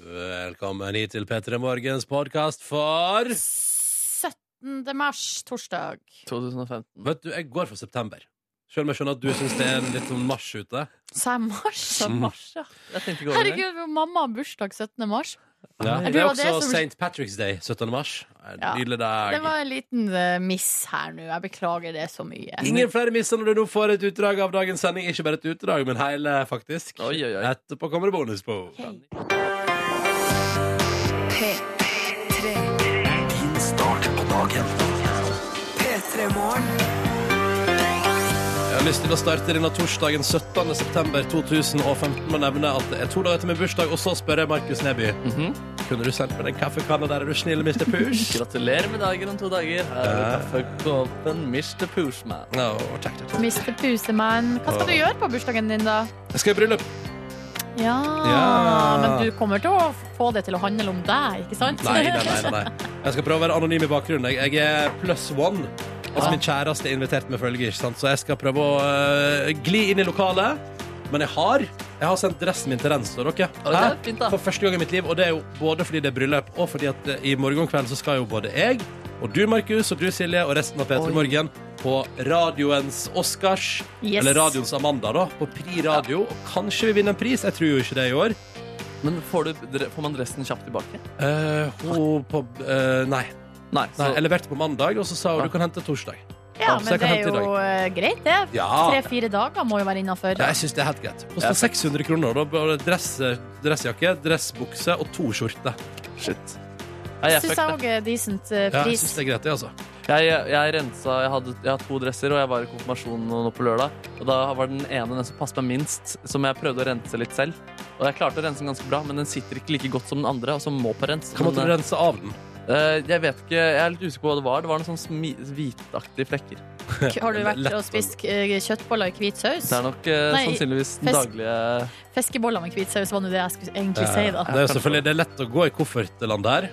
Velkommen hit til P3 Morgens podkast for 17. mars, torsdag. 2015. Vet du, jeg går for september. Selv om jeg skjønner at du syns det er en litt sånn mars ute. Sa jeg mars? Så mars, ja. Jeg tenkte ikke over det. Herregud, mamma har bursdag 17. mars. Ja. Det er Jeg tror det også var det som- St. Patrick's Day 17. mars. En Ja. Nydelig dag. Det var en liten eh, miss her nå. Jeg beklager det så mye. Ingen flere misser når du nå får et utdrag av dagens sending. Ikke bare et utdrag, men hele, faktisk. Oi, oi, oi. Etterpå kommer det bonusbord. Jeg har lyst til å starte denne torsdagen 17. september 2015 med å nevne at det er to dager til min bursdag, og så spør jeg Markus Neby. Mhm. Kunne du sendt meg den kaffekanna der, er du snill, Mr. Poosh? Gratulerer med dagen om to dager. Her er kaffekåpen Mr. Pushman. No, takk, takk. takk. Mr. Pusemann, hva skal du gjøre på bursdagen din, da? Jeg skal i bryllup. Ja, Ja. Men du kommer til å få det til å handle om deg, ikke sant? Nei, nei, nei, nei, nei. Jeg skal prøve å være anonym i bakgrunnen. Jeg- Jeg er pluss one. Altså Ja. min kjæreste er invitert med følge, ikke sant? så jeg skal prøve å øh, gli inn i lokalet. Men jeg har Jeg har sendt dressen min til Rens og dere. Å, det er fint, da. For første gang i mitt liv. Og det er jo både fordi det er bryllup, og fordi at eh, i morgen kveld så skal jo både jeg og du, Markus, og du, Silje, og resten av P3 Oi. Morgen på radioens Oscars, Yes. eller radioens Amanda, da, på Pri Radio. Og kanskje vi vinner en pris. Jeg tror jo ikke det i år. Men får, du, dre- får man dressen kjapt tilbake? Eh, hun på eh, Nei. Nei. Nei, Så, jeg leverte på mandag, og så sa hun Ja. du kan hente torsdag. Ja, Ja, så men jeg det kan er hente i jo eh, greit, det. Ja. Tre-fire dager må jo være innafor. Ja, jeg syns det er helt greit. Ja. Koster 600 kroner. og Da var det dress, dressjakke, dressbukse og to skjorter. shit. Nei, jeg, Jeg fucked det. syns jeg òg er decent Ja, eh, jeg pris. syns det er greit, det, altså. jeg, jeg, jeg rensa Jeg hadde jeg hadde to dresser, og jeg var i konfirmasjon nå på lørdag. Og da var den ene den som passet meg minst, som jeg prøvde å rense litt selv. Og jeg klarte å rense den ganske bra, men den sitter ikke like godt som den andre. Og som må på rens. Hva måtte Men, du rense av den? eh, jeg vet ikke, jeg er litt usikker på hva det var. Det var noen sånn smi- hvitaktige flekker. Har du vært Lett og spist eh, kjøttboller i hvit saus? Det er nok eh, Nei, sannsynligvis den fisk. daglige Fiskeboller med hvit saus var nå det jeg skulle egentlig si, Ja, da. Det er jo selvfølgelig det er lett å gå i koffertland der.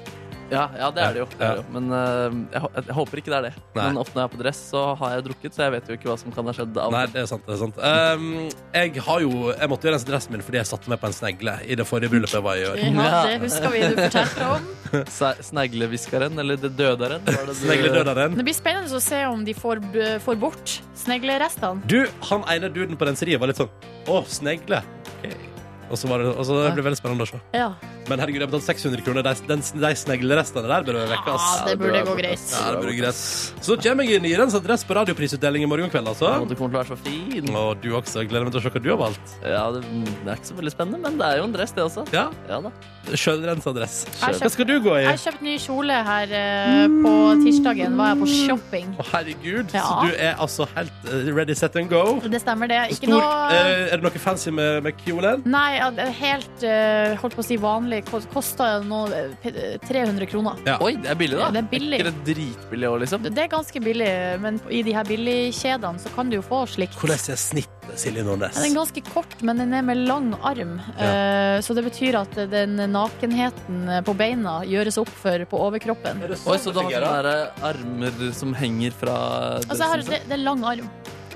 ja, ja, det er det jo. Det er det jo. Men eh, jeg, hå- jeg håper ikke det er det. Nei. Men ofte når jeg er på dress, så har jeg drukket, så jeg vet jo ikke hva som kan ha skjedd. Av. Nei, det er sant. det er sant um, Jeg har jo, jeg måtte jo rense dressen min fordi jeg satte meg på en snegle i det forrige bryllupet jeg var i i år. Ja, Ja. det husker vi du fortalte om. Se- Snegleviskeren, eller det døderen. var det du- Snegledøderen. Det blir spennende å se om de får, b- får bort sneglerestene. Du, han ene duden på renseriet var litt sånn Å, snegle. Ok. Og så var det, og så det blir veldig spennende å se. Ja. Men herregud, jeg betalte 600 kroner. De, den, de sneglerestene der burde vekke, ass. Ja, det burde gå greit. Ja, det burde greit. Så kommer jeg i nyrensa dress på radioprisutdeling i morgen kveld, altså. Du kommer til å være så fin. Og du også. Jeg gleder meg til å se hva du har valgt. Ja, det, mm, det er ikke så veldig spennende, men det er jo en dress, det også. Ja, Ja da. Sjølrensa dress. Jeg Hva kjøpte- skal du gå i? Jeg har kjøpt ny kjole her eh, på tirsdagen. Var jeg på shopping. Å, herregud, Ja. så du er altså helt eh, ready, set and go. Det stemmer, det. Ikke Stor, noe eh, er det noe fancy med, med kjolen? Nei, ja, det er helt eh, holdt på å si vanlig. Kosta nå eh, p- 300 kroner. Oi, det er billig, da. Ja, det er billig. ikke det dritbillig òg, liksom? Det er ganske billig, men i de her billigkjedene så kan du jo få slikt. Hvordan er snittet, Silje Nordnes? Den er ganske kort, men den er med lang arm. Eh, Så det betyr at den nakenheten på beina gjøres opp for på overkroppen. Er det Oi, sånn så det du har sånne fungerer? der, eh, armer som henger fra Altså, jeg har, det, det er lang arm.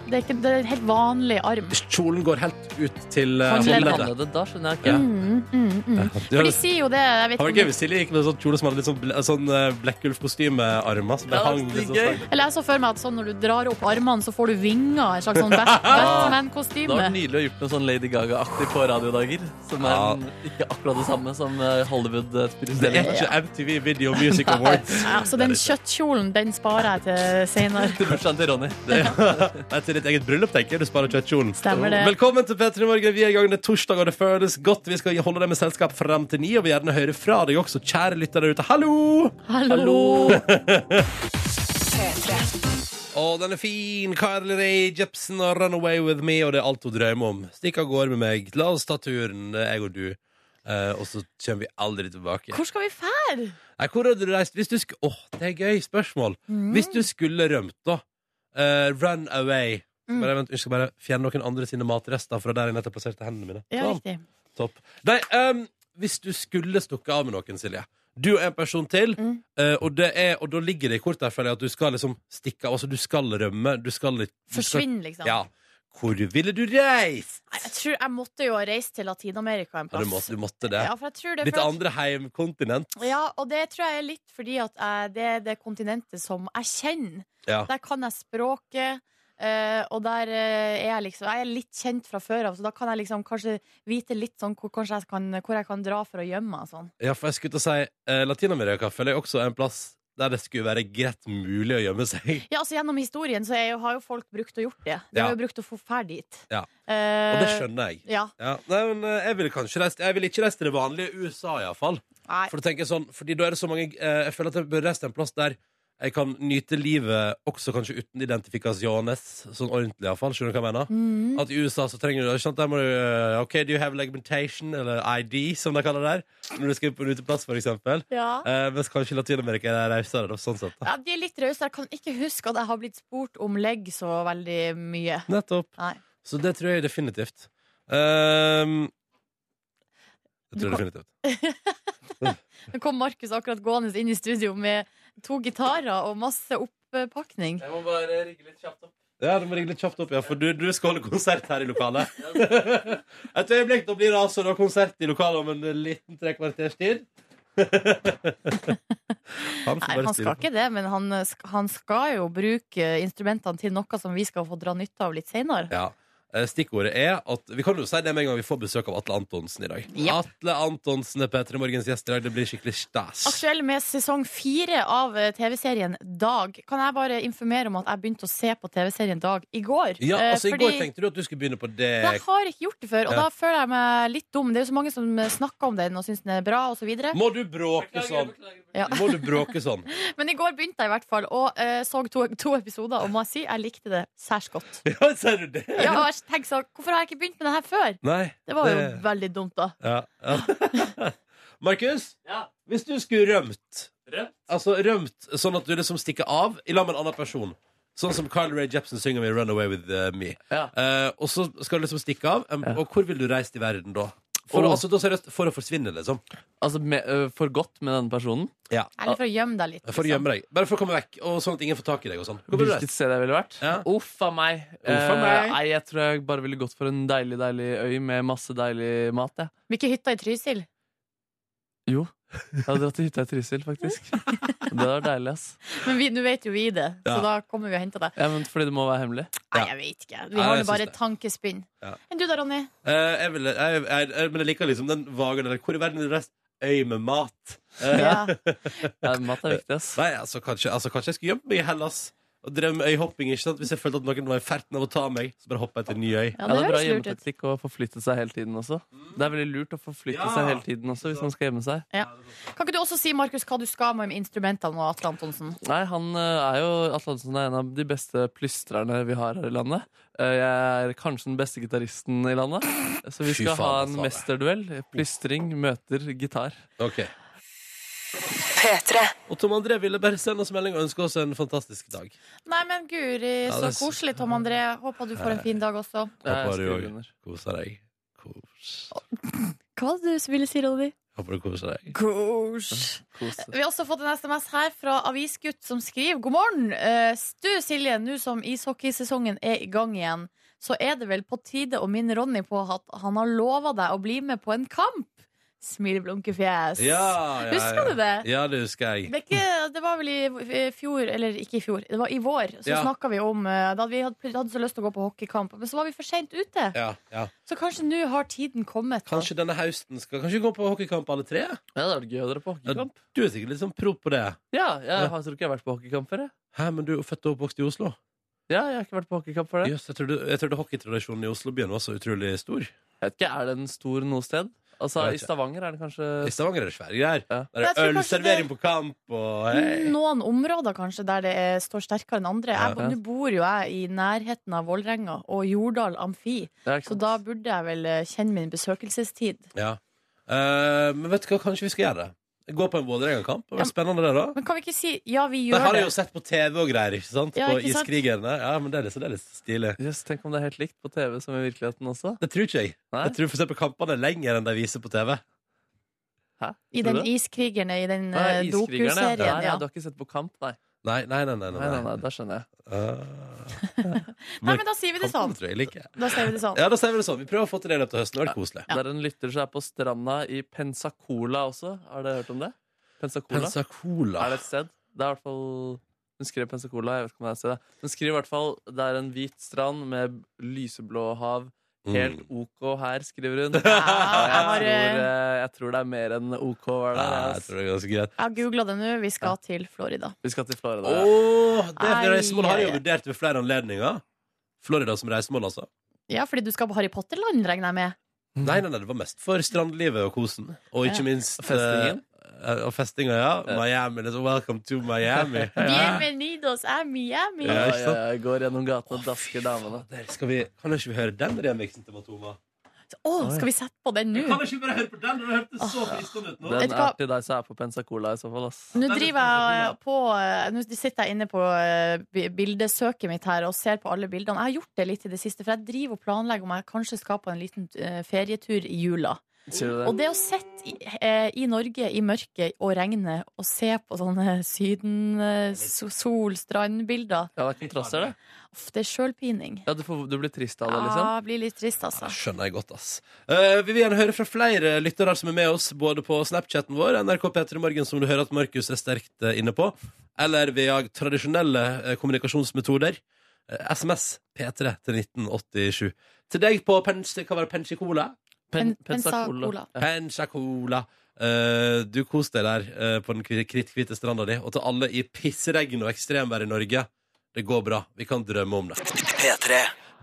Det er, ikke, det er en helt vanlig arm. Kjolen går helt ut til eh, Håndleddet. håndleddet. Håndleddet, da skjønner jeg ikke. Mm, mm, mm. Du For har- de sier jo det jeg vet Det var ikke gøy om- hvis Silje gikk med en sånn kjole som hadde litt sånn, ble- sånn eh, Blekkulf-kostymearmer. som bare Ja, det var hang litt sånn gøy. slag. Eller jeg så for meg at sånn når du drar opp armene, så får du vinger. En slags sånn Bat- Det var Batman-kostyme. nydelig å gjort noe sånn Lady Gaga-aktig på radiodager. Som er Ja. en- ikke akkurat det samme som eh, Hollywood Det eh, er spiller. ikke MTV Video Music Awards. Ja, så den kjøttkjolen, den sparer jeg til seinere. Til bursdagen til Ronny. Det er til ditt eget bryllup, tenker jeg. Du sparer kjøttkjolen. Stemmer det. Velkommen til P3 Morgen. Vi er i gang. Det er torsdag, og det føles godt. Vi skal holde deg med selskap fram til ni, og vi vil gjerne høre fra deg også, kjære lytter der ute. Hallo! Hallo! Å, den er fin! Carly Rae Jepsen og 'Run Away With Me', og det er alt hun drømmer om. Stikk av gårde med meg. La oss ta turen, jeg og du. Eh, og så kommer vi aldri tilbake. Hvor skal vi fære? Nei, hvor hadde du reist hvis du sk Åh, det er gøy spørsmål. Mm. Hvis du skulle rømt, da. eh, run away. Mm. Bare, vent, jeg skal bare fjerne noen andre sine matrester fra der jeg nettopp plasserte hendene mine. Ja, Sånn, riktig. topp. Nei, ehm, hvis du skulle stukket av med noen, Silje. Du og en person til, Mm. eh, og, det er, og da ligger det i kortærfølge at du skal liksom stikke av. Altså, du skal rømme. Du skal litt du skal- Forsvinn, liksom. Ja. Hvor ville du reist? Nei, Jeg, tror, jeg måtte jo ha reist til Latin-Amerika en Ja, plass. du, måtte, du måtte det. Ja, for jeg tror det Ditt for at- andre heimkontinent. Ja, og det tror jeg er litt fordi at jeg, det er det kontinentet som jeg kjenner. Ja. Der kan jeg språket, eh, og der eh, er jeg liksom Jeg er litt kjent fra før av, så da kan jeg liksom kanskje vite litt sånn hvor, kanskje jeg kan, hvor jeg kan dra for å gjemme meg og sånn. Ja, for jeg skulle til å si eh, Latin-Amerika føler jeg også er en plass der det skulle være greit mulig å gjemme seg. Ja, altså Gjennom historien så er jo, har jo folk brukt å gjort det. De Ja. har jo brukt å få ferd dit. Ja. Og Eh, det skjønner jeg. Ja. Ja, nei, men eh, Jeg ville kanskje reist Jeg ville ikke reist til det vanlige USA, iallfall. Nei. For da tenker jeg sånn, fordi da er det så mange eh, Jeg føler at jeg bør reise til en plass der jeg kan nyte livet også kanskje uten identifikasjones, sånn ordentlig iallfall. Skjønner du hva jeg mener? Mm. At i USA så trenger du ikke sant, der må du, eh, OK, do you have legimentation, eller ID, som de kaller det der, når du skal på en uteplass, for eksempel. Ja. Eh, mens kanskje i Latin-Amerika er det rausere, da, sånn sett. Da. Ja, de er litt rause. Jeg kan ikke huske at jeg har blitt spurt om legg så veldig mye. Nettopp. Nei. Så det tror jeg definitivt. Ehm, jeg Du tror kan- definitivt. Nå kom Markus akkurat gående inn i studio med to gitarer og masse oppakning. Jeg må bare rigge litt kjapt opp. Ja, du må ringe litt kjapt opp, ja, for du, du skal holde konsert her i lokalet. Et øyeblikk, da blir det altså da konsert i lokalet om en liten trekvarters tid. han, Nei, han skal ikke det, men han, sk- han skal jo bruke instrumentene til noe som vi skal få dra nytte av litt seinere. Ja. Eh, Stikkordet er at Vi kan jo si det med en gang vi får besøk av Atle Antonsen i dag. Ja. Atle Antonsen er P3 Morgens gjest i dag. Det blir skikkelig stas. Aktuell med sesong fire av eh, TV-serien Dag. Kan jeg bare informere om at jeg begynte å se på TV-serien Dag i går? Ja, Eh, altså I fordi- går tenkte du at du skulle begynne på det. Jeg har ikke gjort det før, og Ja. da føler jeg meg litt dum. Det er jo så mange som snakker om den og syns den er bra, osv. Må du bråke sånn? Ja. Må du bråke sånn? Men i går begynte jeg i hvert fall, og eh, så to, to episoder, og må jeg si jeg likte det særs godt. Ja, ser du det? Ja, og jeg tenkte sånn, hvorfor har jeg ikke begynt med det her før? Nei. Det var jo det- veldig dumt, da. ja, ja. Markus, Ja. hvis du skulle rømt Rømt? Altså rømt sånn at du liksom stikker av i lag med en annen person, sånn som Carl Ray Jepsen synger med i 'Runaway With eh, Me', Ja. Eh, og så skal du liksom stikke av, em, Ja. og hvor vil du reise i verden da? For, Åh. å- altså, da seriøst, for å forsvinne, liksom. Altså, med, ø, for godt med denne personen? Eller for å gjemme deg litt. liksom. For å gjemme deg. Bare for å komme vekk, og sånn at ingen får tak i deg. og sånn Hvor vil du Hvilket reise? sted jeg ville vært? Ja. Uff a meg. Uff a meg. Eh, nei, jeg tror jeg bare ville gått for en deilig, deilig øy med masse deilig mat. jeg. Blir ikke hytta i Trysil? Jo. Jeg hadde dratt til hytta i Trysil, faktisk. Det var deilig, ass. Men vi- nå vet jo vi det, Ja. så da kommer vi og henter deg. Ja, men fordi det må være hemmelig. Nei, Ja. jeg vet ikke. Vi Nei, har jeg nå bare syns det. et tankespinn. Ja. Enn du da, Ronny? Eh, jeg vil, jeg, jeg, jeg, men jeg liker liksom den vagen der. Hvor i verden vil du reise? Øy med mat. Eh, Ja. Ja, mat er viktig, ass. Nei, altså kanskje, altså kanskje jeg skulle gjemme meg i Hellas og drev med øyhopping. ikke sant? Hvis jeg følte at noen var i ferden av å ta meg, så bare hoppa jeg til en ny øy. Ja, Ja, det det er bra høres lurt ut. hjemmetaktikk å forflytte seg hele tiden også. Det er veldig lurt å forflytte Ja. seg hele tiden også hvis man skal gjemme seg. Kan ikke du også si, Markus, hva du skal med instrumentene og Atle Antonsen? Nei, han eh, er jo Atle Antonsen er en av de beste plystrerne vi har her i landet. Eh, Jeg er kanskje den beste gitaristen i landet. Så vi Fy skal ha faen, en sa det. mesterduell. Plystring møter gitar. Ok. Og Tom André ville bare sende oss melding og ønske oss en fantastisk dag. Nei, men guri, Ja, så det er s- koselig, Tom André. Håper du får en fin dag også. Jeg Håper du skriver også. under. Koser deg. Kos. Hva var det du ville si, Ronny? Håper du koser deg. Kors. Kos. Eh, Vi har også fått en SMS her fra avisgutt som skriver God morgen, Eh, du Silje, nå som ishockeysesongen er i gang igjen Så er det vel på tide å minne Ronny på at han har lovet deg å bli med på en kamp Smileblunkefjes Ja, ja, ja. Husker du det? Ja, det husker jeg. det, er ikke, det var vel i fjor, eller ikke i fjor, det var i vår Så Ja. snakket vi om, eh, da hadde vi hatt- hadde så lyst til å gå på hockeykamp Men så var vi for sent ute Ja, ja. Så kanskje nå har tiden kommet da. Kanskje denne høsten skal Kanskje vi går på hockeykamp alle tre? Ja, det hadde vært gøy å dra på Ja, hockeykamp. du er sikkert litt sånn pro på det. Ja, jeg har- tror ikke jeg har vært på hockeykamp før. jeg. Hæ, men du er født og oppvokst i Oslo? Ja, jeg har ikke vært på hockeykamp før det. Jøss, jeg trodde, jeg trodde hockeytradisjonen i Oslobyen var så utrolig stor. Jeg vet ikke, Er den stor noe sted? Altså, Jeg I vet ikke. Stavanger er det I kanskje Stavanger er det svære greier. Ja. Der Jeg er tror det kanskje det- ølservering på kamp og Mm. hei. Noen områder kanskje der det er, står sterkere enn andre. Jeg, Ja. Nå bor jo jeg i nærheten av Vålerenga og Jordal Amfi, Ja, ikke så sant? da burde jeg vel eh, kjenne min besøkelsestid. Ja. Eh, men vet du hva, kanskje vi skal gjøre det. Gå på en Vålerenga-kamp. Det var spennende, det, da. Men kan vi ikke si ja, vi Det gjør har det? jeg jo sett på TV og greier, ikke sant? Ja, på ikke sant? Iskrigerne. Ja, men det er litt, det er litt stilig. Jøss, Tenk om det er helt likt på TV som i virkeligheten også. Det tror ikke jeg. Nei? Jeg tror for eksempel kampene er lenger enn de viser på TV. Hæ? I Tror du den det? iskrigerne, i den Ah, eh, Iskrigerne, ja. dokuserien. Nei, Ja. Du har ikke sett på kamp, nei. Nei, nei, nei. nei, Nei, nei, nei, da skjønner jeg. Ah, Nei, men da sier vi det sånn. Kampen tror jeg liker. Da sier vi det sånn. Ja, da sier vi det sånn. Vi prøver å få til det i løpet av høsten. Det har vært koselig. Det er en lytter som er på stranda i Pensacola også. Har dere hørt om det? Pensacola? Pensacola. Er det et sted? Det er i hvert fall Hun skriver Pensacola. Jeg vet ikke om det er et sted. Hun skriver i hvert fall det er en hvit strand med lyseblå hav. Mm. Helt OK her, skriver hun. Jeg Ja, jeg tror, har eh, eh, jeg tror det er mer enn OK. Var det, Ja, jeg ass. tror det er ganske greit. jeg har googla det nå. Vi skal til Florida. Vi skal til Florida. Åh, ja. det er Ai, reisemål har jeg ai, jo ai. vurdert ved flere anledninger. Florida som reisemål, altså. Ja, fordi du skal på Harry Potter-land, regner jeg med. Mhm. Nei, nei, nei, det var mest for strandlivet og kosen. Og ikke Ja. minst Festingen? eh, og festinga, ja. Miami. Liksom, welcome to Miami. Ja. Bienvenidos a Miami. Ja, Ja, ikke ja, sant? ja, jeg går gjennom gaten og dasker damene. Der skal vi, kan ikke vi høre den remixen til Matoma? Å, skal vi sette på den nå? Kan ikke vi bare høre på den? Den hørtes så fristende ut nå. Vet Den du hva? er til deg som er på Pensacola, i så fall. Ass. Nå driver jeg på eh, Nå sitter jeg inne på eh, bi- bildesøket mitt her og ser på alle bildene. Jeg har gjort det litt i det siste, for jeg driver og planlegger om jeg kanskje skal på en liten eh, ferietur i jula. Sier du det? Og det å sitte i, eh, i Norge i mørket og regnet og se på sånne eh, syden-sol-strandbilder Ja, det er kontraster, det. Uff, det er sjølpining. Ja, du, får, du blir trist av det, liksom. Ja, blir litt trist, altså. Det skjønner jeg godt, ass. Eh, vi vil gjerne høre fra flere lyttere som er med oss, både på Snapchaten vår, NRK P3 Morgen, som du hører at Markus er sterkt eh, inne på, eller via tradisjonelle eh, kommunikasjonsmetoder. Eh, SMS P3 til 1987. Til deg på Pensi, hva var det, Pensicola? Pen- Pensacola. Ja. Pensacola. Eh, du kos deg der eh, på den kri- kritthvite stranda di. Og til alle i pissregn og ekstremvær i Norge. Det går bra. Vi kan drømme om det.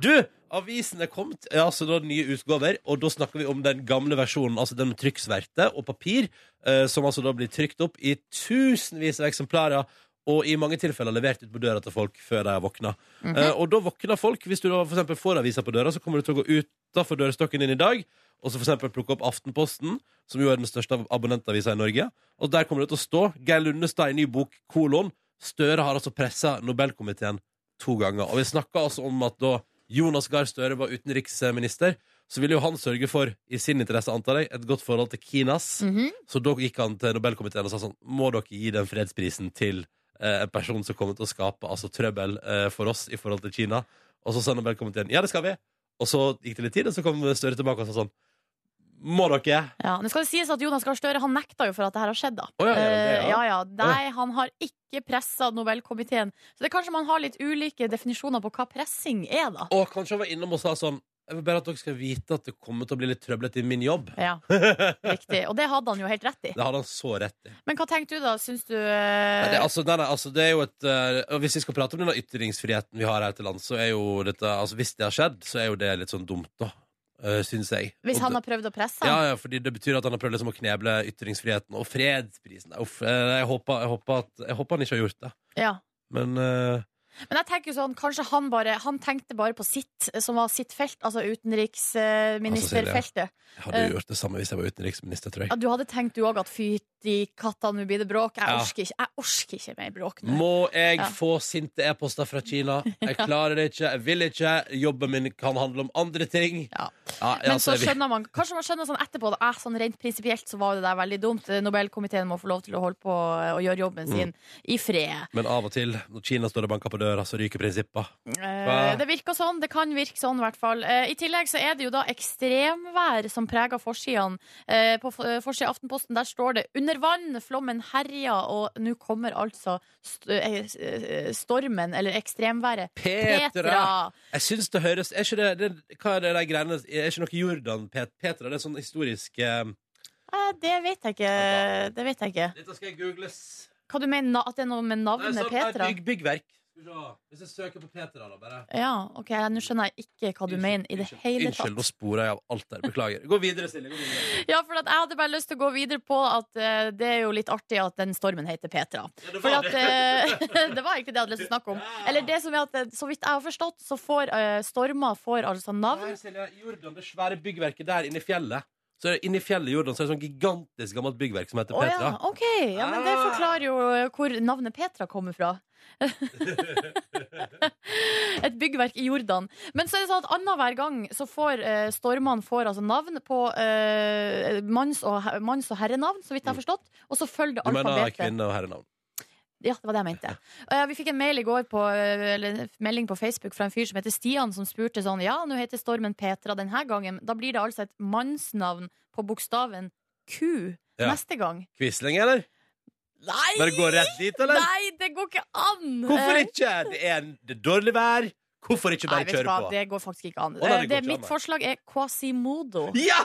Du, avisen er kommet. Ja, altså da nye utgaver. Og da snakker vi om den gamle versjonen, altså den med trykksverte og papir, eh, som altså da blir trykt opp i tusenvis av eksemplarer. Og i mange tilfeller levert ut på døra til folk før de har våkna. Eh, og da våkner folk. Hvis du da for eksempel får avisa på døra, så kommer du til å gå utafor dørstokken din i dag og så for eksempel plukke opp Aftenposten, som jo er den største ab- abonnentavisa i Norge. Og der kommer det til å stå Geir Lundestad i ny bok, kolon. Støre har altså pressa Nobelkomiteen to ganger. Og vi snakka altså om at da Jonas Gahr Støre var utenriksminister, så ville jo han sørge for, i sin interesse antar jeg, et godt forhold til Kinas. Mhm. Så da gikk han til Nobelkomiteen og sa sånn Må dere gi den fredsprisen til eh, en person som kommer til å skape altså, trøbbel eh, for oss i forhold til Kina? Og så sa Nobelkomiteen ja, det skal vi. Og så gikk det litt tid, og så kom Støre tilbake og sa sånn Må dere? Ja, Nå skal det sies at Jonas Gahr Støre han nekta jo for at det her har skjedd. da Å, ja, ja, det, Eh, ja. ja, ja. Nei, han har ikke pressa Nobelkomiteen. Så det er kanskje man har litt ulike definisjoner på hva pressing er, da. Og kanskje han var innom og sa sånn Jeg vil bare at dere skal vite at det kommer til å bli litt trøblete i min jobb. Ja, riktig. Og det hadde han jo helt rett i. Det hadde han så rett i. Men hva tenker du, da? Syns du Nei, eh, det, altså, nei, nei, altså, det er jo et eh, og Hvis vi skal prate om denne ytringsfriheten vi har her til lands, så er jo dette altså, Hvis det har skjedd, så er jo det litt sånn dumt, da. Uh, Syns jeg. Hvis Og han det- har prøvd å presse ja, han? ja, fordi det betyr at han har prøvd liksom å kneble ytringsfriheten og fredsprisen. Uff, eh, jeg, håper, jeg, håper at, jeg håper han ikke har gjort det. Ja. Men eh, Men jeg tenker jo sånn, kanskje han bare Han tenkte bare på sitt, som var sitt felt, altså utenriksministerfeltet. jeg hadde Eh. jo gjort Altså, det samme hvis jeg var utenriksminister, tror jeg. Ja, du hadde tenkt du òg at fytti katta, nå blir det bråk. Jeg Ja. orker ikke, jeg orker ikke mer bråk nå. Må jeg Ja. få sinte e-poster fra Kina? Jeg klarer det ikke, jeg vil ikke. Jobben min kan handle om andre ting. Ja. Ja, Men altså, så jeg vil- skjønner man Kanskje man skjønner sånn etterpå at eh, sånn rent prinsipielt så var det der veldig dumt. Nobelkomiteen må få lov til å holde på eh, og gjøre Mm. jobben sin i fred. Men av og til, når Kina står og banker på døra, så ryker prinsippa. Eh, det virker sånn. Det kan virke sånn, i hvert fall. Eh, I tillegg så er det jo da ekstremvær som preger forsidene. Eh, på f- eh, forsida av Aftenposten der står det 'Under vann, flommen herja', og nå kommer altså st eh, s- eh, stormen, eller ekstremværet. Petra! Jeg syns det høres Er ikke det, det Hva er det de greiene Er ikke noe Jordan Pet, Petra? Det er sånn historisk eh, Eh, det vet jeg ikke. Det vet jeg ikke. Dette skal jeg googles. Hva du mener na- at det er noe med Nei, navnet sånn, nei, Petra? Bygg, byggverk. Skal vi se. Hvis jeg søker på Petra, da, bare Ja, ok, Nå skjønner jeg ikke hva du mener i det Unnskyld, hele tatt. Unnskyld, nå sporer jeg av alt der. Beklager. Gå videre, Silje. Gå videre. Ja, for at jeg hadde bare lyst til å gå videre på at eh, det er jo litt artig at den stormen heter Petra. Ja, det For var at, det. eh, det var egentlig det jeg hadde lyst til å snakke om. Eller det som er at, eh, så vidt jeg har forstått, så får eh, stormer får altså navn. Her, Silje. Jordan, det svære byggverket der inne i fjellet. Så er det Inni fjellet i Jordan så er det sånn gigantisk gammelt byggverk som heter Å ja, Petra. Ah. ok. Ja, men det forklarer jo eh, hvor navnet Petra kommer fra. Et byggverk i Jordan. Men så er det sånn at annenhver gang så får eh, stormene får altså navn på eh, manns- og, he- manns- og herrenavn, så vidt jeg har forstått, og så følger det Mm. Du mener alfabetet. kvinne- og herrenavn? Ja, det var det jeg mente. Eh, vi fikk en mail i går på, eh, eller en melding på Facebook fra en fyr som heter Stian, som spurte sånn Ja, nå heter stormen Petra denne gangen. Da blir det altså et mannsnavn på bokstaven Q Ja. neste gang. Quisling, eller? Nei! Bare gå rett dit, eller? Nei, det går ikke an! Hvorfor Eh, ikke? Det er en det er dårlig vær. Hvorfor ikke Nei, bare vet du kjøre hva, på? det går faktisk ikke an. Å, nei, det Eh, går det ikke an, mitt nei. forslag er Quasimodo. Ja!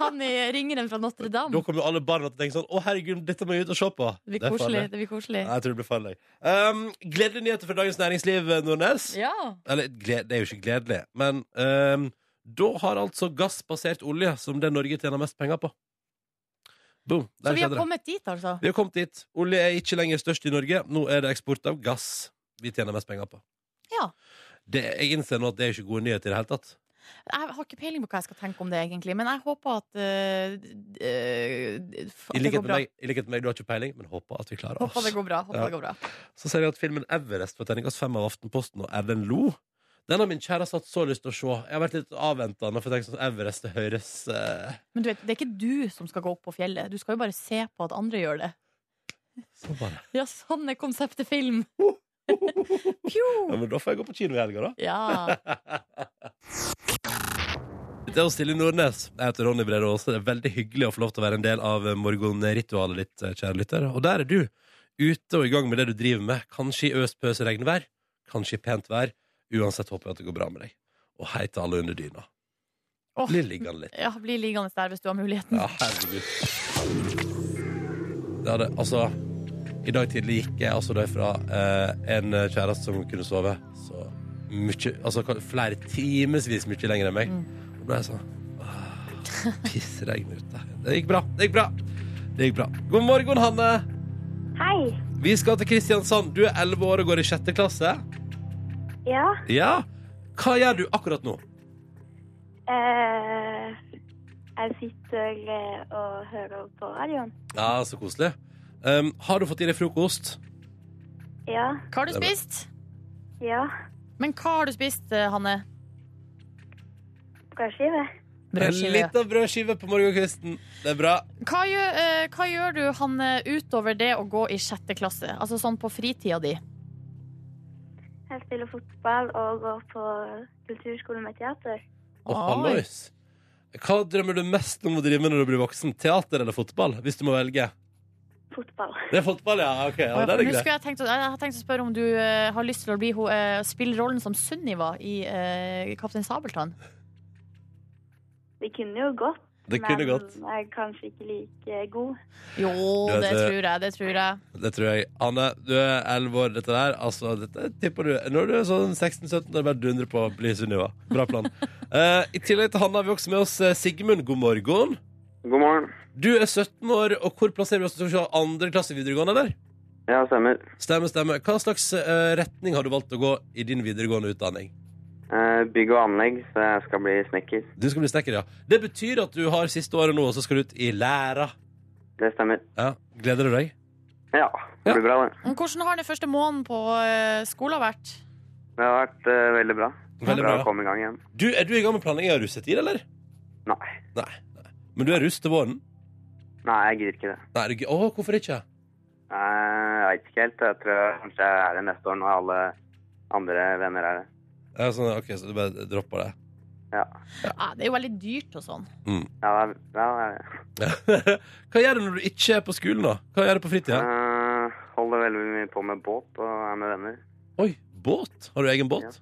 Han i ringeren fra Notre-Dame. Da kommer jo alle barna til å tenke sånn Å, herregud, dette må jeg ut og se på. Det blir er koselig. farlig. Det blir koselig. Nei, jeg tror det blir farlig. Um, gledelige nyheter fra Dagens Næringsliv, eh, Nordnes. Ja. Eller, gled, det er jo ikke gledelig, men um, da har altså gass passert olje som det Norge tjener mest penger på. Boom. Så Der vi har skjedde det. kommet dit, altså. Vi har kommet dit. Olje er ikke lenger størst i Norge. Nå er det eksport av gass vi tjener mest penger på. Ja. Det, jeg innser nå at det er ikke gode nyheter i det hele tatt. Jeg har ikke peiling på hva jeg skal tenke om det, egentlig, men jeg håper at, eh, d- eh, d- at I det likhet går med bra. meg, i likhet med meg du har ikke peiling, men håper at vi klarer oss. Håper det går bra. Håper Ja. det går bra. Så ser jeg at filmen Everest får terningkast fem av Aftenposten og Erlend Lo. Den har min kjæreste hatt så lyst til å se. Jeg har vært litt avventende, for jeg tenker sånn Everest det høres eh, Men du vet, det er ikke du som skal gå opp på fjellet. Du skal jo bare se på at andre gjør det. sånn bare. Ja, sånn er konseptet film. Ja, Pjo! men da får jeg gå på kino i helga, da. Ja. Dette er oss Silje Nordnes. Jeg heter Ronny Brede Aase. Det er veldig hyggelig å få lov til å være en del av eh, morgenritualet ditt, eh, kjære lytter. Og der er du, ute og i gang med det du driver med. Kanskje i øspøs regnvær, kanskje i pent vær. Uansett håper jeg at det går bra med deg. Og hei til alle under dyna. Åh. Bli liggende litt. ja. Bli liggende der hvis du har muligheten. Ja, herregud. Det hadde, altså I dag tidlig gikk jeg altså da fra eh, en kjæreste som kunne sove så mye Altså kan- flere timevis mye lenger enn meg. Da ble jeg sånn «Åh, Pissregn ute. Det gikk bra. Det gikk bra. Det gikk bra. God morgen, Hanne. Hei. Vi skal til Kristiansand. Du er elleve år og går i sjette klasse. Ja. Ja. Hva gjør du akkurat nå? Eh, jeg sitter eh, og hører på radioen. Ja, så koselig. Um, har du fått i deg frokost? Ja. Hva har du Det er bra. spist? Ja. Men hva har du spist, eh, Hanne? Brødskive. En liten brødskive på morgenkvisten. Det er bra. Hva gjør, eh, hva gjør du, Hanne, utover det å gå i sjette klasse? Altså sånn på fritida di? Jeg spiller fotball og går på kulturskole med teater. Og Oi. hallois. Hva drømmer du mest om å drive med når du blir voksen? Teater eller fotball? Hvis du må velge. Fotball. Det er fotball, ja. Ok, ja, det er Å, ja, for nå greit. skulle jeg, tenkt, å- jeg har tenkt å spørre om du eh, har lyst til å bli, ho- eh, spille rollen som Sunniva i eh, Kaptein Sabeltann. Det kunne jo gått, Det kunne gått. men jeg er kanskje ikke like god. Jo, Du vet det det. tror jeg. Det tror jeg. Det tror jeg. Anne, du er elleve år. Dette der, altså, dette tipper du. Når du er sånn 16-17, da bare dundrer på å bli Sunniva. Bra plan. Eh, I tillegg til Hanne har vi også med oss eh, Sigmund. God morgen. God morgen. Du er 17 år, og hvor plasserer vi oss? Skal vi se andre klasse videregående, eller? Ja, stemmer. Stemmer, stemmer. Hva slags eh, retning har du valgt å gå i din videregående utdanning? Eh, bygg og anlegg, så jeg skal bli snekker. Du skal bli snekker, ja. Det betyr at du har siste året nå, og så skal du ut i læra. Det stemmer. Ja, Gleder du deg? Ja, det blir bra, det. Men Hvordan har den første måneden på eh, skolen vært? Det har vært eh, veldig bra. Veldig bra. å bra. komme i gang igjen. Du, er du i gang med planlegging av russetid, eller? Nei. Nei. nei. Men du er russ til våren? Nei, jeg gidder ikke det. Nei, er du, ikke- å, hvorfor ikke? Eh, jeg veit ikke helt. Jeg tror jeg kanskje jeg er det neste år når alle andre venner er det. Ja, sånn, ok, Så du bare dropper det? Mm. Ja, Ah, det er jo veldig dyrt og sånn. Ja, det er, ja, det er det. Hva gjør du når du ikke er på skolen, da? Hva gjør du på fritida? Eh, holder veldig mye på med båt og er med venner. Oi, båt? Har du egen båt?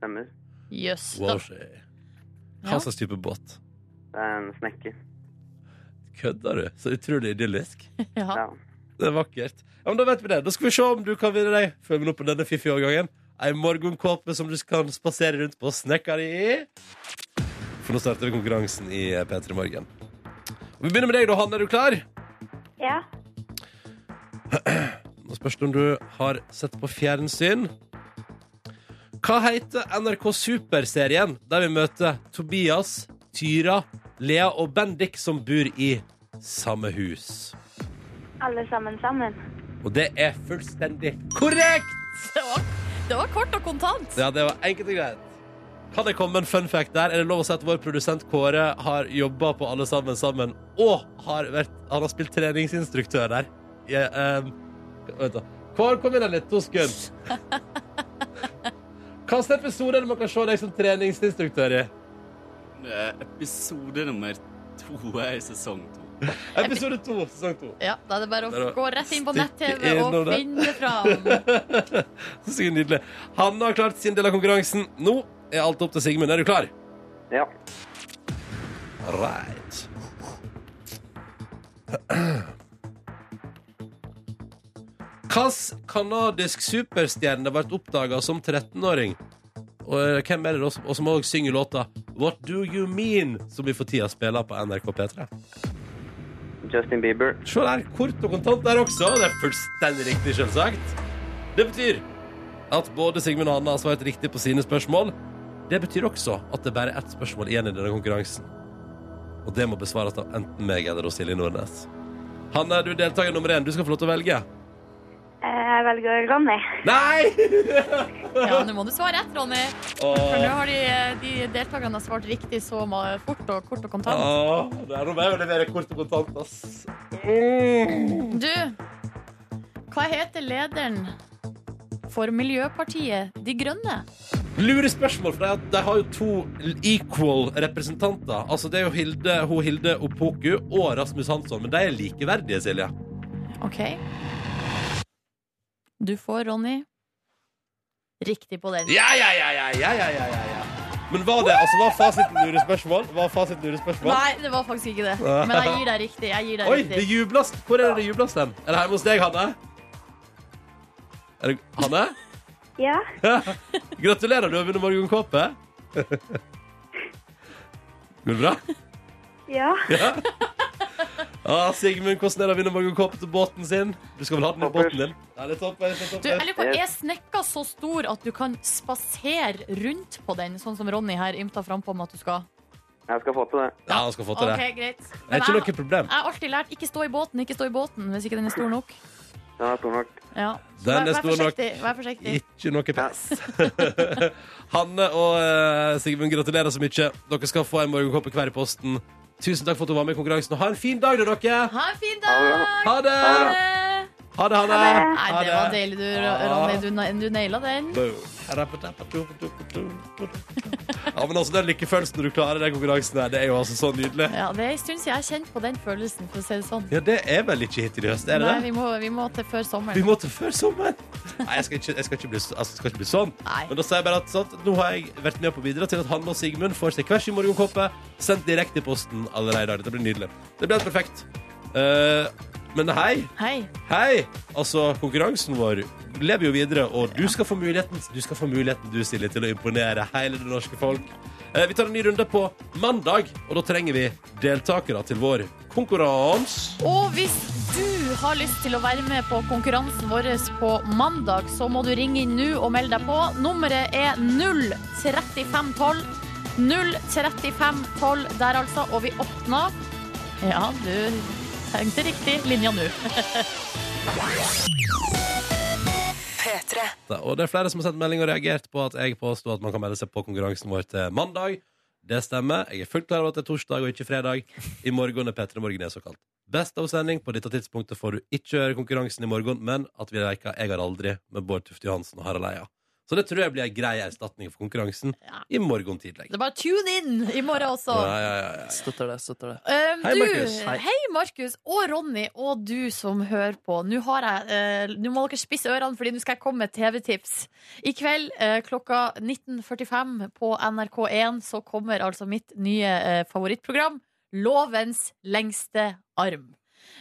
Stemmer. Jøss. Wow, Da- shit. Ja. Hva slags type båt? Det er en snekker. Kødder du? Så utrolig idyllisk. Ja. Ja. Det er vakkert. Ja, men Da vet vi det. Da skal vi se om du kan vinne deg Følg med nå på denne fiffige årgangen. Ei morgenkåpe som du kan spasere rundt på og snekre deg i. For nå starter vi konkurransen i eh, P3 Morgen. Og vi begynner med deg, da, Hanne. Er du klar? Ja. Nå spørs det om du har sett på fjernsyn. Hva heter NRK Superserien der vi møter Tobias, Tyra, Lea og Bendik som bor i samme hus? Alle sammen sammen. Og det er fullstendig korrekt! Det, var, det var kort og kontant. Ja, det var enkelt og greit. Kan det komme en fun fact der? Er det lov å si at vår produsent Kåre har jobba på Alle sammen sammen, og har vært, han har spilt treningsinstruktør der? I, eh, ehm, vent da. Kår, kom inn her litt. To sekunder. Hvilken episode er det man kan se deg som treningsinstruktør i? Eh, Episode nummer to er i sesong to. Episode to, sesong to. Ja, da er det bare å Der var- gå rett inn på nett-TV Stikke og innom der. finne det fram. Så sikkert nydelig. Hanne har klart sin del av konkurransen. Nå er alt opp til Sigmund. Er du klar? Ja. Right. Hvilken kanadisk superstjerne ble oppdaga som 13-åring? Og eh, hvem er det da som- og som òg synger låta What Do You Mean? som vi for tida spiller på NRK P3. Justin Bieber. Se der, kort og kontant der også. Det er fullstendig riktig, selvsagt. Det betyr at både Sigmund og Anna har svart riktig på sine spørsmål. Det betyr også at det bare er ett spørsmål igjen i denne konkurransen. Og det må besvares av enten meg eller hos Silje Nordnes. Hanne, du er deltaker nummer én. Du skal få lov til å velge. Eh, Jeg velger Ronny. Nei! Ja, nå må du svare rett, Ronny. For nå Åh, har de, de deltakerne har svart riktig så ma- fort og kort og kontant. åh, det er noe med å levere kort og kontant, ass. Mm. Du, hva heter lederen for Miljøpartiet De Grønne? Lure spørsmål, for det er at de har jo to equal representanter. Altså, det er jo Hilde, hun Hilde Opoku og Rasmus Hansson, men de er likeverdige, Silje. OK. Du får, Ronny, riktig på den. Ja, ja, ja, ja, ja, ja, ja, ja, ja. Men var det, altså, var fasiten lure spørsmål? Var fasiten lure spørsmål? Nei, det var faktisk ikke det. Men jeg gir deg riktig. Jeg gir deg Oi, det riktig. jublast. Hvor er det det jublast den? Er det hjemme hos deg, Hanne? Er det, Hanne? Ja, Gratulerer, du har vunnet morgenkåpe. Går det bra? ja. Ah, Sigmund, hvordan er det å vinne morgenkåpe til båten sin? Du skal vel ha den i båten din? Ja, det er toppers, det er Du, toppers. jeg lurer på, Er snekka så stor at du kan spasere rundt på den, sånn som Ronny her ymta frampå om at du skal? Jeg skal få til det. Ja, han skal få til OK, det. greit. Det er Men ikke jeg- noe problem. Jeg har alltid lært ikke stå i båten, ikke stå i båten hvis ikke den er stor nok. Den er stor nok. Ja. Den Vær, er vær stor nok. forsiktig. Vær forsiktig. Ikke noe pes. Hanne og eh, Sigmund, gratulerer så mye. Dere skal få en morgenkopp hver i posten. Tusen takk for at du var med i konkurransen, og ha en fin dag, da, dere! Ha en fin Ha det dag! bra. Ha det! Ha Ha det! det, Hanne! Nei, Ha Ah. det var deilig, du, Ro- Ronny. Du, na- du naila den. Boom. Ja, men altså, Den lykkefølelsen når du klarer den konkurransen, her, det er jo altså så nydelig. Ja, det er en stund siden jeg har kjent på den følelsen, for å si det sånn. Ja, Det er vel ikke hittil i høst? er det Nei, det? vi må, vi må til før Vi sommeren. må til før sommeren! Nei, jeg skal ikke, jeg skal ikke, bli, så- altså, jeg skal ikke bli sånn. Nei. Men da sier jeg bare at sant, nå har jeg vært med på å bidra til at Hanne og Sigmund får seg hver sin morgenkåpe sendt direkte i posten allerede i dag. Dette blir nydelig. Det blir helt perfekt. Eh, men hei, Hei. hei! Altså, konkurransen vår lever jo videre, og du skal få muligheten, du skal få muligheten du Silje, til å imponere hele det norske folk. Eh, vi tar en ny runde på mandag, og da trenger vi deltakere til vår konkurranse. Og hvis du har lyst til å være med på konkurransen vår på mandag, så må du ringe inn nå og melde deg på. Nummeret er 03512. 03512 der, altså. Og vi åpner Ja, du tenkte riktig. Linja nå. Og det er flere som har sendt melding og reagert på at jeg påsto at man kan melde seg på konkurransen vår til mandag. Det stemmer. Jeg er fullt klar over at det er torsdag og ikke fredag. I morgen er P3 Morgen er såkalt best av sending. På dette tidspunktet får du ikke høre konkurransen i morgen, men at vi leker Jeg har aldri med Bård Tufte Johansen og Harald Eia. Så det tror jeg blir en grei erstatning for konkurransen Ja. i morgen tidlig. Det er bare tune in i morgen også. Ja, ja, ja, ja. Støtter det, støtter det. Um, Hei, du, Markus. Hei, Markus og Ronny og du som hører på. Nå, har jeg, eh, nå må dere spisse ørene, Fordi nå skal jeg komme med et TV-tips. I kveld eh, klokka 19.45 på NRK1 så kommer altså mitt nye eh, favorittprogram, Lovens lengste arm.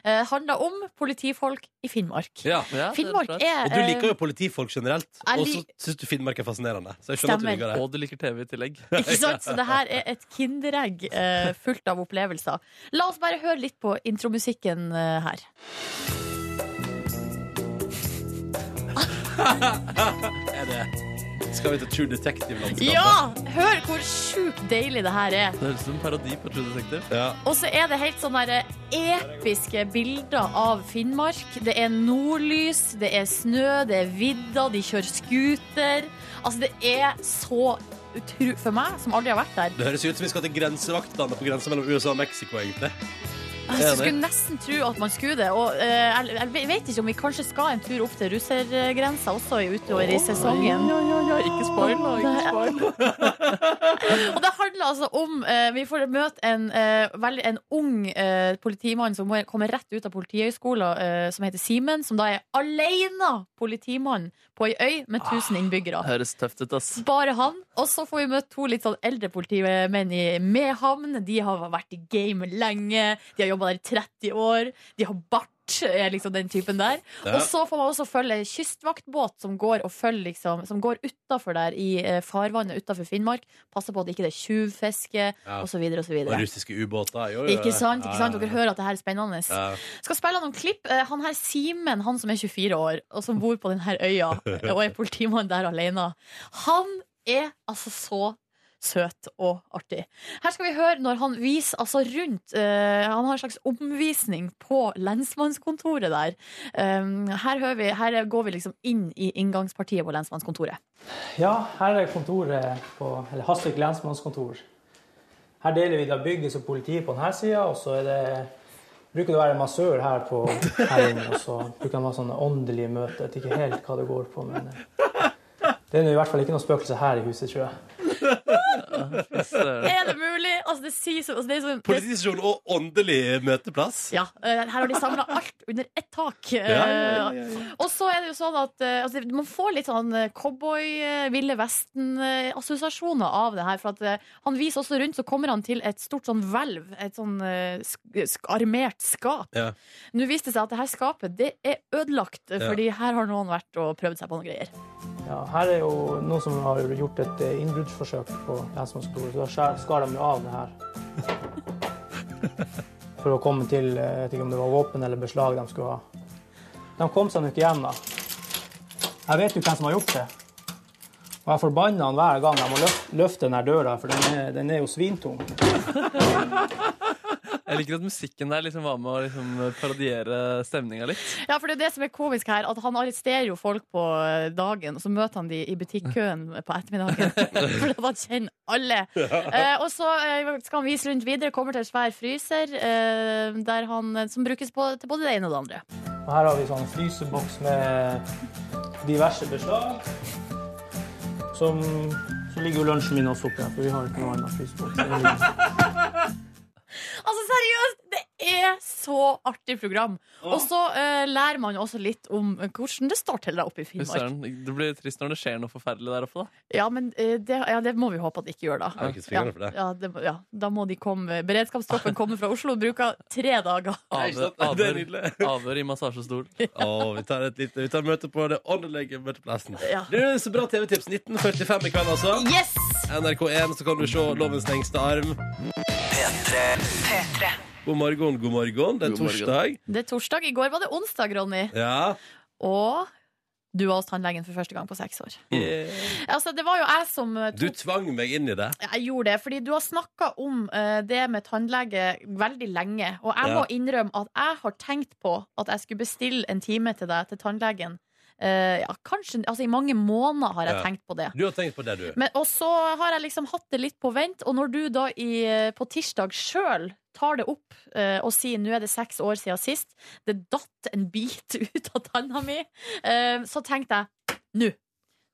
Uh, handler om politifolk i Finnmark. Ja. Ja, det er Finnmark klart. er Og du liker eh, jo politifolk generelt, Jeg og så lik- syns du Finnmark er fascinerende. Så jeg skjønner at du Stemmer. liker det. Og du liker TV i tillegg. Ikke sant? Så det her er et kinderegg eh, fullt av opplevelser. La oss bare høre litt på intromusikken eh, her. Skal vi til True Detective-landskapet? Ja! Hør hvor sjukt deilig det her er. Det høres ut som en parodi på True Detective. Ja. Og så er det helt sånne der episke bilder av Finnmark. Det er nordlys, det er snø, det er vidda, de kjører scooter. Altså, det er så utro... For meg, som aldri har vært der. Det høres ut som vi skal til grensevaktene på grensa mellom USA og Mexico, egentlig. Altså, Jeg skulle nesten tro at man skulle det. Og eh, jeg, jeg vet ikke om vi kanskje skal en tur opp til russergrensa også i- utover i sesongen. Ja, ja, ja, ikke spoil, da. Ikke spoil. Og det handler altså om eh, Vi får møte en, eh, veldig, en ung eh, politimann som må- kommer rett ut av Politihøgskolen, eh, som heter Simen, som da er alene politimann på ei øy med 1000 innbyggere. Høres tøft ut, ass. Bare han. Og så får vi møte to litt sånn eldre politimenn i Mehamn. De har vært i gamet lenge. De har jobba der i 30 år. De har bart. Er liksom den typen der. Og så får man også følge en kystvaktbåt som går, og følger liksom, som går utafor der i eh, farvannet utafor Finnmark. Passer på at ikke det er tjuvfiske Ja. osv. osv. Og russiske ubåter. Jo, jo, jo. Ikke sant? ikke sant? Ja, Dere hører at det her er spennende. ja. Skal spille noen klipp. Eh, Han her Simen, han som er 24 år, og som bor på denne øya, og er politimann der alene, han er altså så søt og artig. Her skal vi høre når han viser altså rundt eh, Han har en slags omvisning på lensmannskontoret der. Um, her, hører vi, her går vi liksom inn i inngangspartiet på lensmannskontoret. Ja, her er kontoret på eller Hasvik lensmannskontor. Her deler vi da bygget som politi på denne sida, og så er det, bruker det å være massør her på her inne. Og så bruker han å ha sånne åndelige møter. Jeg vet ikke helt hva det går på, men eh, det er nå i hvert fall ikke noe spøkelse her i huset, tror jeg. Eh. Søren. Er det mulig?! Altså, det sier så altså, det er sånn- det- Politistasjon og åndelig møteplass. Ja, eh, her har de samla alt under ett tak. Eh, Ja, ja, ja, Og så er det jo sånn at eh, altså, man får litt sånn eh, cowboy, eh, Ville Vesten-assosiasjoner av det her. For at eh, han viser også rundt, så kommer han til et stort sånn hvelv. Et sånn eh, sk sk armert skap. Ja. Nå viste det seg at det her skapet det er ødelagt, eh, Ja. fordi her har noen vært og prøvd seg på noen greier. Ja, her er jo noen som har gjort et eh, innbruddsforsøk på lensmannskontoret, så da skjær- skar de jo av det her. For å komme til eh, Jeg vet ikke om det var våpen eller beslag de skulle ha. De kom seg nå ikke hjem, da. Jeg vet jo hvem som har gjort det. Og jeg forbanner han hver gang jeg må løfte, løfte den her døra, for den er, den er jo svintung. Jeg liker at musikken der liksom var med å liksom parodiere stemninga litt. Ja, for det er det som er komisk her, at han arresterer jo folk på eh, dagen, og så møter han de i butikkøen på ettermiddagen. Fordi at han kjenner alle. Eh, og så eh, skal han vise rundt videre, kommer til en svær fryser, eh, der han, eh, som brukes på, til både det ene og det andre. Og her har vi sånn fryseboks med diverse beslag. Som, så ligger jo lunsjen min også oppi her, for vi har ikke noe annet fryseboks. Det ligger- Altså, seriøst! Det er så artig program. Og så eh, lærer man også litt om eh, hvordan det står til der oppe i Fy Finnmark. Søren, det blir trist når det skjer noe forferdelig der oppe, da. Ja, men eh, det, ja, det må vi håpe at det ikke gjør, da. Jeg har ikke fingrene for det. Ja, det, ja, da må de komme Beredskapstroppen kommer fra Oslo og bruker tre dager. Nei, Avhør, ikke sant? Det er avhør, nydelig. avhør i massasjestol. Å, vi tar et lite vi tar møte på det åndelige møteplassen. Ja. Du, Så bra TV-tips. 1945 i kveld, altså. Yes! NRK1, så kan du se Lovens lengste arm. P3. God morgen, god morgen. Det er God morgen. torsdag. Det er torsdag. I går var det onsdag, Ronny. Ja. Og du var hos tannlegen for første gang på seks år. Altså, det var jo jeg som eh, Eh, Du tok tvang meg inn i det. jeg gjorde det, fordi du har snakka om eh, det med tannlege veldig lenge. Og jeg Ja. må innrømme at jeg har tenkt på at jeg skulle bestille en time til deg til tannlegen. Eh, ja, kanskje, altså I mange måneder har jeg Ja. tenkt på det. Du har tenkt på det, du. Men, og så har jeg liksom hatt det litt på vent, og når du da i, på tirsdag sjøl tar det opp eh, og sier nå er det seks år siden sist, det datt en bit ut av tanna mi, eh, så tenkte jeg nå.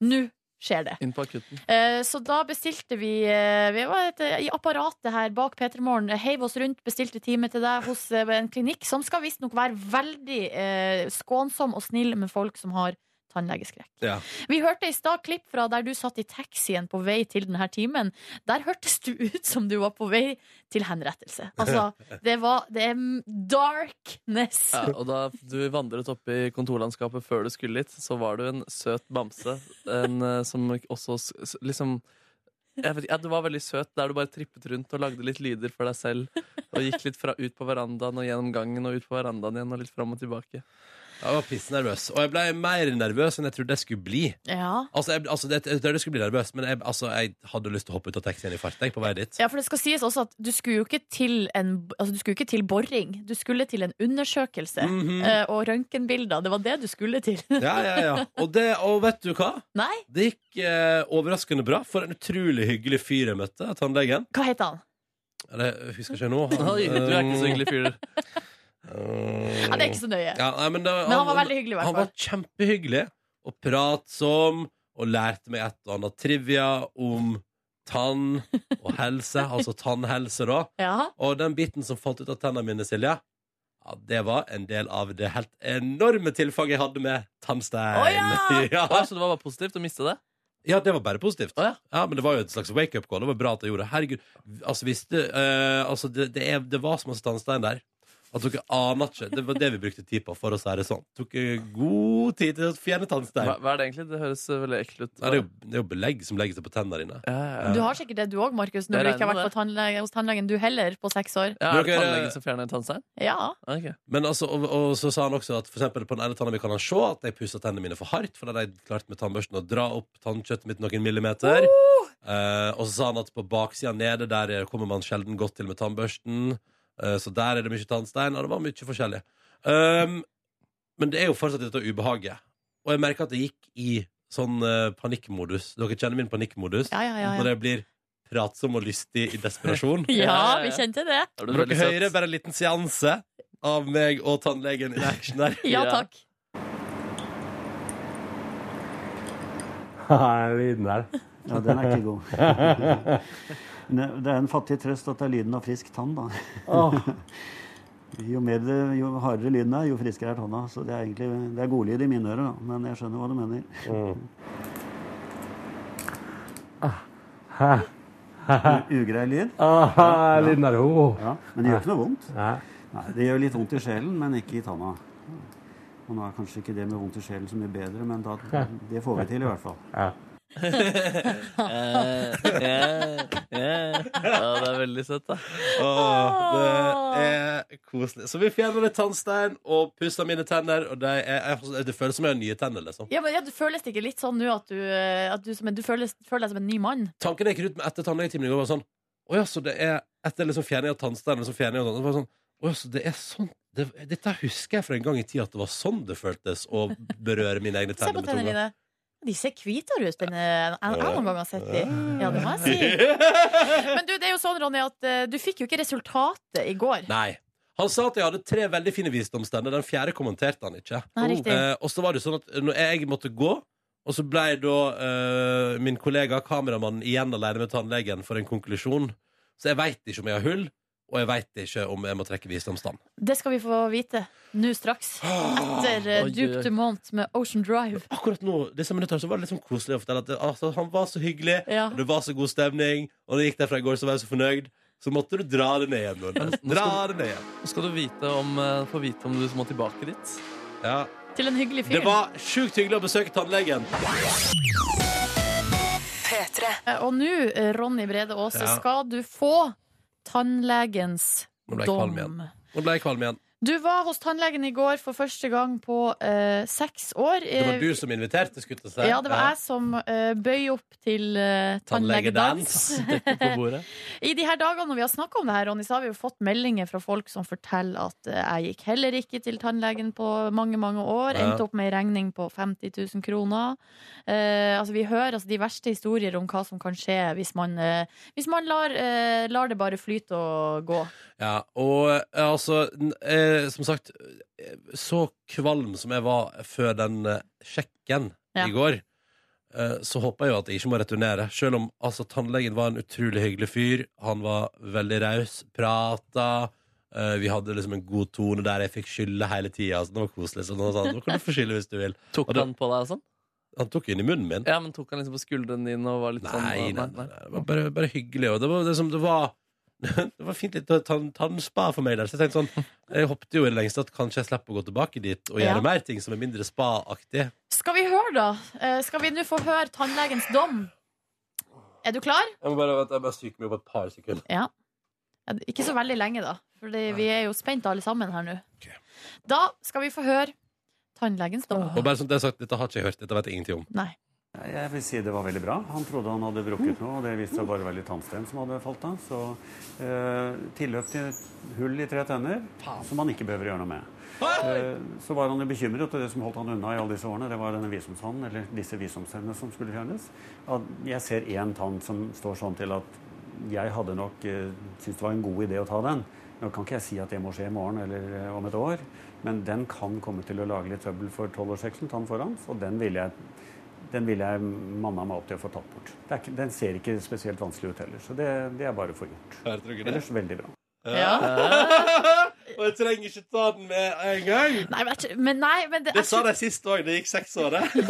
Nå skjer det. Inn på akutten. Eh, så da bestilte vi, eh, vi var et, i apparatet her bak P3 Morgen, heiv oss rundt, bestilte time til deg hos eh, en klinikk som skal visstnok være veldig eh, skånsom og snill med folk som har tannlegeskrekk. Ja. Vi hørte i stad klipp fra der du satt i taxien på vei til denne timen. Der hørtes du ut som du var på vei til henrettelse. Altså, det var Det er darkness. Ja, og da du vandret opp i kontorlandskapet før du skulle dit, så var du en søt bamse. En eh, som også s- s- liksom jeg vet, ikke, ja, Du var veldig søt der du bare trippet rundt og lagde litt lyder for deg selv. Og gikk litt fra ut på verandaen og gjennom gangen og ut på verandaen igjen og litt fram og tilbake. Jeg var pissnervøs. Og jeg ble mer nervøs enn jeg trodde jeg skulle bli. Ja. Altså, jeg, altså det, jeg trodde jeg skulle bli nervøs, men jeg, altså, jeg hadde lyst til å hoppe ut av taxien i farten jeg, på vei dit. Ja, for det skal sies også at du skulle jo ikke til en altså du skulle ikke til boring. Du skulle til en undersøkelse Mhm. eh, og røntgenbilder. Det var det du skulle til. Ja, ja, ja. Og, det, og vet du hva? Nei, Det gikk eh, overraskende bra. For en utrolig hyggelig fyr jeg møtte, tannlegen. hva heter han? Eller, jeg husker ikke nå. Han, eh, Oi, du er ikke så hyggelig fyr, du. Ja, det er ikke så nøye. Ja, nei, men, det, Men han var veldig hyggelig, i Han hvert var fall. kjempehyggelig og pratsom og lærte meg et og annet trivia om tann og helse, altså tannhelse, da. Ja. Og den biten som falt ut av tennene mine, Silje, ja, det var en del av det helt enorme tilfanget jeg hadde med tannstein. Å, ja! ja. Å, Så det var bare positivt å miste det? Ja, det var bare positivt. Å, ja. Men det var jo et slags wake-up call. Det var bra at jeg gjorde det. Herregud, altså, hvis det, eh, altså, det, det, er, det var så masse tannstein der at dere aner ikke. Det var det vi brukte tid på, for å si det sånn. Det tok eh, god tid til å fjerne tannstein. Hva, hva er det egentlig? Det høres eh, veldig ekkelt ut. Nei, det, er jo, det er jo belegg som legger seg på tennene dine. Ja, ja, ja. Du har sikkert det du òg, Markus, Jeg når du ikke har regner vært på tannlege, hos tannlegen du heller, på seks år. Ja, er det Dere- tannlegen som fjerner tannstein? Ja. Ok. Men altså, og, og så sa han også at for eksempel på den ene tanna mi kan han se at jeg pussa tennene mine for hardt, for da hadde jeg klart med tannbørsten å dra opp tannkjøttet mitt noen millimeter. Eh, og så sa han at på baksida nede der kommer man sjelden godt til med tannbørsten, eh, så der er det mye tannstein, og det var mye forskjellig. Um, men det er jo fortsatt dette ubehaget. Og jeg merker at det gikk i sånn eh, panikkmodus. Dere kjenner min panikkmodus Ja, ja, ja, ja. når jeg blir pratsom og lystig i desperasjon. ja, vi kjente det. Er du Vil veldig dere søt? høre bare en liten seanse av meg og tannlegen i action der? Ja Ja. takk. lyden der. Ja, den er ikke god. Ne- Det er en fattig trøst at det er lyden av frisk tann, da. Jo, mer det, jo hardere lyden er, jo friskere er tanna. Så det er egentlig det er godlyd i mine ører, da. Men jeg skjønner hva du mener. Mm. U- Ugrei lyd. Ah, lyden der. Ja, men det gjør ikke noe vondt. Nei. Nei, Det gjør litt vondt i sjelen, men ikke i tanna. Og nå er kanskje ikke det med vondt i sjelen så mye bedre, men da, det får vi til i hvert fall. Eh, eh, eh. Ja, det er veldig søtt, da. Åh, det er koselig. Så vi fjerner litt tannstein og pusser mine tenner. Og det, er, jeg- det føles som jeg har nye tenner. liksom Ja, men ja, du Føles det ikke litt sånn nå at du, eh, at du, som, en- du føles, føler deg som en ny mann? Tanken jeg gikk ut med etter tannlegetimen i går, var sånn Å ja, så det er Etter liksom fjerning av tannstein liksom fjerning av tannstein, så var det sånn, Å ja, så det er sånn det, Dette husker jeg fra en gang i tida at det var sånn det føltes å berøre mine egne Se tenner på med tennene tunga. dine. De ser hvitere ut enn jeg jeg noen gang har sett de. Ja, det må jeg si. Men du, det er jo sånn, Ronny, at eh, du fikk jo ikke resultatet i går. Nei. Han sa at jeg hadde tre veldig fine visdomstenner. Den fjerde kommenterte han ikke. Nei, riktig. Eh, og så var det jo sånn at når jeg måtte gå, og så ble da eh, min kollega kameramannen igjen alene med tannlegen for en konklusjon. Så jeg veit ikke om jeg har hull, og jeg veit ikke om jeg må trekke visdomstann. Det skal vi få vite nå straks. Etter eh, Oi, oi, Duke oi. Dumont med Ocean Drive. Akkurat nå disse minutter, så var det litt sånn koselig å fortelle at det, altså, han var så hyggelig, Ja. og det var så god stemning, og når jeg gikk derfra i går, så var jeg så fornøyd. Så måtte du dra det ned igjen. Nordnes. nå Dra skal det ned igjen. Nå skal du vite om, eh, få vite om du må tilbake dit. Ja. Til en hyggelig Det fyr. var sjukt hyggelig å besøke tannlegen. Eh, Og nå, eh, Ronny Brede Aase, Ja. skal du få tannlegens Nå ble jeg kvalm dom. igjen. Nå ble jeg kvalm igjen. Du var hos tannlegen i går for første gang på eh, seks år. Det var du som inviterte, skulle jeg til å si. Eh, Ja, det var jeg som eh, bøy opp til eh, tannlegedans. Tannlegedans. På bordet. I de her dagene når vi har snakket om det her, Ronny, så har vi jo fått meldinger fra folk som forteller at eh, jeg gikk heller ikke til tannlegen på mange, mange år. Ja. Endte opp med en regning på 50 000 kroner. Eh, altså, vi hører altså, de verste historier om hva som kan skje hvis man, eh, hvis man lar, eh, lar det bare flyte og gå. Ja, og eh, altså, n- eh, som sagt, eh, så kvalm som jeg var før den eh, sjekken Ja. i går, eh, så håper jeg jo at jeg ikke må returnere. Selv om altså, tannlegen var en utrolig hyggelig fyr, han var veldig raus, prata. eh, vi hadde liksom en god tone der jeg fikk skylde hele tida. Altså, det var koselig. Så han sa nå kan du få skylde hvis du vil. Tok Og det- han på deg og sånn? Han tok jo inn i munnen min. Ja, men tok han liksom på skulderen din og var litt sånn Nei, nei, og- nei, nei. Det var bare, bare hyggelig. Og det var, det som, det var, det var fint litt tann, tannspa for meg der. Så jeg tenkte sånn Jeg håpte jo i det lengste at kanskje jeg slipper å gå tilbake dit og gjøre Ja. mer ting som er mindre spa-aktig. Skal vi høre, da? Eh, skal vi nå få høre tannlegens dom? Er du klar? Jeg må bare, jeg bare syker meg på et par sekunder. Ja. Ja, det- Ikke så veldig lenge, da. For vi er jo spent alle sammen her nå. Ok. Da skal vi få høre tannlegens dom. Og bare sånn at jeg har sagt, Dette har ikke jeg hørt. Dette vet jeg ingenting om. Nei. Nei, Jeg vil si det var veldig bra. Han trodde han hadde brukket noe, og det viste seg bare å være litt tannsten som hadde falt av. Så eh, tilløp til hull i tre tenner, som han ikke behøver å gjøre noe med. Eh, så var han jo bekymret, og det som holdt han unna i alle disse årene, det var denne visdomstanden, eller disse visdomstennene som skulle fjernes. At jeg ser én tann som står sånn til at jeg hadde nok eh, syntes det var en god idé å ta den. Nå kan ikke jeg si at det må skje i morgen eller eh, om et år, men den kan komme til å lage litt trøbbel for tolvårsrepresentanten foran, så den ville jeg, den ville jeg manna meg opp til å få tatt bort. Det er ikke, den ser ikke spesielt vanskelig ut heller, så det, det er bare å få gjort. Hørte dere det? Ellers veldig bra. Og jeg trenger ikke ta den med en gang. Nei, men, jeg tror- men, nei, men det, Det jeg sa tror- de sist òg. Det gikk seks år, det.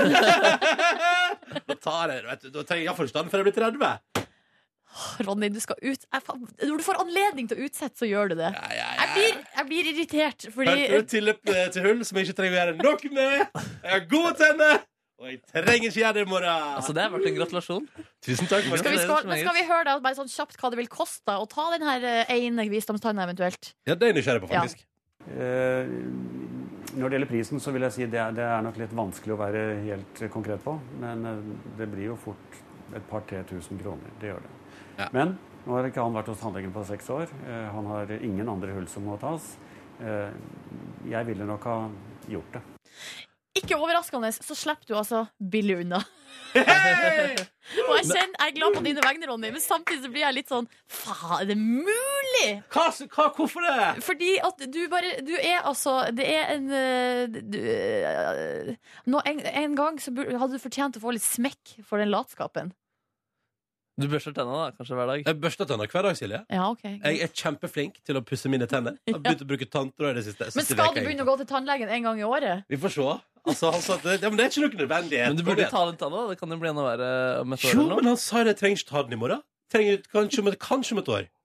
da tar jeg, vet du, da trenger jeg iallfall ikke ta den før jeg blir 30. Ronny, du skal ut jeg, fa- Når du får anledning til å utsette, så gjør du det. Ja, ja, Jeg blir, jeg blir irritert, Hørte fordi du tilløp eh, til hull som jeg ikke trenger å gjøre nok med? Jeg har gode tenner, og jeg trenger ikke gjøre det i morgen. Altså, det har vært en gratulasjon. Tusen takk. skal Markus. vi, skål, men skal vi høre deg bare sånn kjapt hva det vil koste deg å ta den her eh, ene visdomstanna eventuelt? Ja, det er jeg nysgjerrig på, Ja. faktisk. Eh, Når det gjelder prisen, så vil jeg si det er, det er nok litt vanskelig å være helt eh, konkret på. Men eh, det blir jo fort et par-tre tusen kroner. Det gjør det. Ja. Men nå har ikke han vært hos tannlegen på seks år. Eh, Han har ingen andre hull som må tas. Eh, Jeg ville nok ha gjort det. Ikke overraskende, så slipper du altså billig unna. Og jeg kjenner, jeg er glad på dine vegne, Ronny, men samtidig så blir jeg litt sånn Faen, er det mulig? Hva, hva, hvorfor det? Fordi at du bare Du er altså Det er en eh, du, eh, nå, en, en gang så bur- hadde du fortjent å få litt smekk for den latskapen. Du børster tenna da, kanskje hver dag. Jeg børster tenner hver dag, Silje. Ja, ok Jeg er kjempeflink til å pusse mine tenner. Jeg har begynt å bruke tanntråd i det siste. Men skal du begynne å gå til tannlegen en gang i året? Vi får se. Altså, han sa at det, ja, men det er ikke noe nødvendig. Men du burde ta den tanna. da. Det kan jo bli enda verre om et år. Jo, eller noe. men han sa det. Jeg trenger ikke ta den i morgen. Trenger, kanskje, om et- kanskje om et år.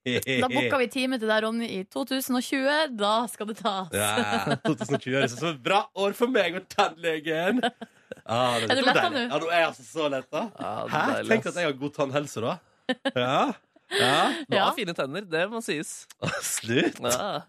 Da booker vi time til deg, Ronny, i 2020. Da skal det tas. Ja, 2020 høres ut som et bra år for meg og tannlegen. Ah, det Er du så letta deilig. nå? Ja, nå er jeg altså så letta. Ja, det er Hæ? deilig, Tenk ass. at jeg har god tannhelse, da. Ja. ja. Du Ja. har fine tenner, det må sies. Slutt. Ja.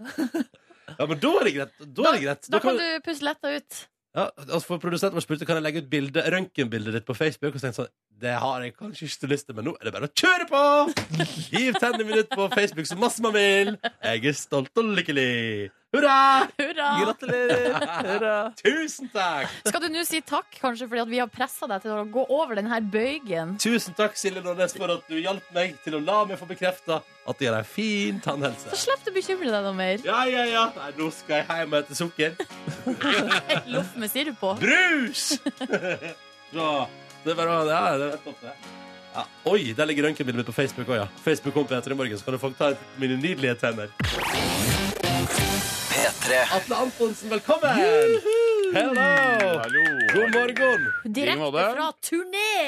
Ja, men da er det greit. Da er det greit. Da kan du puste letta ut. Ja, altså for produsenten vår spurte Kan jeg legge ut bilde, røntgenbildet ditt på Facebook. Og så tenkte jeg sånn Det har jeg kanskje ikke lyst til, men nå er det bare å kjøre på! Hiv tennene mine ut på Facebook så masse man vil. Jeg er stolt og lykkelig. Hurra! Hurra! Gratulerer! Hurra. Tusen takk! Skal du nå si takk, kanskje, fordi at vi har pressa deg til å gå over den her bøygen? Tusen takk, Silje Nordnes, for at du hjalp meg til å la meg få bekrefta at jeg har ei fin Så tannhelse. slipper du å bekymre deg noe mer. Ja, ja, ja. Nei, nå skal jeg hjem og hete sukker. Loff med sirup på. Brus! Så, det er bare å Ja, det er rett opp, det. Ja. Oi, der ligger røntgenbildet mitt på Facebook òg, ja. Facebook kom på etter i morgen, så kan du få ta ut mine nydelige tenner. Atle Antonsen, velkommen! Hello! Hallo. God morgen! like Direkte måte. fra turné!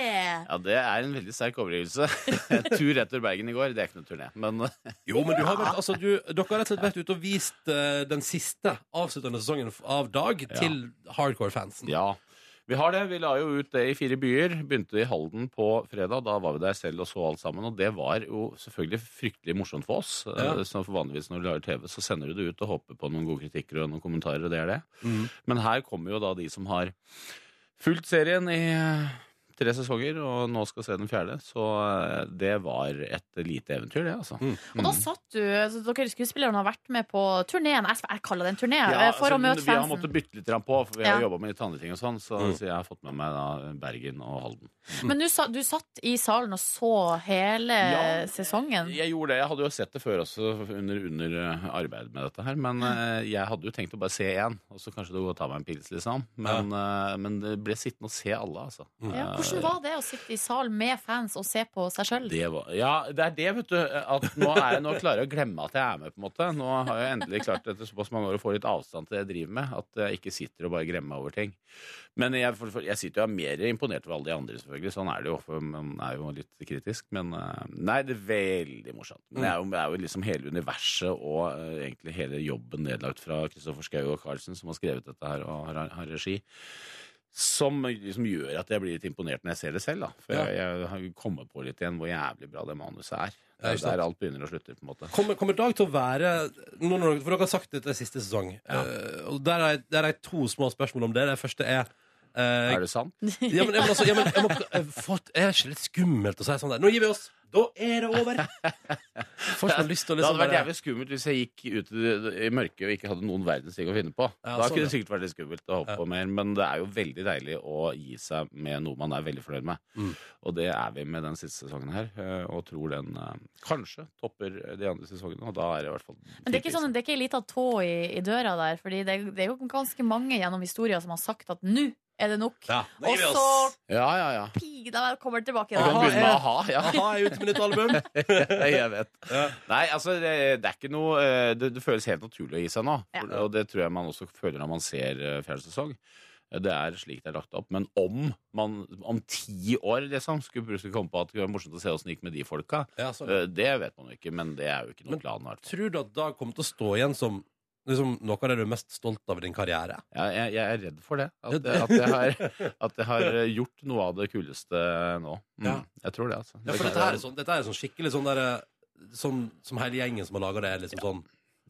Ja, det er en veldig sterk overgivelse. Tur retur Bergen i går, det er ikke noe turné. Men Jo, men du har vært, altså, du, dere har rett og slett vært ute og vist eh, den siste avsluttende sesongen av Dag til hardcore-fansen. ja. Vi har det. Vi la jo ut det i fire byer. Begynte i Halden på fredag. Da var vi der selv og så alt sammen. Og det var jo selvfølgelig fryktelig morsomt for oss. Ja. Eh, Så for vanligvis når du lager TV, så sender du det ut og håper på noen gode kritikker og noen kommentarer, og det er det. Mm. Men her kommer jo da de som har fulgt serien i eh, tre sesonger, og nå skal se den fjerde. Så eh, det var et lite eventyr, det, altså. Og da satt du, så Dere skuespillerne har vært med på turneen. Jeg, jeg kaller det en turné. eh, Ja, for altså, å møte Vi har fansen. måttet bytte litt grann på, for vi har Ja. jobbet med litt andre ting og sånn. Så, Mm. så jeg har fått med meg da Bergen og Halden. Men du, sa- du satt i salen og så hele Ja. sesongen. Jeg gjorde det, jeg hadde jo sett det før også under, under eh, arbeid med dette her, men eh, jeg hadde jo tenkt å bare se én, og så kanskje gå og ta meg en pils, liksom. Men, eh, men det ble sittende og se alle, altså. Ja, hvordan var det å sitte i salen med fans og se på seg sjøl? Det var, ja, det er det, vet du. At nå, er jeg, nå klarer jeg å glemme at jeg er med. på en måte Nå har jeg endelig klart etter såpass mange år å få litt avstand til det jeg driver med. At jeg ikke sitter og bare glemmer meg over ting. Men jeg, for, for, jeg sitter jo og er mer imponert over alle de andre, selvfølgelig. Sånn er det jo. For man er jo litt kritisk. Men eh, nei, det er veldig morsomt. Men det er jo, det er jo liksom hele universet og eh, egentlig hele jobben nedlagt fra Kristoffer Schou og Carlsen, som har skrevet dette her og har, har regi som liksom gjør at jeg blir litt imponert når jeg ser det selv. Da. For Ja. jeg, jeg har kommet på litt igjen hvor jævlig bra det manuset er. Ja, Det ikke er sant? der alt begynner og slutter. på en måte Kommer, kommer Dag til å være nå når dere, For dere har sagt dette er siste sesong. eh, og der er, der er to små spørsmål om det. Det første er Eh, Er det sant? ja, men, ja, men, altså, ja, men, jeg må, jeg får, er det ikke litt skummelt å si sånn der? Nå gir vi oss! Da er det over! Får ikke lyst til å Det hadde liksom vært bare jævlig skummelt hvis jeg gikk ut i det- i mørket og ikke hadde noen verdens ting å finne på. Ja, da sånn, kunne det sikkert vært litt skummelt å hoppe på mer, men det er jo veldig deilig å gi seg med noe man er veldig fornøyd med. Mm. Og det er vi med den siste sesongen her, eh, og tror den eh, kanskje topper de andre sesongene, og da er det i hvert fall Men det er ikke, sånn, det er ikke ei lita tå i, i døra der, Fordi det, er- det er jo ganske mange gjennom historien som har sagt at nå er det nok. ja, nå gir Og vi så oss! Ja, ja, ja. pi, da kommer det tilbake. Vi kan igjen. begynne med a-ha. Ja. Aha, jeg er ute med nytt album! jeg vet. Nei, altså, det, det er ikke noe eh, det, det føles helt naturlig å gi seg nå. For, Ja. Og det tror jeg man også føler når man ser eh, fjerde sesong. Eh, Det er slik det er lagt opp. Men om man om ti år liksom, skulle plutselig komme på at det var morsomt å se åssen det gikk med de folka, Ja, sånn. eh, det vet man jo ikke. Men det er jo ikke Men- noen plan. i hvert fall. Tror du at Dag kommer til å stå igjen som liksom, noe av det du er mest stolt av i din karriere? Jeg, jeg, jeg er redd for det. At, at, jeg har, at jeg har eh, gjort noe av det kuleste nå. Mm, Ja. Jeg tror det, altså. Ja, for dette her er sånn, dette her er sånn skikkelig sånn der eh, Som, som hele gjengen som har laga det, er liksom sånn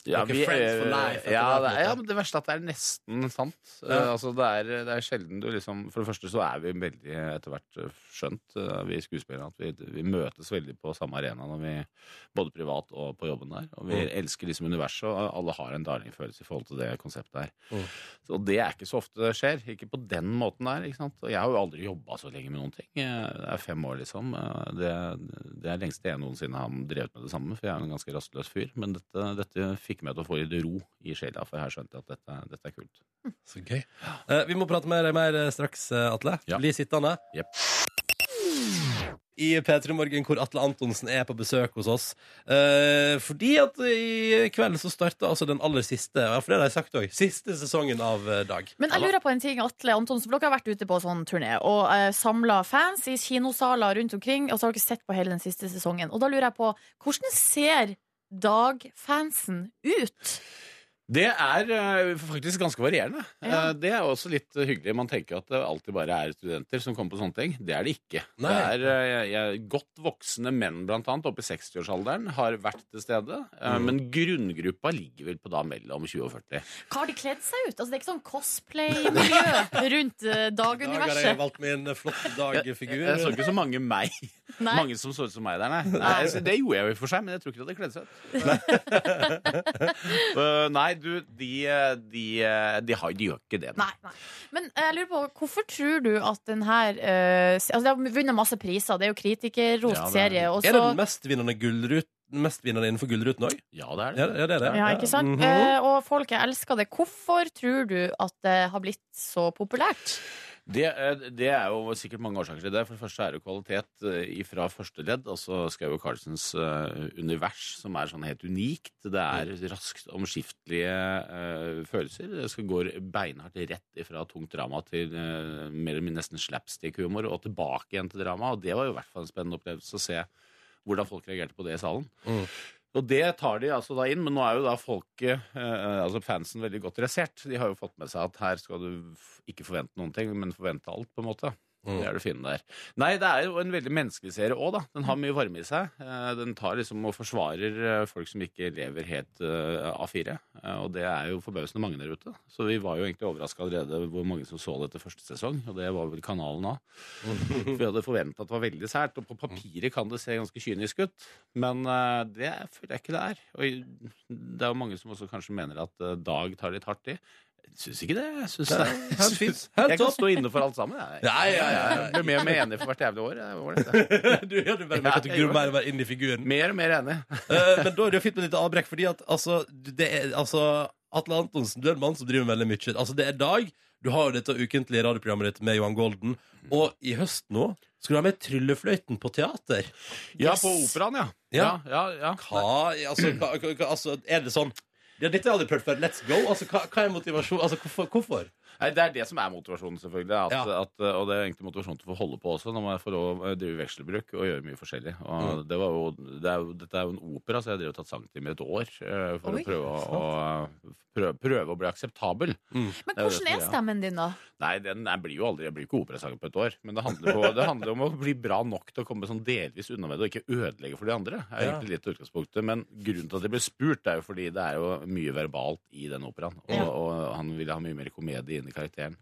Dere er friends for life etter ja, det, er- det her, på en måte. ja, men det verste er at det er nesten sant. Eh, Ja. altså, det, er, det er sjelden du liksom For det første så er vi veldig etter hvert eh, skjønt, eh, vi skuespillere, at vi, vi møtes veldig på samme arena når vi både privat og på jobben der. Og vi Mm. elsker liksom universet, og alle har en darlingfølelse i forhold til det konseptet her. Mm. Så det er ikke så ofte det skjer. Ikke på den måten der. ikke sant? Og jeg har jo aldri jobba så lenge med noen ting. Eh, Det er fem år, liksom. Eh, Det, det er lengst jeg noensinne har drevet med det samme, for jeg er jo en ganske rastløs fyr. Men dette, dette fikk meg til å få litt ro i sjela, for her skjønte jeg at dette, dette er kult. Så gøy. Eh, vi må prate med deg mer eh, straks, eh, Atle. Ja. Bli sittende. Jep. I P3 Morgen, hvor Atle Antonsen er på besøk hos oss. Eh, fordi at i kveld så starter altså den aller siste, ja, for det har de sagt òg, siste sesongen av eh, Dag. Men jeg lurer på en ting, Atle Antonsen, for dere har vært ute på sånn turné og eh, samla fans i kinosaler rundt omkring, og så har dere sett på hele den siste sesongen. Og da lurer jeg på, hvordan ser Dag-fansen ut? Det er eh, faktisk ganske varierende. Ja. Eh, Det er også litt eh, hyggelig. Man tenker at det alltid bare er studenter som kommer på sånne ting. Det er det ikke. Det Nei. er eh, jeg, godt voksne menn, blant annet, oppe i 60-årsalderen, har vært til stede. Eh, Mm. Men grunngruppa ligger vel på da mellom 20 og 40. Hva har de kledd seg ut? Altså, det er ikke sånn cosplay-miljø I rundt eh, dag har jeg Dag-universet. valgt min eh, flotte Dag-figur. Jeg så ikke så mange meg. Nei. Mange som så ut som meg der, nei. nei altså, det gjorde jeg jo i og for seg, men jeg tror ikke det hadde kledd seg ut. Nei, Uh, nei du, de, eh, de, eh, de, har, de gjør ikke det. Nei, nei. Men eh, jeg lurer på, hvorfor tror du at den her eh, se- Altså, det har vunnet masse priser, det er jo kritikerrost Ja, det er- serie, og Er det så den mestvinnende gullrut- mestvinnende innenfor Gullruten òg? Ja, det er det. Ja, ja, det er det. Ja, ikke sant? Mhm. Eh, og folk jeg elsker det. Hvorfor tror du at det har blitt så populært? Det, eh, det er jo sikkert mange årsaker til det. For det første er det kvalitet eh, fra første ledd, altså Skau og Carlsens eh, univers, som er sånn helt unikt. Det er raskt omskiftelige eh, følelser. Det skal gå beinhardt rett ifra tungt drama til eh, mer eller mindre nesten slapstick-humor, og tilbake igjen til drama. Og det var jo i hvert fall en spennende opplevelse å se hvordan folk reagerte på det i salen. Mm. Og det tar de altså da inn, men nå er jo da folket, eh, altså fansen, veldig godt dressert. De har jo fått med seg at her skal du f- ikke forvente noen ting, men forvente alt, på en måte. Mm. Det er det fine der. Nei, det er jo en veldig menneskelig serie òg, da. Den har mye varme i seg. Eh, Den tar liksom og forsvarer eh, folk som ikke lever helt eh, A4. eh, Og det er jo forbausende mange der ute. Så vi var jo egentlig overraska allerede hvor mange som så dette første sesong, og det var vel kanalen òg. For vi hadde forventa at det var veldig sært, og på papiret kan det se ganske kynisk ut. Men eh, det føler jeg ikke det er. Og det er jo mange som også kanskje mener at eh, Dag tar litt hardt i. Jeg syns ikke det. Jeg, synes det. helt jeg, fint. Helt kan topp. stå inne for alt sammen. Jeg, Ja, ja, ja, ja. jeg blir mer og mer enig for hvert jævlig år. Jeg, var det. Du, ja, du bare merker at du Ja, jeg gror gjorde mer og mer inn i figuren. Mer og mer enig. Eh, men da er det jo fint med et lite avbrekk, fordi at altså, det er, altså Atle Antonsen, du er en mann som driver veldig mye. Altså, det er dag. Du har jo dette ukentlige radioprogrammet ditt med Johan Golden. Og i høst nå skal du ha med Tryllefløyten på teater. Ja, på operaen, ja. Ja, Ja. ja, ja. Hva, altså, hva, hva, hva- altså, er det sånn ja, Dette har jeg aldri prøvd før. Let's go. Altså, hva, hva er motivasjon? Altså, hvorfor? hvorfor? Nei, Det er det som er motivasjonen, selvfølgelig. At, Ja. at, og det er egentlig motivasjonen til å få holde på også, når man får lov å drive vekselbruk og gjøre mye forskjellig. Og det var jo, det er jo, dette er jo en opera, så jeg drev og tatt sangtime i et år eh, for Oi, å prøve å, å, prøve, prøve å bli akseptabel. Men Det er jo det hvordan er som er- stemmen din, da? Nei, den, jeg blir jo aldri, jeg blir ikke operasanger på et år. Men det handler, på, det handler om å bli bra nok til å komme sånn delvis unna med det, og ikke ødelegge for de andre. er Ja. egentlig litt av utgangspunktet. Men grunnen til at jeg ble spurt, er jo fordi det er jo mye verbalt i den operaen. Og, Ja. og han ville ha mye mer komedie inn i karakteren.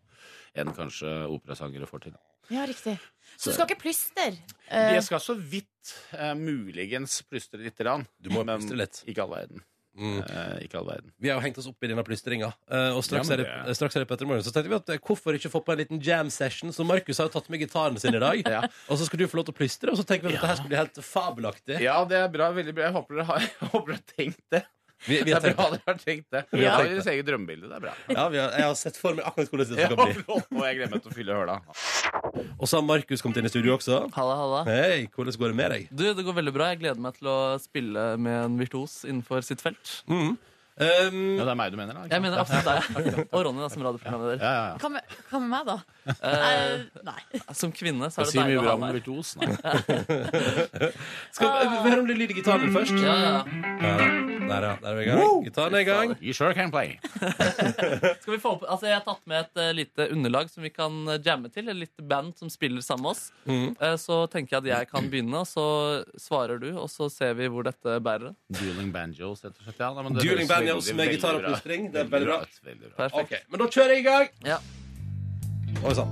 enn kanskje operasangere får til. Ja, riktig. Så du skal ikke plystre? eh, Jeg skal så vidt eh, muligens plystre litt, grann, Du må men plystre litt. ikke all verden. Mm. Eh, ikke all verden. Vi har jo hengt oss opp i denne plystringa. eh, Og straks Ja, men er det, det- straks er det Petter Morgen. Så tenkte vi at eh, hvorfor ikke få på en liten jam session? Så Markus har jo tatt med gitaren sin i dag. Ja. Og så skal du få lov til å plystre, og så tenker vi at dette her skal bli helt fabelaktig. Ja, det er bra. Veldig bra. Jeg håper dere har, jeg håper dere har tenkt det. Vi, vi Det har er tenkt, bra dere har tenkt det. Vi har Det tenkt er deres eget drømmebilde. Det er bra. ja, vi har, jeg har sett for meg akkurat hvordan det Ja, skal bli. og jeg glemte å fylle høla. Og så har Markus kommet inn i studio også. Halla, halla. Hei, hvordan går det med deg? Du, det går veldig bra. Jeg gleder meg til å spille med en virtuos innenfor sitt felt. Mm. Um, Ja, det er meg du mener, da? ikke Jeg sant? mener absolutt deg. Og Ronny, da, som radioprogramleder. Ja, ja, ja. Hva med, hva med meg, da? Eh, Eh, nei. som kvinne så Jeg er det sier deilig mye å bra ha om meg. virtuos. Nei. skal vi vi høre om det lyder i gitaren først? Ja, ja. Ja, der, ja. Der er vi i gang. Gitaren er i gang. You sure can play. Skal vi få opp, altså Jeg har tatt med et eh, lite underlag som vi kan eh, jamme til. Et lite band som spiller sammen med oss. Mm. Eh, så tenker jeg at jeg kan begynne, og så svarer du, og så ser vi hvor dette bærer. Dueling banjos, rett og slett. Ja, da, men Dueling høres banjos veldig, med veldig gitar og bra ut. plystring, det er veldig bra. ut, Veldig bra. Perfekt. Ok, Men da kjører jeg i gang. Ja. Oi sånn. sann.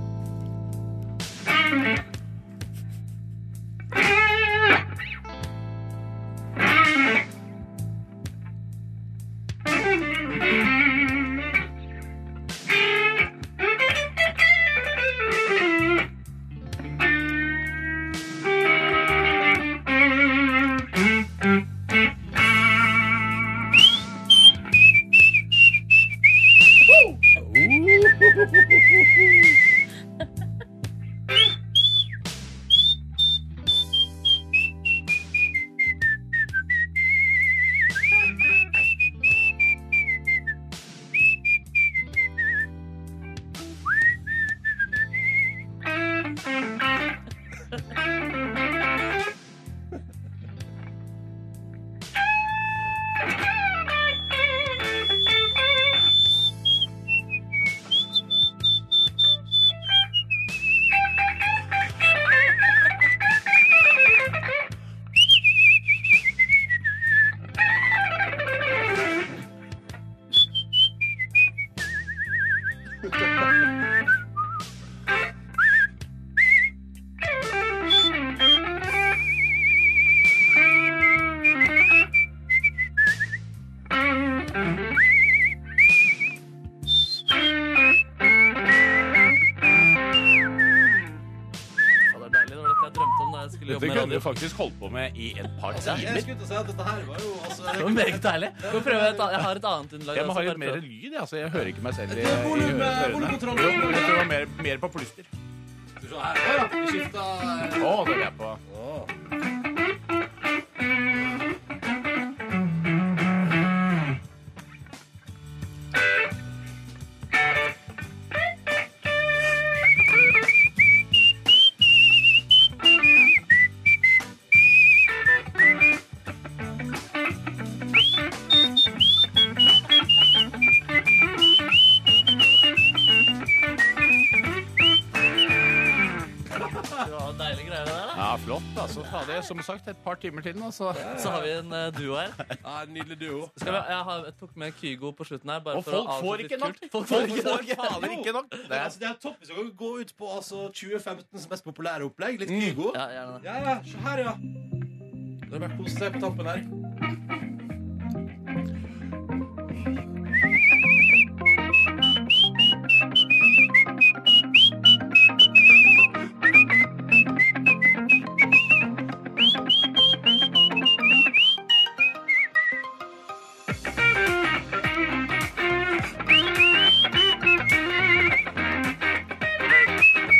Ja, det er deilig. Det var dette jeg drømte om da jeg skulle Dette jobbe med kunne du radio. faktisk holdt på med i et par timer. Altså, Jeg skulle til å si at dette her var jo altså Det var meget deilig. Skal vi prøve et, annet- jeg har et annet underlag. Jeg må ha altså, litt bare mer prøv. lyd. jeg, Altså, jeg hører ikke meg selv i, i Volum, ørene. eh, volumkontroll. Jo, jeg tror det var mer, mer på plyster. Å, 어, det er jeg på. Det var deilig greier det der, da. Ja, flott. Altså, fader, jeg- som sagt, et par timer til nå, så Så har vi en eh, duo her. Ja, Nydelig duo. Skal vi, jeg, har, jeg tok med Kygo på slutten her. Bare Og for å folk får avslutte ikke litt nok. kult. Folk får ikke nok. Fader, Jo. ikke nok. Det Det er, er altså, det er topp hvis dere gå ut på altså, 2015s mest populære opplegg. Litt Mm. Kygo. Ja, gjerne det. Ja, ja, se her, ja. Det har vært kos seg på tampen her. En, en ære, en ære. En ære.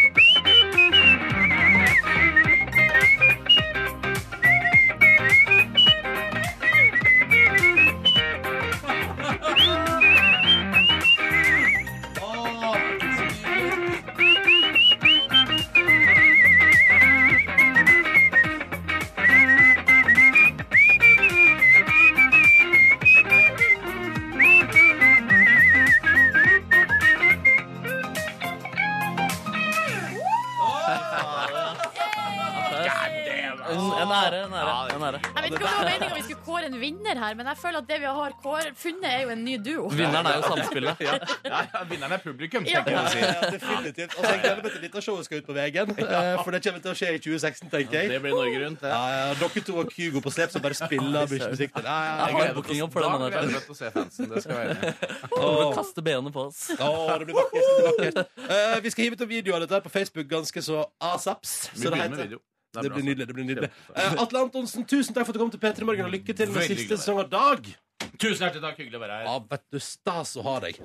Jeg vet ikke om det var meninga vi skulle gå kåre en vinner her, men jeg føler at det vi har kåre, funnet, er jo en ny duo. Vinneren er jo samspillet. Ja, ja, ja, vinneren er publikum, Ja. tenker jeg å si. Ja, definitivt. Altså, jeg gleder meg til dette showet skal ut på veien, eh, for det kommer til å skje i 2016, tenker jeg. Det blir Norge rundt. Ja, ja, dere to og Kygo på slep som bare spiller mye musikk til. Ja, ja, Jeg ja. har booking opp for den Da gleder manageren. jeg meg til å se fansen. Det skal jeg være enig i. Kommer til å kaste bena på oss. Å, det blir vakkert. Det blir vakkert. Eh, vi skal hive ut en video av dette her på Facebook ganske så asaps. Vi Så det, begynner med heter. video. er det bra, blir altså. nydelig. det blir nydelig Eh, Atle Antonsen, tusen takk for at du kom til P3 Morgen, og lykke til med Veldig siste hyggelig. sesong av Dag. Tusen hjertelig takk. Hyggelig å være her. Ja, vet du, stas å ha deg.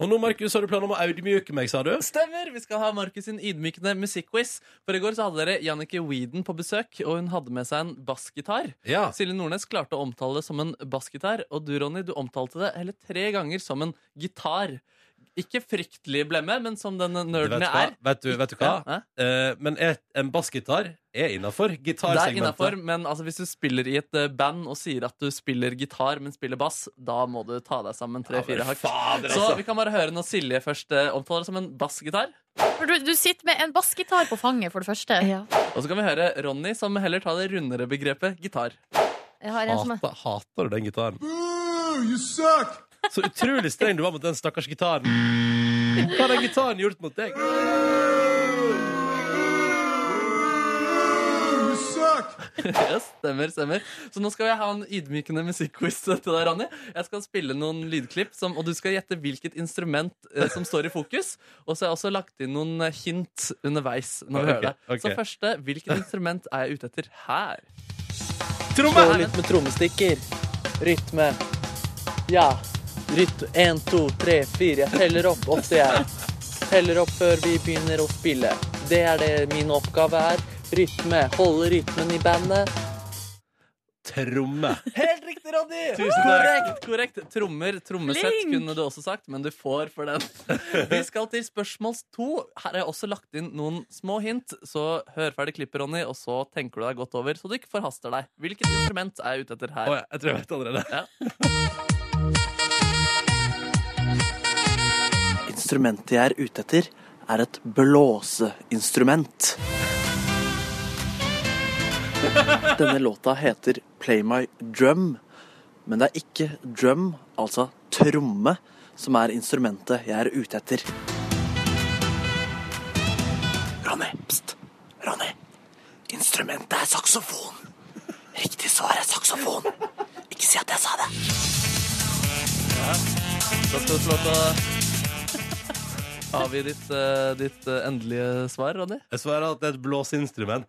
Og nå, Markus, har du planer om å audmyke meg, sa du? Stemmer! Vi skal ha Markus sin ydmykende musikkquiz. For i går så hadde dere Jannicke Weeden på besøk, og hun hadde med seg en bassgitar. Ja. Silje Nordnes klarte å omtale det som en bassgitar, og du, Ronny, du omtalte det hele tre ganger som en gitar. Ikke fryktelig blemme, men som den Vet nerden du hva? jeg er. Vet du, vet du hva? Ja, hæ? Eh, men et, en bassgitar er innafor Det er innafor, gitarsegmentet. men altså, hvis du spiller i et eh, band og sier at du spiller gitar, men spiller bass, da må du ta deg sammen tre-fire hakk. Så vi kan bare høre når Silje først eh, omtaler det som en bassgitar. For du, du sitter med en bassgitar på fanget, for det første. Og så kan vi høre Ronny, som heller tar det rundere begrepet gitar. Jeg har en som er Hater, hater du den gitaren? Så utrolig streng du var mot den stakkars gitaren. Hva har den gitaren gjort mot deg? Ja, stemmer, stemmer. Så nå skal jeg ha en ydmykende musikkquiz til deg, Ronny. Jeg skal spille noen lydklipp, som, og du skal gjette hvilket instrument eh, som står i fokus. Og så har jeg også lagt inn noen eh, hint underveis. når vi Ok, hører det. ok. Så første, hvilket instrument er jeg ute etter her? Tromme! Slå litt med trommestikker. Rytme. Ja. Rytme. Én, to, tre, fire. Jeg teller opp. Ofte jeg. Teller opp før vi begynner å spille. Det er det min oppgave er. Rytme. Holde rytmen i bandet. Tromme. Helt riktig, Ronny! Tusen takk. Korrekt, korrekt. Trommer, trommesett Flink! kunne du også sagt, men du får for den. Vi skal til spørsmål to. Her har jeg også lagt inn noen små hint, så hør ferdig klippet, Ronny, og så tenker du deg godt over, så du ikke forhaster deg. Hvilket instrument er jeg ute etter her? Å, jeg, jeg tror jeg vet allerede. Instrumentet jeg er ute etter, er et blåseinstrument. Denne låta heter Play My Drum, men det er ikke drum, altså tromme, som er instrumentet jeg er ute etter. Ronny, pst. Ronny. Instrumentet er saksofon. Riktig svar er saksofon. Ikke si at jeg sa det. Da skal du få lov til å avgi ditt, eh, ditt eh, endelige svar, Ronny. Jeg svarer at det er et blåseinstrument.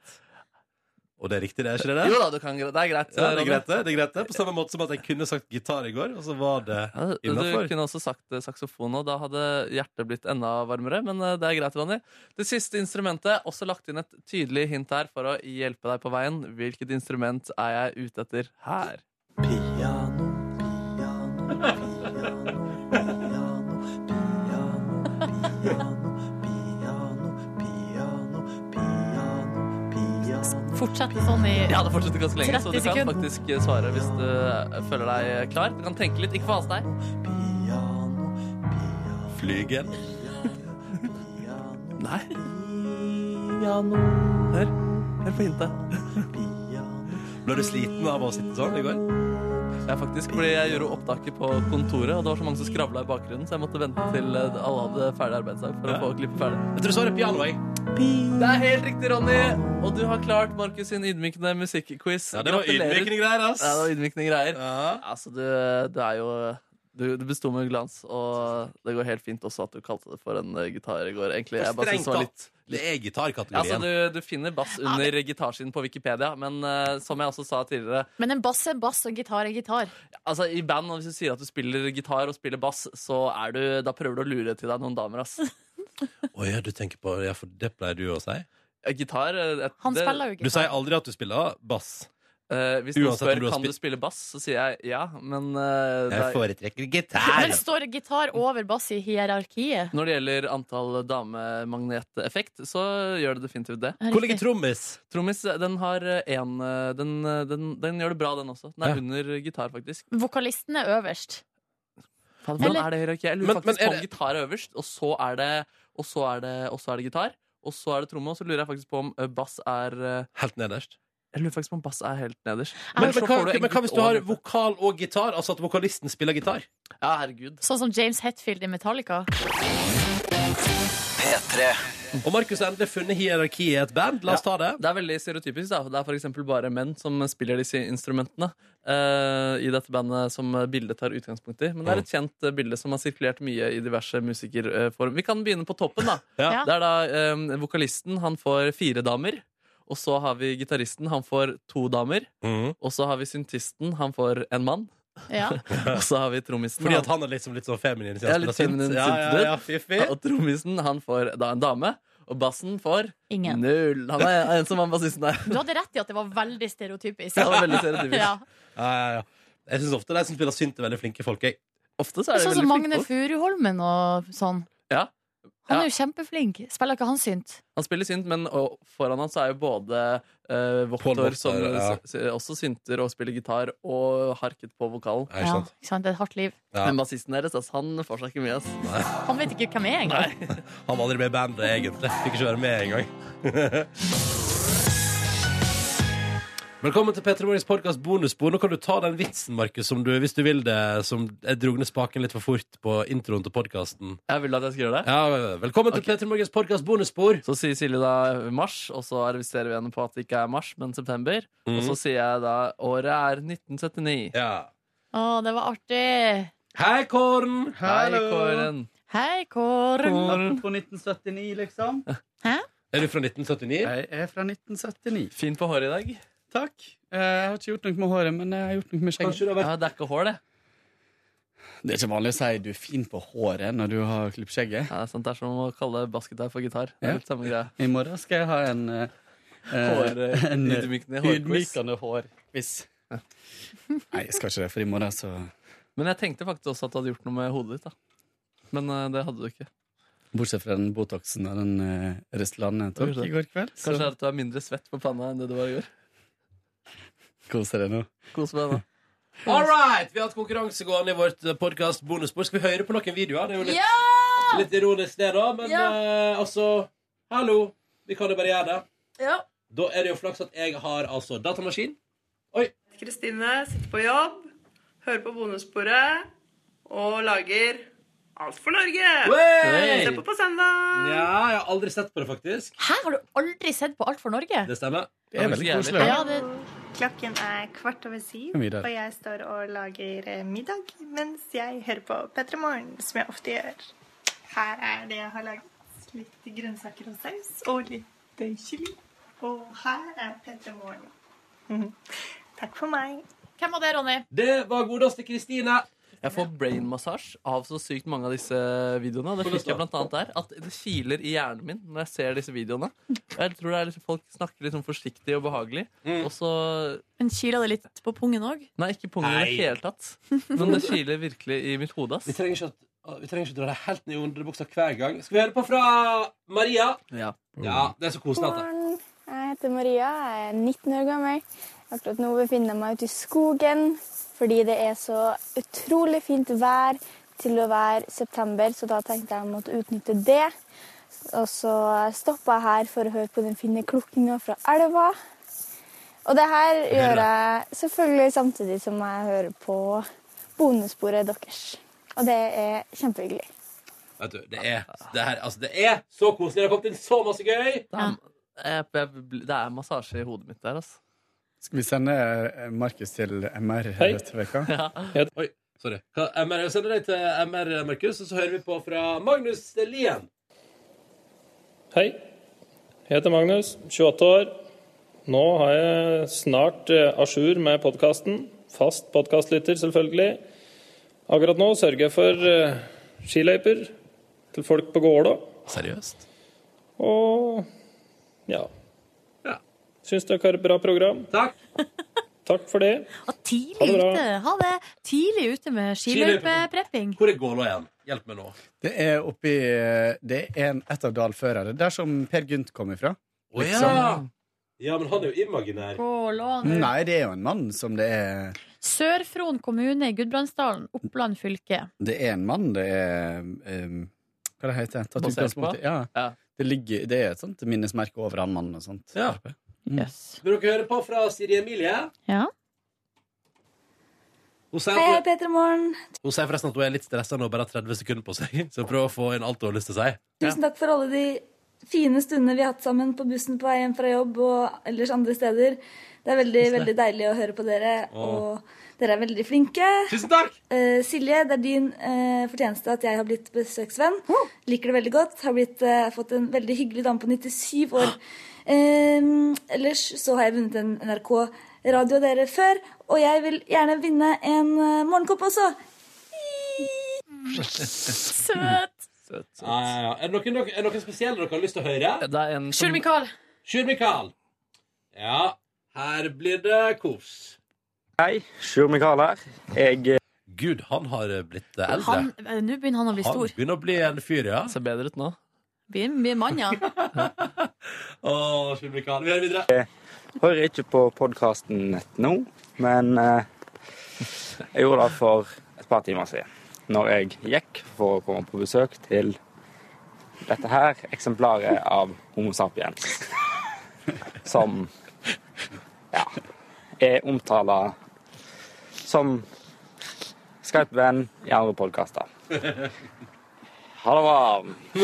Og det er riktig, det er ikke det? Jo det? da, du kan, gre- det er greit. Ja, det er Ronny. greit, det. det er greit, det. På samme måte som at jeg kunne sagt gitar i går, og så var det Ja, du- du innafor. kunne også sagt eh, saksofon, og da hadde hjertet blitt enda varmere. Men eh, det er greit, Ronny. Det siste instrumentet, også lagt inn et tydelig hint her for å hjelpe deg på veien. Hvilket instrument er jeg ute etter her? Piano, piano, piano, piano, piano, piano, piano, piano, piano, piano. fortsatt sånn i Ja, det fortsetter ganske lenge, så du 30 kan sekunder. faktisk eh, svare hvis du eh, føler deg klar. Du kan tenke litt, ikke forhaste deg. Piano, piano, Flygel. piano, Nei, piano, hør. Hør på hintet. piano. Ble du sliten av å sitte sånn i går? Ja, faktisk, fordi jeg gjorde opptaket på kontoret, og det var så mange som skravla i bakgrunnen, så jeg måtte vente til eh, alle hadde ferdig arbeidsdag for Ja. å få klippet ferdig. Jeg tror svaret er piano, jeg. Det er helt riktig, Ronny! Og du har klart Markus sin ydmykende musikkquiz. Ja, det var Gratulerer. ydmykende greier, ass. Ja, det var ydmykende greier. Ja. Altså, du, du er jo du, du besto med glans, og det går helt fint også at du kalte det for en eh, gitar i går. egentlig. Jeg bare synes Strengt det var litt... tatt. Det er Ja, altså, gitarkategorien. du, du finner bass under gitarskinn på Wikipedia, men eh, som jeg også sa tidligere Men en bass er bass, og gitar er gitar. altså, I band, og hvis du sier at du spiller gitar og spiller bass, så er du, da prøver du å lure til deg noen damer. ass. Å ja, du tenker på ja, for Det pleier du å si. Gitar eh, et- Han det- spiller jo Du gitar. sier aldri at du spiller bass. Eh, hvis Uansett om noen spør du har kan du spilt- spille bass, så sier jeg ja. Men eh, det Jeg er- foretrekker gitar. Men står gitar over bass i hierarkiet? når det gjelder antall damemagneteffekt, så gjør det definitivt det. Er Hvor ligger riktig. trommis? Trommis den har én den, eh, den, den gjør det bra, den også. Den er Ja. under gitar, faktisk. Vokalisten er øverst. Faen, Hvordan Eller- er det hierarkiet? Jeg lurer Men- faktisk men er på om det- gitar er øverst, og så er det, og så er det, og så er det gitar. Og så er det tromme, og så lurer jeg faktisk på om eh, bass er eh, Helt nederst. Jeg lurer faktisk på om bass er helt nederst. Men, men, så hva, får en men hva hvis gutt du har over. vokal og gitar? Altså at vokalisten spiller gitar? Ja, herregud. Sånn som James Hetfield i Metallica. Og Markus har endelig funnet hierarkiet i et band. La oss ta det. Det er veldig stereotypisk. da Det er for eksempel bare menn som spiller disse instrumentene eh, i dette bandet som bildet tar utgangspunkt i. Men det er et kjent eh, bilde som har sirkulert mye i diverse musikerform. Vi kan begynne på toppen, da. Ja. Det er da eh, vokalisten. Han får fire damer. Og så har vi gitaristen. Han får to damer. Mm. Og så har vi syntisten. Han får en mann. Ja. og så har vi trommisen. Fordi at han er liksom litt sånn feminin? siden Ja, han litt spiller synt. feminin Ja, ja, ja, syntedød. Og trommisen, han får da en dame. Og bassen får Ingen. null. Han er en som han bassisten er. Du hadde rett i at det var veldig stereotypisk. Ja, det var veldig stereotypisk. Ja. Ja, ja, ja. Jeg syns ofte de som spiller synt, er veldig flinke folk. Jeg. Ofte Det er sånn som Magne Furuholmen og sånn. Ja. Han Ja. er jo kjempeflink. Spiller ikke han synt? Han spiller synt, men og foran han så er jo både uh, Paul Wachter, Voktor, som ja. s- s- også synter og spiller gitar, og harket på vokalen. Ja, ikke sant. Ikke sant? Det er et hardt liv. Men bassisten deres, ass, han får seg ikke mye, ass. Han vet ikke hvem jeg er engang. Han var aldri med i bandet, egentlig. Fikk ikke være med engang. Velkommen til Petter Morgens podkast bonusbord. Nå kan du ta den vitsen, Markus, som du, hvis du vil det. Som jeg drog ned spaken litt for fort på introen til podkasten. Jeg vil at jeg skal gjøre det. Ja, velkommen til Petter Morgens podkast bonusspor. Så sier Silje da mars, og så arresterer vi henne på at det ikke er mars, men september. Mhm. Og så sier jeg da året er 1979. Å, det var artig. Hei, Kåren. Hei, Kåren. Hei, Kåren. På 1979, liksom. Er du fra 1979? Jeg er fra 1979. Fin på håret i dag. Takk. Eh, Jeg har ikke gjort noe med håret, men jeg har gjort noe med skjegget. Kanskje det har vært- Ja, det er ikke hår, det. Det er ikke vanlig å si du er fin på håret når du har klippet skjegget. Ja, det er sant. Det er som å kalle basketgitar for gitar. Det Ja. er litt samme greie. I morgen skal jeg ha en eh, Hår, eh, en, eh, ydmykende hårquiz. ydmykende hårquiz. Nei, jeg skal ikke det, for i morgen så Men jeg tenkte faktisk også at du hadde gjort noe med hodet ditt, da. Men eh, det hadde du ikke. Bortsett fra den Botoxen og den eh, Restylane jeg tok i går kveld. Så Kanskje at du er mindre svett på panna enn det du var i går. koser jeg nå. Kos med deg nå. All right! Vi har hatt konkurranse gående i vårt podkast bonusspor. Skal vi høre på noen videoer? Det er jo litt, litt ironisk, det, da. Men eh, altså Hallo! Vi kan jo bare gjøre det. Ja. Da er det jo flaks at jeg har altså datamaskin. Kristine sitter på jobb, hører på bonussporet og lager Alt for Norge! Wey! Se på på søndag! Ja, jeg har aldri sett på det, faktisk. Hæ, har du aldri sett på Alt for Norge? Det stemmer. Det er veldig koselig, ja. Ja, det- Klokken er kvart over syv, Middag. og jeg står og lager eh, middag mens jeg hører på P3 Morgen, som jeg ofte gjør. Her er det jeg har laget. Litt grønnsaker og saus, og litt eh, kylling. Og her er P3 Morgen. Mhm. Takk for meg. Hvem var det, Ronny? Det var godeste Kristine. Jeg får brainmassasje av så sykt mange av disse videoene. Det Hvordan fikk jeg blant annet der At det kiler i hjernen min når jeg ser disse videoene. Og Jeg tror det er liksom, Folk snakker litt sånn forsiktig og behagelig. Mm. Og så Men kiler det litt på pungen òg? Nei, ikke pungen i det Nei. hele tatt. Men det kiler virkelig i mitt hode. ass. Vi trenger ikke, at, vi trenger ikke dra det helt ned i underbuksa hver gang. Skal vi høre på fra Maria? Ja. det er så koselig. at det- morgen. Jeg heter Maria, jeg er 19 år gammel. Akkurat nå befinner jeg meg ute i skogen fordi det er så utrolig fint vær til å være september, så da tenkte jeg jeg måtte utnytte det. Og så stoppa jeg her for å høre på den fine klukkinga fra elva. Og det her gjør jeg selvfølgelig samtidig som jeg hører på bonussporet deres. Og det er kjempehyggelig. Vet du, det er, det, her, altså, det er så koselig. Det har kommet inn så masse gøy. Jeg, jeg, det er massasje i hodet mitt der, altså. Skal vi sende eh, Markus til MR Hei. dette veka? Oi, sorry. Hva, MR, jeg sender deg til MR, Markus, og så hører vi på fra Magnus Lien. Hei. Jeg heter Magnus, 28 år. Nå har jeg snart eh, à jour med podkasten. Fast podkastlytter, selvfølgelig. Akkurat nå sørger jeg for eh, skiløyper til folk på Gålå. Seriøst? 哦 Og ja. ja. Syns dere har et bra program. Takk. Takk for det. Tidlig ute. Ha det. Tidlig ute med skiløypeprepping. Hvor er Gålå igjen? Hjelp meg nå. Det er oppi eh, Det er en, et av dalførene. Der som Per Gynt kom ifra. Å ja. liksom. ja, men han er jo imaginær. Gålå nå. Nei, det er jo en mann som det er Sør-Fron kommune i Gudbrandsdalen, Oppland fylke. Det er en mann, det er um, Hva det heter det? Basert på? Ja. Det, ligger, det er et sånt Mm. minnesmerke over han mannen og sånt. Ja. Vil dere høre på fra Siri Emilie? Ja. Hun sier, Hei, hei, at hun, Peter Morgen. hun sier forresten at hun er litt stressa når hun bare har 30 sekunder på seg. Så prøv å få inn alt hun har lyst til å si. Tusen takk for alle de fine stundene vi har hatt sammen på bussen på vei hjem fra jobb og ellers andre steder. Det er veldig Tusen takk. veldig deilig å høre på dere, Åh. og dere er veldig flinke. Tusen takk! Silje, det er din eh, fortjeneste at jeg har blitt besøksvenn. Liker det veldig godt. Har blitt, eh, fått en veldig hyggelig dame på 97 år. Eh, ellers så har jeg vunnet en NRK-radio av dere før, og jeg vil gjerne vinne en eh, morgenkopp også. Søt. Ja, ja, ja. Er det noen, er det noen spesielle dere har lyst til å høre? Det er en Sjur Mikael. Sjur Mikael. Ja, her blir det kos. Hei, Sjur Mikael her. Jeg eh, Gud, han har blitt eh, eldre. Han- eh, Nå begynner han å bli Han stor. begynner å bli en fyr, ja. Ser bedre ut nå. Blir blir mann, ja. Å, Sjur Mikael. Vi hører videre. hører ikke på podkasten nå, men eh, jeg gjorde det for et par timer siden. Når jeg gikk for å komme på besøk til dette her eksemplaret av Homo sapiens. Som ja, er omtala som Skype-venn i andre podkaster. Ha det bra.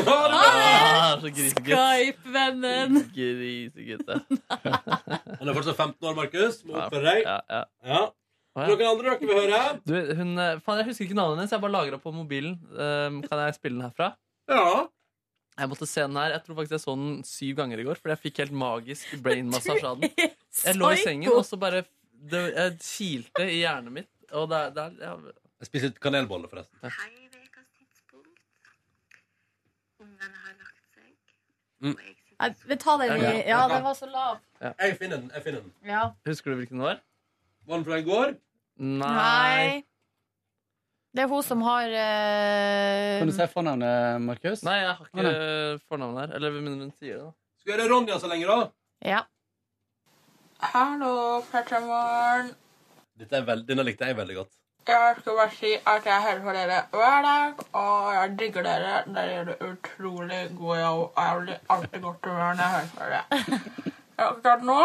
Ah, så grisegutt. Skype-vennen. Grisegutt, ja. Han er fortsatt 15 år, Markus. Må oppføre deg. Ja, ja. Er det Noen andre dere vil høre? Du, hun, eh, faen, jeg husker ikke navnet hennes. Jeg bare lagra på mobilen. Ehm, kan jeg spille den herfra? Ja. Jeg måtte se den her. Jeg tror faktisk jeg så den syv ganger i går, fordi jeg fikk helt magisk brainmassasje av den. Jeg lå i sengen, psycho. og så bare det, Jeg kilte i hjernen mitt. Og det, er- det er ja. Jeg spiser litt kanelboller, forresten. Mm. Nei, vi tar den i Ja. Ja, den var så lav. Jeg finner den. jeg finner den Ja. Husker du hvilken det var? Var den fra i går? Nei. Nei. Det er hun som har eh, Kan du si fornavnet, Markus? Nei, jeg har Å, ikke eh, fornavnet her. Eller min venn sier det, da. Skal vi gjøre Ronja så lenge, da? Ja. Hallo, Petremorgen. Dette er veld- Denne likte jeg veldig godt. Jeg skal bare si at jeg hører på dere hver dag, og jeg digger dere. Dere gjør det utrolig god jobb, og jeg blir alltid godt humør når jeg hører på dere. Og Akkurat nå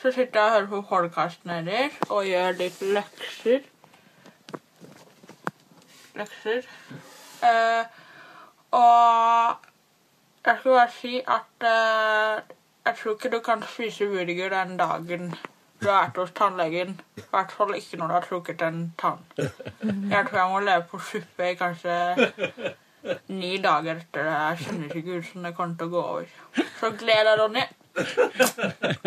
så sitter jeg og hører på podkasten deres og gjør litt lekser. Lekser. Eh, og jeg skal bare si at eh, jeg tror ikke du kan spise burger den dagen du har vært hos tannlegen. I hvert fall ikke når du har trukket en tann. Jeg tror jeg må leve på suppe i kanskje ni dager etter det. Jeg kjenner ikke ut som det kommer til å gå over. Så gled deg, Ronny.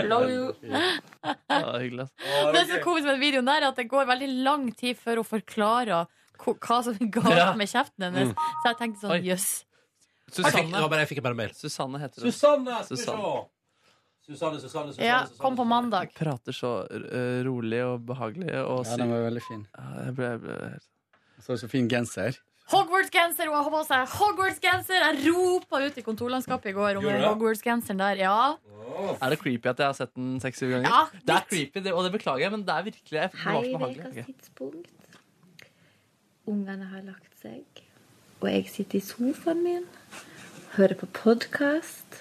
Love you. Ja, det er hyggelig, altså. Det som er så komisk med den videoen der, er at det går veldig lang tid før hun forklarer ko- hva som er Ja. galt med kjeften hennes. Mm. Så jeg tenkte sånn, jøss. Jeg fikk- det var bare- jeg fikk bare mail. Susanne heter hun. Susanne! Skal vi se. Susanne. Susanne, Susanne, Susanne. Ja, Susanne. kom på mandag. Prater så eh, rolig og behagelig. Og Ja, den var veldig fin. Jeg ble, jeg ble helt... Så så fin genser. Hogwarts-genser! Hun har på seg Hogwarts-genser! Jeg ropa ut i kontorlandskapet i går om Gjorde den du det? Hogwarts-genseren der. Ja. Er det creepy at jeg har sett den seks-syv ganger? Ja, det er creepy, det, og det beklager jeg, men det er virkelig jeg, det Hei, var så behagelig. Vekas Ok. tidspunkt. Ungene har lagt seg, og jeg sitter i sofaen min, hører på podkast,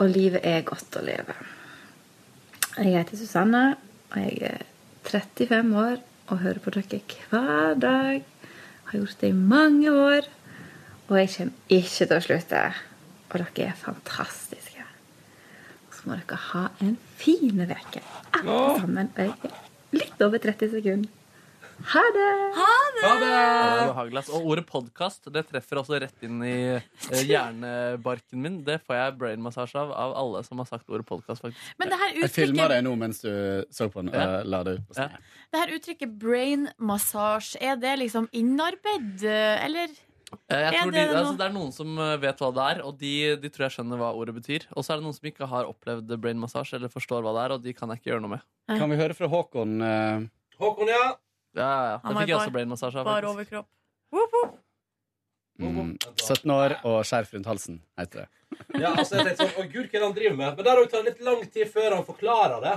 og livet er godt å leve. Jeg heter Susanne, og jeg er 35 år og hører på dere hver dag. Har gjort det i mange år, og jeg kommer ikke til å slutte. Og dere er fantastiske. Og så må dere ha en fin uke, alle sammen. Og jeg er litt over 30 sekunder. Ha det! Ja, det var behagelig, ass. Og ordet podkast treffer også rett inn i eh, hjernebarken min. Det får jeg brainmassasje av av alle som har sagt ordet podkast. Men det her Jeg filma uttrykket, deg nå mens du så på den og Ja. la det ut på Snap. det her uttrykket brain massage, er det liksom innarbeid, eh, eller? Jeg Er tror de, det noe- altså, det er noen som eh, vet hva det er, og de, de tror jeg skjønner hva ordet betyr. Og så er det noen som ikke har opplevd brainmassasje eller forstår hva det er, og de kan jeg ikke gjøre noe med. Kan vi høre fra Håkon? eh, Håkon, ja. Ja, ja, ja. Han Det var fikk jeg bar- også brainmassasje av. Bare faktisk. overkropp. Whoop, whoop. Mm, 17 år og skjerf rundt halsen, heter det. Ja, altså, jeg tenkte sånn, å gud, hva er det han driver med? Men der har det tatt litt lang tid før han forklarer det.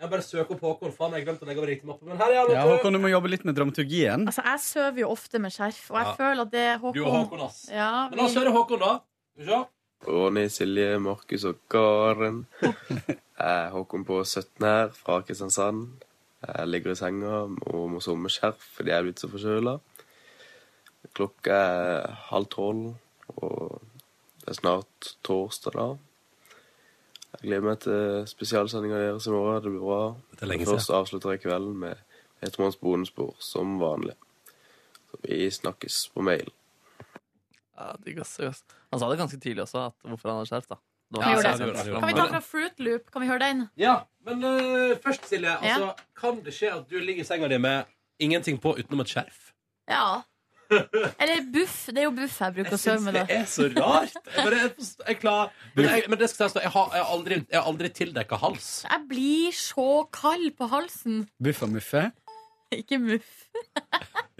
Jeg bare søker opp Håkon. Faen, jeg glemte å legge over riktig mappe. Men her er han. Ja, vet du. Håkon, du må jobbe litt med dramaturgien. Altså, jeg søver jo ofte med skjerf, og jeg Ja. føler at det er Håkon. Du og Håkon, ass. Ja, Men la oss høre Håkon, da. Skal vi se. Ronny, Silje, Markus og Karen. Eh, Håkon på 17 her, fra Kristiansand. Jeg ligger i senga og må sove med skjerf fordi jeg er blitt så forkjøla. Klokka er halv tolv, og det er snart torsdag, da. Jeg gleder meg til spesialsendinga deres i morgen. Det blir bra. Dette er lenge Først siden. avslutter jeg kvelden med Petermanns bonusspor, som vanlig. Så vi snakkes på mail. Ja, digg, ass, digg, ass. Han sa det ganske tidlig også, at hvorfor han har skjerf. da Det var Ja, ikke han så gjorde det, han gjorde sent det. fram- Kan vi ta fra Fruit Loop? Kan vi høre den? Ja, men eh, først, Silje. Altså, Kan det skje at du ligger i senga di med ingenting på utenom et skjerf? Ja. Eller buff. Det er jo buff jeg bruker å sove med. Det da. er så rart! Jeg, bare, jeg, jeg, klar, men jeg, men det skal sies, da, jeg, har, jeg har aldri, jeg har aldri tildekka hals. Jeg blir så kald på halsen. Buffa Muffe? Ikke muff.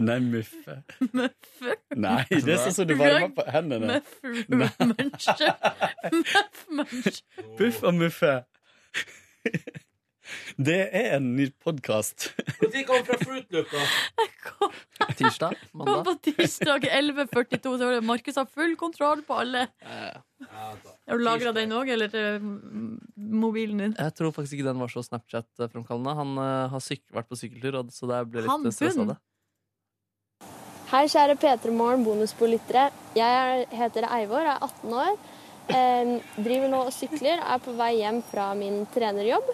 Nei, Muffe. Muffe. Nei, det er sånn som du varmer på hendene. Muff muncher. Muff muncher. Buff og Muffe. Det er en ny podkast. Når kom fra Fruit Loop, da? Tirsdag? Kom på tirsdag 11.42. så var det Markus har full kontroll på alle. Har du lagra den òg, eller eh, m- mobilen din? Jeg tror faktisk ikke den var så Snapchat-fremkallende. Han eh, har syk vært på sykkeltur, og- så det ble Han litt stress av sånn, bunn. det. Hei, kjære P3 Morgen bonusbolyttere. Jeg er- heter Eivor, er 18 år. Eh, driver nå og sykler, er på vei hjem fra min trenerjobb.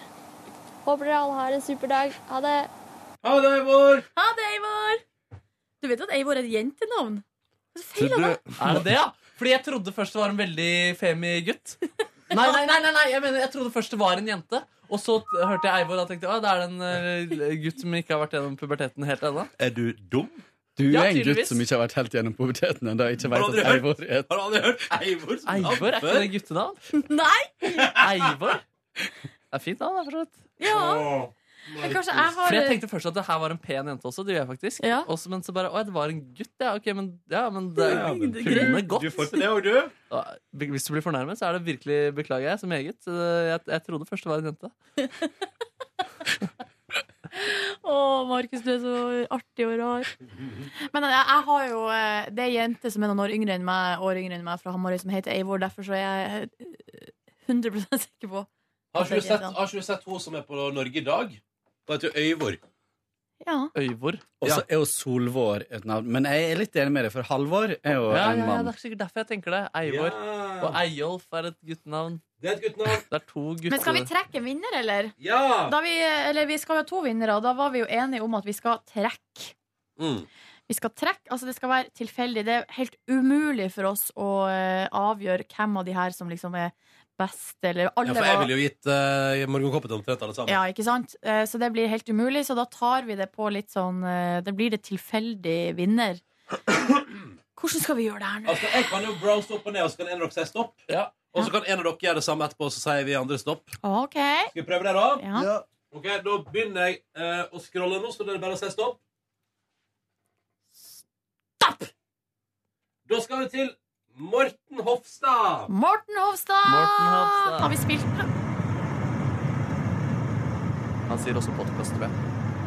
Håper dere alle har en super dag. Ha det! Ha det, Eivor! Ha det, Eivor! Du vet at Eivor er et jentenavn? Tror du- Er det det, ja? Fordi jeg trodde først det var en veldig femi gutt. Nei, nei, nei, nei, nei. Jeg mener, jeg trodde først det var en jente. Og så t- hørte jeg Eivor og da tenkte jeg, «Å, det er en eh, gutt som ikke har vært gjennom puberteten helt ennå. Er du dum? Du Ja, er en gutt tydeligvis. som ikke har vært helt gjennom puberteten ennå. Ikke Har vet du aldri at hørt- Eivor er Har du aldri hørt Eivor som Eivor, er ikke det guttenavn? Nei! Eivor? Det er fint navn, da, for så vidt. Ja. Men kanskje jeg har- For jeg tenkte først at det her var en pen jente også, det gjør jeg faktisk. Også, men så bare, å, det var en gutt, ja, ok, men, ja, men det Ja, men det du- kunne gått. du får til det, og du? Ja, be- Hvis du blir fornærmet, så er det virkelig, beklager jeg så meget. Eh, Jeg, jeg trodde først det var en jente. Å, Markus, du er så artig og rar. Men jeg, jeg har jo eh, Det er ei jente som er noen år yngre enn meg, år yngre enn meg fra Hamarøy, som heter Eivor. Derfor så er jeg eh, 100 sikker på Har ikke du sett, har ikke du sett hun som er på Norge i dag? Hun heter Øyvor. Ja. Øyvor. Og så er jo Solvår et navn. Men jeg er litt enig med deg, for Halvor er jo Ja, en ja, ja, mann. det er sikkert derfor jeg tenker det. Eivor. Og Eyolf er et guttenavn. Det er et guttenavn. Det er to gutter. Men skal vi trekke en vinner, eller? Ja! Da vi, eller vi skal jo ha to vinnere, og da var vi jo enige om at vi skal trekke. Mm. Vi skal trekke, altså Det skal være tilfeldig. Det er helt umulig for oss å eh, avgjøre hvem av de her som liksom er best, eller alle Ja, for jeg var- ville jo gitt uh, morgenkoppen til omtrent alle sammen. Ja, ikke sant? Eh, Så det blir helt umulig, så da tar vi det på litt sånn eh, Det blir det tilfeldig vinner. Hvordan skal vi gjøre det her nå? Altså, jeg kan jo browse opp og ned, og så kan en av dere si stopp. Og så kan en av dere gjøre det samme etterpå, og så sier vi andre stopp. OK. Skal vi prøve det, da? Ja. Ok, Da begynner jeg eh, å scrolle nå, så det er bare å si stopp. Stopp! Da skal vi til Morten Hofstad. Morten Hofstad! Morten Hofstad. Har vi spilt den? Han sier også podkast, tror jeg.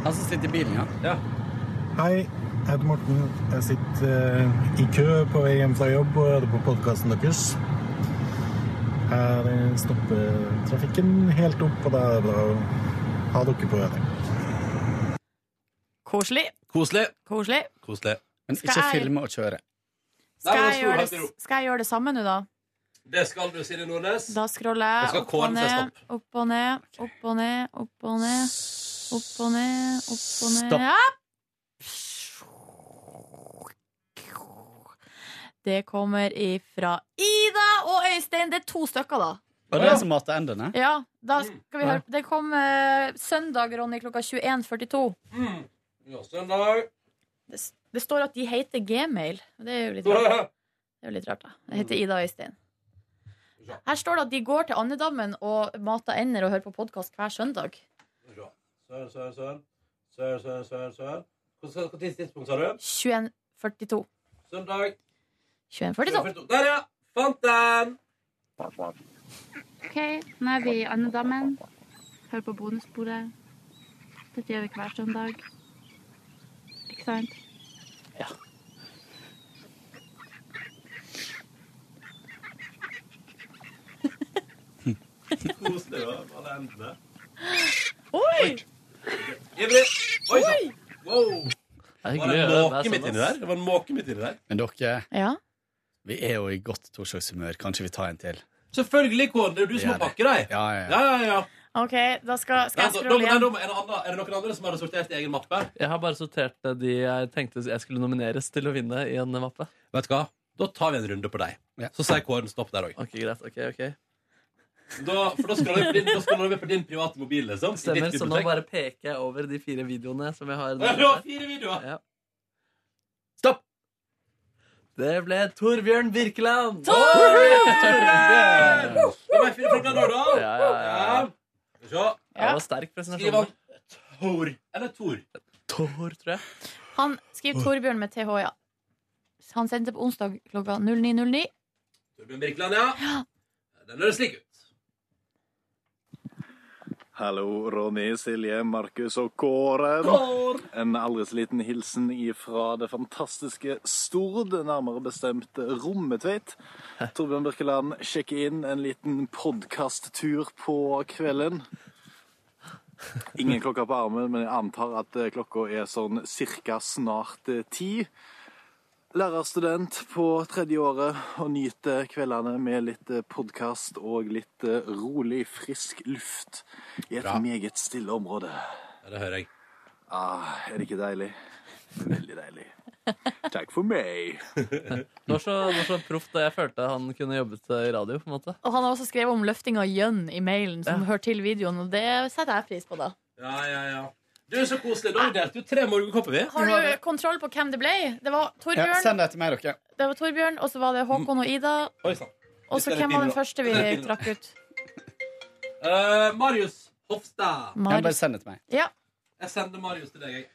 Han som sitter i bilen, ja. Hei, jeg heter Morten. Jeg sitter eh, i kø på vei hjem fra jobb og hører på podkasten deres. Her eh, stopper trafikken helt opp, og da er det bra å ha dere på øret. Koselig. Koselig. Koselig. Koselig. Men Skal ikke jeg- filme og kjøre. Skal Nei, men jeg, da slo gjøre det, han til ro. skal jeg gjøre det samme nå, da? Det skal du, Silje Nordnes. Da scroller Da skal jeg opp og Kåren si ned, opp og ned, opp og ned, opp og ned. Opp og ned, opp og ned. Stopp. Ja. Det kommer ifra Ida og Øystein. Det er to stykker, da. Og det er som mater endene. Ja, da Mm. skal vi høre. Det kom eh, søndag, Ronny, klokka 21.42. Mm. Ja, søndag. Det, s- det står at de heter Gmail. Det er jo litt rart. Det er jo litt rart, da. Det Mm. heter Ida og Øystein. Her står det at de går til andedammen og mater ender og hører på podkast hver søndag. Sør, sør, sør. Sør, sør, sør, sør. Hvilket tidspunkt sa du? 21.42. Søndag. 21.42. Der, ja! Fant den! OK, nå er vi i andedammen. Hører på bonusbordet. Dette gjør vi hver søndag. Ikke sant? Ja. koselig, da. med Alle endene. Oi! Ivrig. Oi sann. Wow. Det er Var det hyggelig en å gjøre det, måke sånn, midt inni ass. der? Det var en måke midt inni der. Men dere, Ja. vi er jo i godt torsdagshumør. Kanskje vi tar en til? Selvfølgelig, Kåre. Det er jo du som har Vi gjør det. pakke deg. Ja, ja, ja. Ja, ja, ja. OK, da skal, skal Nei, jeg da- scrolle da- nei, igjen. da må- er, det andre, er det noen andre som har sortert i egen mappe? Jeg har bare sortert eh, de jeg tenkte jeg skulle nomineres til å vinne i en mappe. Vet du hva? Da tar vi en runde på deg. Så sier Kåren stopp der òg. Ok, greit. ok, ok Da, for da scroller vi på din- da scroller vi på din private mobil, liksom. i Stemmer, ditt så nå bibliotek. bare peker jeg over de fire videoene som jeg har. Ja, du har fire videoer! Ja. Stopp! Det ble Torbjørn Birkeland! Torbjørn! Det var fire folk der nå, da. Ja, ja, ja. Skal vi se. Ja, det var sterk presentasjon. Skriv han Tor eller Tor. Tor, tror jeg. Han skriver Torbjørn med TH, ja. Han sendte på onsdag klokka 09.09. Torbjørn Birkeland, ja. Den høres slik ut. Hallo, Ronny, Silje, Markus og Kåre. Kåre! En aldri så liten hilsen ifra det fantastiske Stord, nærmere bestemt Rommetveit. Torbjørn Birkeland sjekker inn en liten podkasttur på kvelden. Ingen klokka på armen, men jeg antar at eh, klokka er sånn cirka snart eh, ti. Lærerstudent på tredje året og nyter kveldene med litt podkast og litt eh, rolig, frisk luft i et meget stille område. Ja, det hører jeg. Ah, er det ikke deilig? Veldig deilig. Takk for meg. Det var så, det var så proft, og jeg følte han kunne jobbet eh, i radio. på en måte Og han har også skrevet om løfting av gjønn i mailen, som Ja. hører til videoen, og det setter jeg pris på, da. Ja, ja, ja. Du, så koselig. Da delte du tre morgenkopper, vi. Har du kontroll på hvem det ble? Det var Ja, Torbjørn, send det til meg, dere. det var Torbjørn og så var det Håkon og Ida. Oi sann. Og så hvem var den første vi trakk ut? Eh, Marius Hofstad. Ja, bare send det til meg. Ja. Jeg sender Marius til deg, jeg.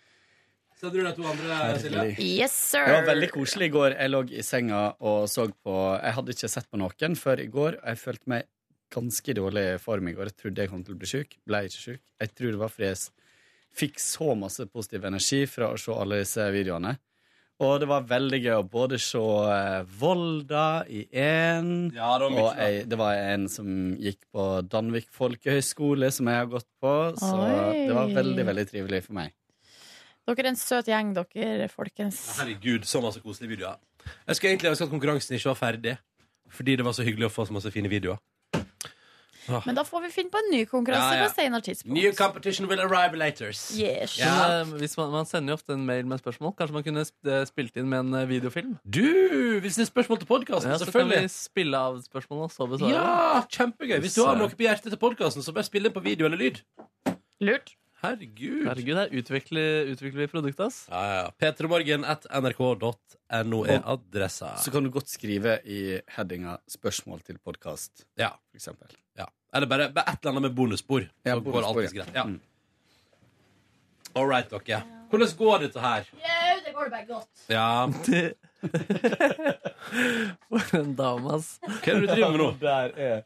Sender du de to andre, Silje? Yes, sir. Det var veldig koselig i går. Jeg lå i senga og så på Jeg hadde ikke sett på noen før i går. og Jeg følte meg ganske i dårlig form i går. Jeg trodde jeg kom til å bli sjuk. Ble ikke sjuk. Jeg tror det var fordi jeg s- fikk så masse positiv energi fra å se alle disse videoene. Og det var veldig gøy å både se eh, Volda i én, Ja, det var mye og bra. ei, det var en som gikk på Danvik folkehøgskole, som jeg har gått på. Så Oi. det var veldig, veldig trivelig for meg. Dere er en søt gjeng, dere, folkens. Herregud, så masse koselige videoer. Jeg skulle egentlig ønske at konkurransen ikke var ferdig, fordi det var så hyggelig å få så masse fine videoer. Ah. Men da får vi finne på en ny konkurranse Ja, ja. på senere tidspunkt. New competition will arrive laters. Yes. Ja. Men, eh, hvis man, man sender jo ofte en mail med spørsmål. Kanskje man kunne sp- eh, spilt inn med en eh, videofilm? Du, Hvis det er spørsmål til podkasten, ja, så kan vi selvfølgelig. spille av spørsmålene og så besvare. Ja, kjempegøy. Hvis du har noe på hjertet til podkasten, så bare spill inn på video eller lyd. Lurt. Herregud. Herregud, her utvikler, utvikler vi produktet, ass. Ja, ja, ja. Petromorgen at nrk.no er adressa. Så kan du godt skrive i headinga 'spørsmål til podkast', Ja. for eksempel. Ja. Eller bare, bare et eller annet med bonusspor. Ja, så går bonusspor, alltid ja. greit. Mm. Ja. All right, dere. Hvordan går dette her? Jau, det går bare godt. Ja For en dame, ass. Hva er det du driver med nå? Der er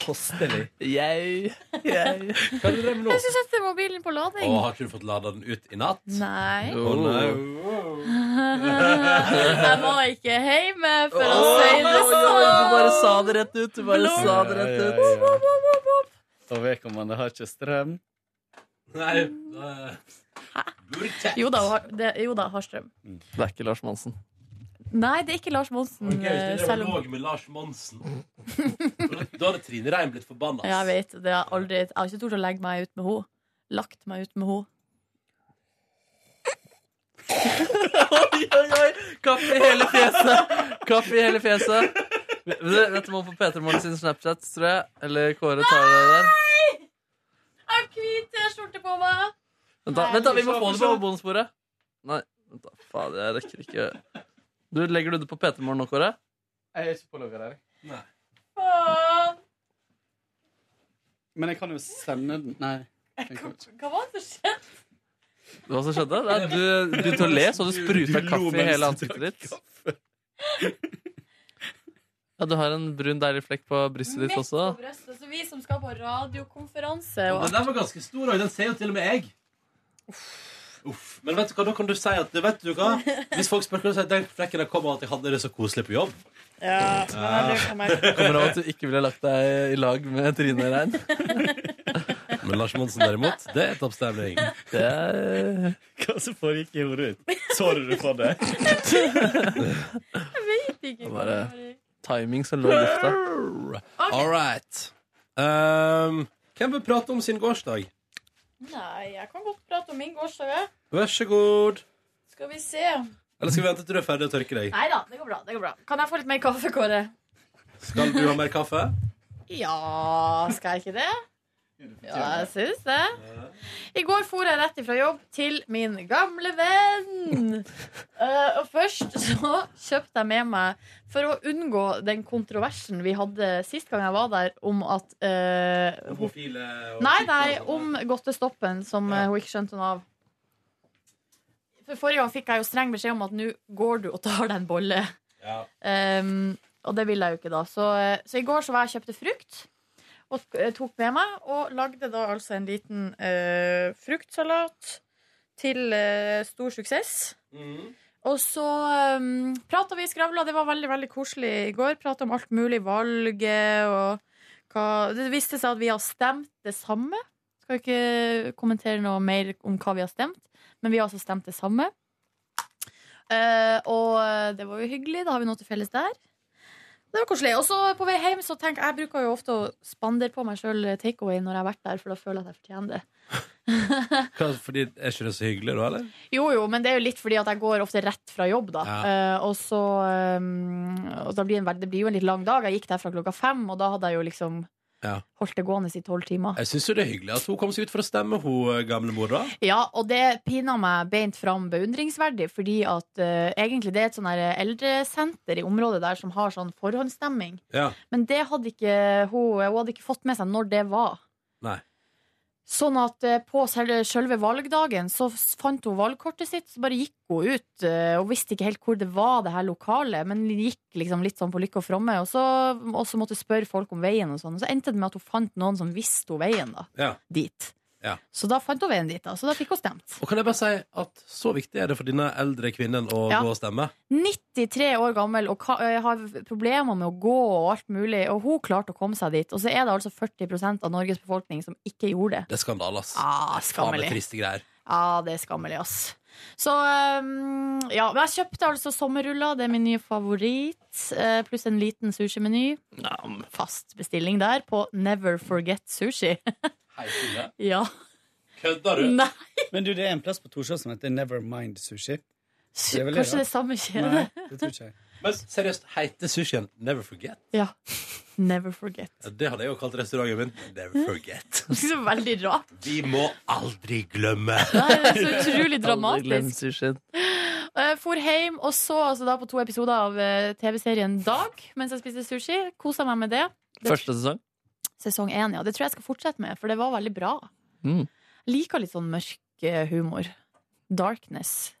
kostelig. Jeg, jeg. Hva er det du driver med nå? Jeg skal sette mobilen på lading. Og har ikke du fått lada den ut i natt? Nei. Å, nei. Jeg må ikke hjemme, for å si det Oi, oi, du sånn. bare sa det rett ut. Du bare Blom. sa det rett Ja, ut. ja, ja. Og vedkommende har ikke strøm. Nei. Jo da, har- det, jo da, har strøm. Det er ikke Lars Monsen. Nei, det er ikke Lars Monsen. Ok, eh, hvis det er selv om dialog med Lars Monsen Da hadde Trine Rein blitt forbanna. Ja, jeg vet, det har aldri, jeg har ikke tort å legge meg ut med henne. Lagt meg ut med henne. Oi, oi, oi! Kaffe i hele fjeset! Kaffe i hele fjeset. Vet du- vet du om på Peter Morgen sin Snapchat, tror jeg? Eller Kåre tar det der. Jeg har hvit T-skjorte på meg. Vent, da, vent da, vi må få det på bonussporet. Nei, vent da, faen, jeg rekker ikke Du, Legger du det på Peter Morgen nå, Kåre? Jeg er ikke på logga der. Men jeg kan jo sende den Nei. Hva var det som skjedde? Hva som skjedde? Det er at du du begynte å le, så du spruta Du lo kaffe i mens du hele ansiktet ditt. Ja, Du har en brun, deilig flekk på brystet ditt Midt på også. brøstet, så vi som skal på radiokonferanse. eh, og- Den der var ganske stor, og den ser jo til og med jeg. Men vet du hva, da kan du si at vet du hva? Hvis folk spør hva du sier, den flekken der kommer at jeg hadde det så koselig på jobb. Ja, nei, det kommer jeg. Kommer av at du ikke ville lagt deg i lag med Trine Rein. Men Lars Monsen derimot, det er tappstemning. Det er Hva som foregikk i hodet ditt? Så du det for deg? Jeg vet ikke. Det hva var det bare timing som lå i lufta. All right. Um, hvem vil prate om sin gårsdag? var. Nei, jeg kan godt prate om min gårsdag. jeg. Vær så god. Skal vi se. Eller skal vi vente til du er ferdig å tørke deg? Nei da, det går bra. det går bra Kan jeg få litt mer kaffe, Kåre? Skal du ha mer kaffe? Ja, skal jeg ikke det? Ja, jeg syns det. I går for jeg rett ifra jobb til min gamle venn. Eh, og først så kjøpte jeg med meg, for å unngå den kontroversen vi hadde sist gang jeg var der, om at eh, hun- Homofile og sånn. Nei, nei, om godtestoppen, som eh, hun ikke skjønte noe av. For Forrige gang fikk jeg jo streng beskjed om at nå går du og tar deg en bolle. Ja. Um, og det ville jeg jo ikke da. Så, eh, så i går så var jeg og kjøpte frukt. Og sk- eh, tok med meg, og lagde da altså en liten eh, fruktsalat til eh, stor suksess. Mm. Og så um, prata vi, skravla. Det var veldig veldig koselig i går. Prata om alt mulig. Valget og hva Det viste seg at vi har stemt det samme. Skal ikke kommentere noe mer om hva vi har stemt, men vi har altså stemt det samme. Eh, og det var jo hyggelig. Da har vi noe til felles der. Det var koselig. Og så på vei hjem så tenk, jeg bruker jo ofte å spandere på meg sjøl takeaway når jeg har vært der, for da føler jeg at jeg fortjener det. Hva, fordi, er ikke det så hyggelig, da? eller? Jo, jo, men det er jo litt fordi at jeg går ofte rett fra jobb, da. Ja. Eh, og så eh, og da blir en, veld- Det blir jo en litt lang dag. Jeg gikk der fra klokka fem, og da hadde jeg jo liksom Ja. holdt det gående i tolv timer. Jeg syns jo det er hyggelig at hun kom seg ut for å stemme, hun gamlemor, da. Ja, og det pina meg beint fram beundringsverdig, fordi at eh, egentlig det er et sånn her eldresenter i området der som har sånn forhåndsstemming. Ja. Men det hadde ikke hun, hun hadde ikke fått med seg når det var. Nei. Sånn at eh, på selve selve valgdagen så s- fant hun valgkortet sitt, så bare gikk hun ut eh, og visste ikke helt hvor det var, det her lokalet, men gikk liksom litt sånn på lykke og fromme. Og så, og så måtte hun spørre folk om veien og sånn. Og så endte det med at hun fant noen som visste hun veien, da. Ja. Dit. Ja. Så da fant hun veien dit, da. Så da fikk hun stemt. Og kan jeg bare si at så viktig er det for denne eldre kvinnen å Ja. gå og stemme? 93 år gammel og ka- ø, har problemer med å gå og alt mulig, og hun klarte å komme seg dit. Og så er det altså 40 av Norges befolkning som ikke gjorde det. Det er skandale, ass. Ah, Det er faen meg skammelig. triste greier. Ja, det er skammelig, ass. Så øhm, ja, men jeg kjøpte altså sommerruller, det er min nye favoritt, eh, pluss en liten sushimeny. Fast bestilling der på Never Forget Sushi. ja. Kødder Nei, Men du, det er en plass på Torshov som heter Nevermind Sushi. Det er vel kanskje da? det samme kjede? Nei, det tror ikke jeg. Men seriøst, heite sushien Never Forget? Ja. Never Forget. Ja, Det hadde jeg jo kalt restauranten min. Mm. Never Forget. Det er så veldig rart. Vi må aldri glemme. Nei, det er så Aldri utrolig glem dramatisk. sushien. Eh, for hjem og så altså da på to episoder av eh, TV-serien Dag mens jeg spiste sushi. Kosa meg med det. det Første sesong. sesong én, ja. Det tror jeg jeg skal fortsette med, for det var veldig bra. Mm. Jeg liker litt sånn mørk eh, humor. Darkness.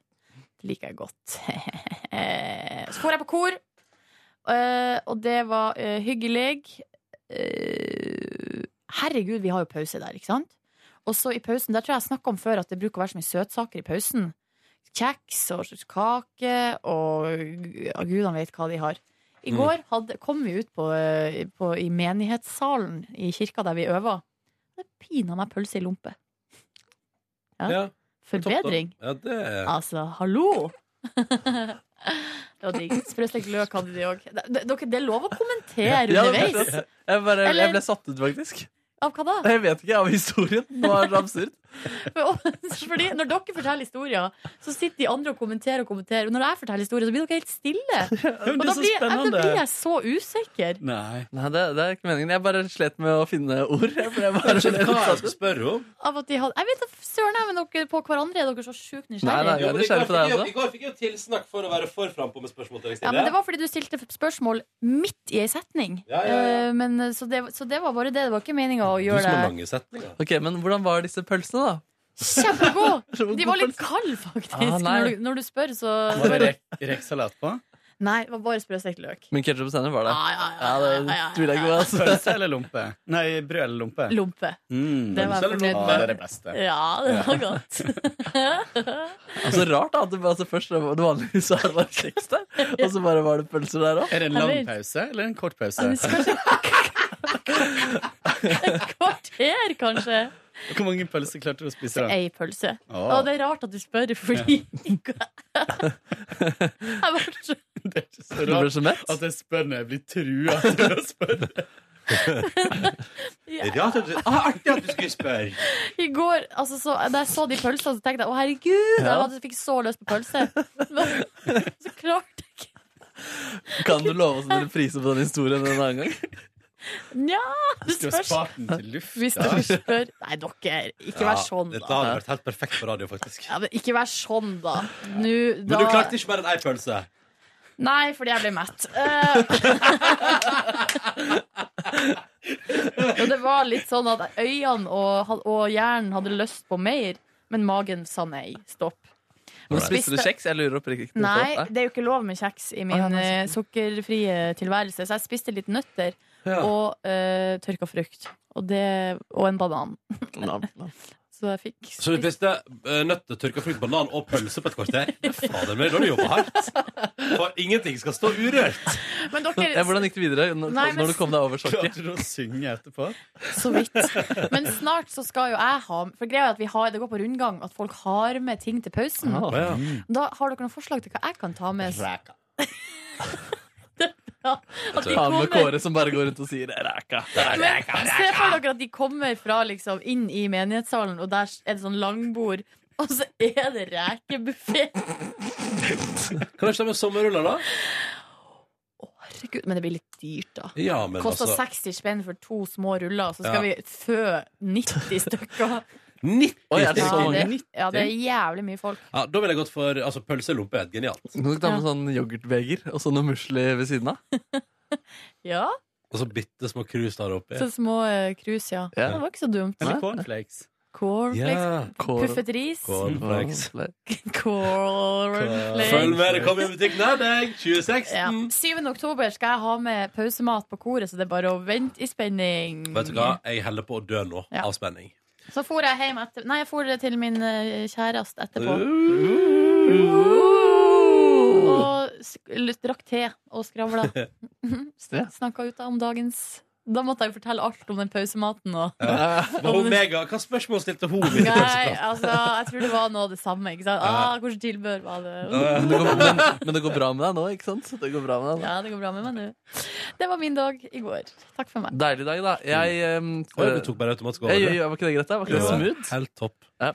Det liker jeg godt. Så får jeg på kor, eh, og det var eh, hyggelig. Eh, Herregud, vi har jo pause der, ikke sant? Og så i pausen, der tror jeg jeg snakka om før at det bruker å være så mye søtsaker i pausen. Kjeks og kake og ja, gudene vet hva de har. I Mm. går hadde, kom vi ut på, eh, på, i menighetssalen i kirka der vi øver. Det pina meg pølse i lompe. Ja. Ja, Forbedring. Ja, det Altså, hallo! det var digg. Sprøstekt løk hadde de òg. Det er lov å kommentere Ja, jeg, underveis. bare, jeg Eller- ble satt ut, faktisk. Av hva da? Jeg vet ikke, av historien. Det var så absurd. Fordi når dere forteller historier, så sitter de andre og kommenterer og kommenterer. Og når jeg forteller historier, så blir dere helt stille. men det Og er da så blir, ja, da spennende. blir jeg så usikker. Nei, det, det er ikke meningen. Jeg bare slet med å finne ord. Jeg ble bare Jeg skjønner ikke hva jeg skal spørre om. Av at de hadde, jeg vet da søren, jeg, men dere på hverandre er dere så sjukt Nei, nei, nysgjerrige. jeg er nysgjerrig på deg også. I går fikk jeg jo tilsnakk for å være for frampå med spørsmål til deg, Ja, men Det var fordi du stilte spørsmål midt i ei setning. Ja, ja, ja. Eh, Men, så, det, så det var bare det. Det var ikke meninga å Du som gjøre har det. mange setninger. Ok, Men hvordan var disse pølsene, da? Kjempegod! De var litt kalde, faktisk. Ah, nei. når, du, når du spør, så Var det rek- rekesalat på? Nei, det var bare sprøstekt løk. Men ketsjup og sennep var det? Ja, det tviler jeg ikke på. altså. Pølse eller lompe? Nei, brød eller lompe? Lompe. Mm. Det var jeg fornøyd Ja, med. det er det beste. Ja, det var Ja. godt. Altså, rart da, at det, altså, først var det vanligvis så var det bare kjeks der, og så bare var det pølser der òg. Er det en lang pause eller en kort pause? Kvarter, kanskje. Hvor mange pølser klarte du å spise? da? Ei pølse. Åh. Og det er rart at du spør, fordi Jeg var så Så Du ble så mett? At jeg spør når jeg blir trua til å spørre. Rart at du, ah, artig at du skulle spørre. I går, altså, så, da jeg så de pølsene, så tenkte jeg å herregud, jeg Ja. hadde, fikk så lyst på pølse. Men, så klart Kan du love oss at dere priser på den historien en annen gang? Nja, det Skulle spørs. spart den til luft, Hvis da. dere spør Nei, dere, ikke vær sånn, Dette da. hadde vært helt perfekt på radio, faktisk. Ja, men ikke vær sånn, da. Nå, da. Men du klarte ikke mer enn ei pølse. Nei, fordi jeg ble mett. Eh, og det var litt sånn at øynene og, og hjernen hadde lyst på mer, men magen sa nei. Stopp. Men Spiste du kjeks? Jeg lurer oppriktig på. Nei, det er jo ikke lov med kjeks i min eh, sukkerfrie tilværelse, så jeg spiste litt nøtter Ja. og eh, tørka frukt. Og, det, og en banan. Nam, Så jeg fikk Så du spiste eh, nøtter, tørka frukt, banan og pølse på et kvarter? Fader, men da har du jobba hardt. For ingenting skal stå urørt. Men Ja, hvordan gikk det videre når, Nei, men- når du kom deg over sjokket? Klarte du å synge etterpå? Så vidt. Men snart så skal jo jeg ha For greia er at vi har, det går på rundgang at folk har med ting til pausen. Ah, ja. Mm. Da har dere noen forslag til hva jeg kan ta med? Ræka. Det er bra. At de Han med kommer- Kåre som bare går rundt og sier ræka. Men se for dere at de kommer fra liksom inn i menighetssalen, og der er det sånn langbord, og så er det rekebuffé. Kan du ikke ta med sommerruller, da? Herregud, men det blir litt dyrt, da. Ja, men Koster altså- 60 spenn for to små ruller, så skal Ja. vi fø 90 stykker. 90 Oi, stykker. sånn, ja, det, ja, det er jævlig mye folk. Ja, da ville jeg gått for altså, pølse og lompe. Genialt. Nå skal du ta med sånn yoghurtbeger og så noe musli ved siden av. Ja, Og så bitte små krus der oppi. så små eh, krus, ja. Ja. Det var ikke så dumt. Eller cornflakes. Ja, Cornflakes. corn- Puffet ris. Cornflakes. Cornflakes. Følg med, det kommer i butikk nær deg 2016. Ja. 7. oktober skal jeg ha med pausemat på koret, så det er bare å vente i spenning. Mm. Vet du hva, jeg holder på å dø nå Ja. av spenning. Så for jeg hjem etter Nei, jeg for det til min eh, kjæreste etterpå. Uh. Og sk- l- drakk te og skravla. Ja. Snakka ut om dagens Da måtte jeg jo fortelle alt om den pausematen og Ja. Uh, Men hun Mega, hva spørsmål stilte hun? i Nei, pauseplass? altså, jeg tror det var noe av det samme. Ikke sant? Ah, hvordan tilbør var Men det, går, det? men, men det går bra med deg nå, ikke sant? Det går bra med deg nå. Ja, det går bra med meg nå. Det var min dag i går. Takk for meg. Deilig dag, da. Jeg ehm, Oi, Mm. du tok bare automatisk over, Jeg, du. jeg, var ikke det greit, da? Var ikke det Jo. smooth? Helt topp. Ja.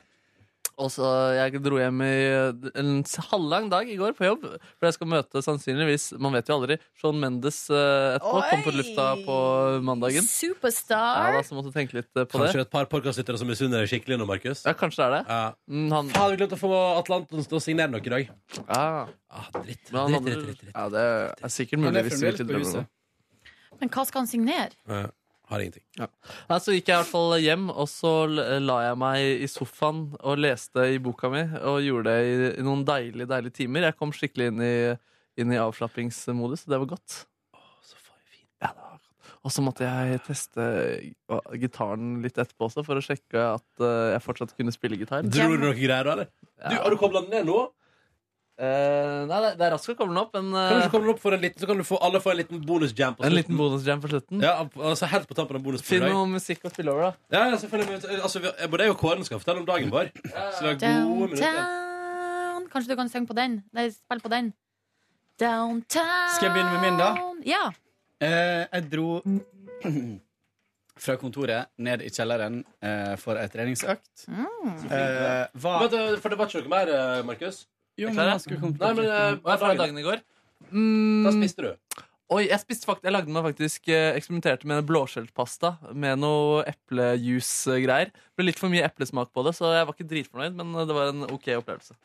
Og så Jeg dro hjem i en s- halvlang dag i går på jobb, for jeg skal møte sannsynligvis Man vet jo aldri. Sean Mendes eh, etterpå kom på lufta på mandagen. Ja, Superstar. da, så måtte jeg tenke litt eh, på Kanskje det. det er et par podkastlyttere som misunner deg skikkelig nå, Markus? Ja, kanskje det er det. Mm, han... Faen, vi glemte å få Atlanten til å signere noe i dag. Ah, Ja. dritt, Men han dritt, andre- dritt, dritt, Ja, det er sikkert Han er mulig hvis du fremdeles vil til på drømmen. huset. Men hva skal han signere? Ja, Eh, har ingenting. Ja. Nei, så gikk jeg i hvert fall hjem, og så l- la jeg meg i sofaen og leste i boka mi. Og gjorde det i, i noen deilige, deilige timer. Jeg kom skikkelig inn i, inn i avslappingsmodus, og det var godt. Og så måtte jeg teste g- gitaren litt etterpå også, for å sjekke at eh, jeg fortsatt kunne spille gitar. Dro du noe greier da, eller? Du, har du kobla den ned nå? Eh, nei, det- det er raskt å koble den opp, men eh, Kan du ikke koble den opp for en liten, så kan du få, alle få en liten bonusjam på En liten bonusjam på slutten? Ja, altså helt på tampen av bonusbordet. Finn noe musikk å spille over, da. Ja, ja, selvfølgelig. men, Altså, vi, både jeg og Kåren skal fortelle om dagen vår. Så det er gode minutter. Downtown. Kanskje du kan synge på den? Nei, spille på den. Downtown. Skal jeg begynne med min, da? Ja. Eh, jeg dro fra kontoret ned i kjelleren eh, for ei treningsøkt. Så fint, Eh, ja. hva Vent, eh, for det var ikke noe mer, eh, Markus? Jo, Er men klare? han skulle komme Nei, tilbake men til eh, noe. hva er dagen i går? Hva spiste du? Oi, jeg spiste fakt jeg lagde meg faktisk eh, eksperimenterte med blåskjellpasta med noe eplejuice-greier. Det Ble litt for mye eplesmak på det, så jeg var ikke dritfornøyd, men eh, det var en ok opplevelse.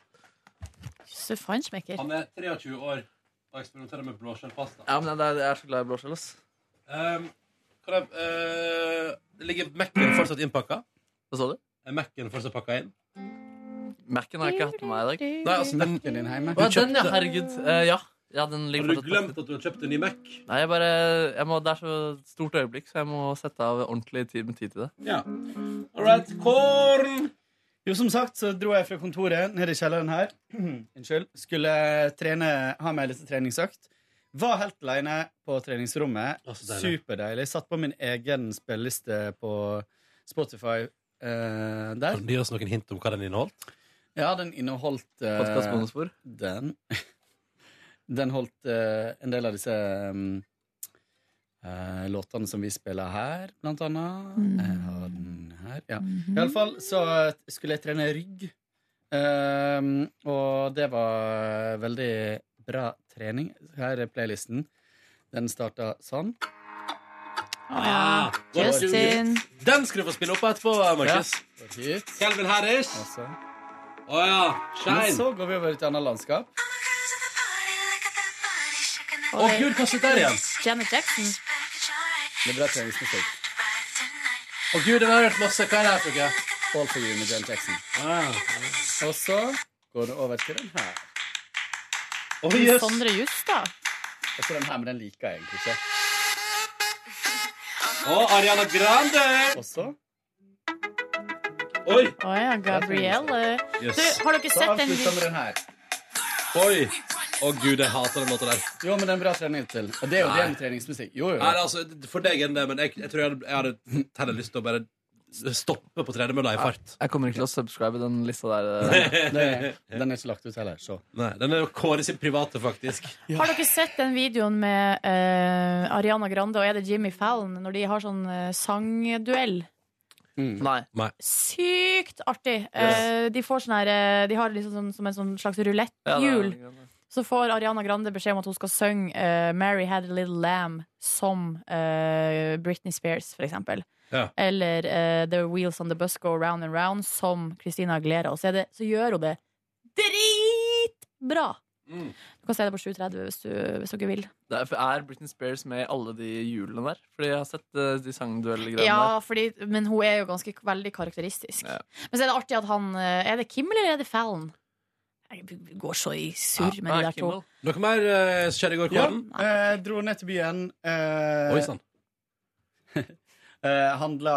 Så feinschmecker. Han er 23 år og eksperimenterer med blåskjellpasta. Ja, men jeg, jeg er så glad i blåskjell, ass. Um, kan jeg, eh, ligger Mac-en fortsatt innpakka? Hva sa du? Er Mac-en fortsatt pakka inn? Mac-en har jeg ikke hatt med meg i dag. Nei, altså, den- Å, ja, den, ja, herregud. Eh, ja. Ja, den ligger Har du fortsatt- glemt at du har kjøpt en ny Mac? Nei, jeg bare, jeg må, det er så stort øyeblikk, så jeg må sette av ordentlig tid med tid til det. Ja. All right, korn! Jo, som sagt, så dro jeg fra kontoret ned i kjelleren her. Unnskyld. Skulle trene, ha meg litt treningsøkt. Var helt alene på treningsrommet. så deilig. Superdeilig. Satt på min egen spilleliste på Spotify eh, der. Kan du gi oss noen hint om hva den inneholdt? Ja, den inneholdt eh, Podcastbonusspor? Den Den holdt eh, en del av disse um, eh, låtene som vi spiller her, blant annet. Jeg har den her, ja. Iallfall så eh, skulle jeg trene rygg. Ehm, og det var veldig bra trening. Her er playlisten. Den starta sånn. Ah, Justin. Den skal du få spille opp etterpå, Markus. Ja. Calvin Harris. Altså. Å ja. Men Shine. så går vi over i et annet landskap. Å, Gud, hva sitter der igjen? Janet Jackson. Det er bra treningsmusikk. Å gud, den har jeg hørt masse. Hva er det her for noe? All for you med Jan Jackson. Ah. Og så går det over til den her. Å, jøss. Sondre Justad. Og så den her, men den liker jeg egentlig ikke. Og Ariana Grande. Og så? Oi! Å ja, Gabrielle. Yes. Du, har dere Så sett den avslutter vi den her. Oi! Å gud, jeg hater den låta der. Jo, men det er en bra trening til. Og det er jo Nei. det med treningsmusikk. Jo, jo. Nei, altså, for deg enn det, men jeg, jeg tror jeg hadde, jeg hadde heller lyst til å bare stoppe på tredemølla i fart. Jeg kommer ikke til å subscribe den lista Nei. der. eh. Nei, den er ikke lagt ut heller, så. Nei, den er jo Kåre sin private, faktisk. Har dere sett den videoen med eh, Ariana Grande og er det Jimmy Fallon når de har sånn eh, sangduell? Mm. Nei. Sykt artig! Eh, de får sånn her eh, De har liksom sånn, som en sånn slags ruletthjul. så får Ariana Grande beskjed om at hun skal synge eh, 'Mary Had a Little Lamb' som eh, Britney Spears, for eksempel. Ja. Eller eh, 'The Wheels On The Bus Go Round And Round' som Christina Aguilera. Og så, er det, så gjør hun det dritbra! Du kan se det på 7.30 hvis, du- hvis dere vil. Det er, er Britney Spears med i alle de hjulene der? Fordi jeg har sett eh, de sangduellgreiene Ja, fordi, men hun er jo ganske veldig karakteristisk. Men så er det artig at han eh, Er det Kim eller er det Fallon? Jeg går så i surr med de der to. Noe mer uh, skjedde i går, Ja, Kåren? eh, dro ned til byen. Eh, Oi sånn. sann. eh, handla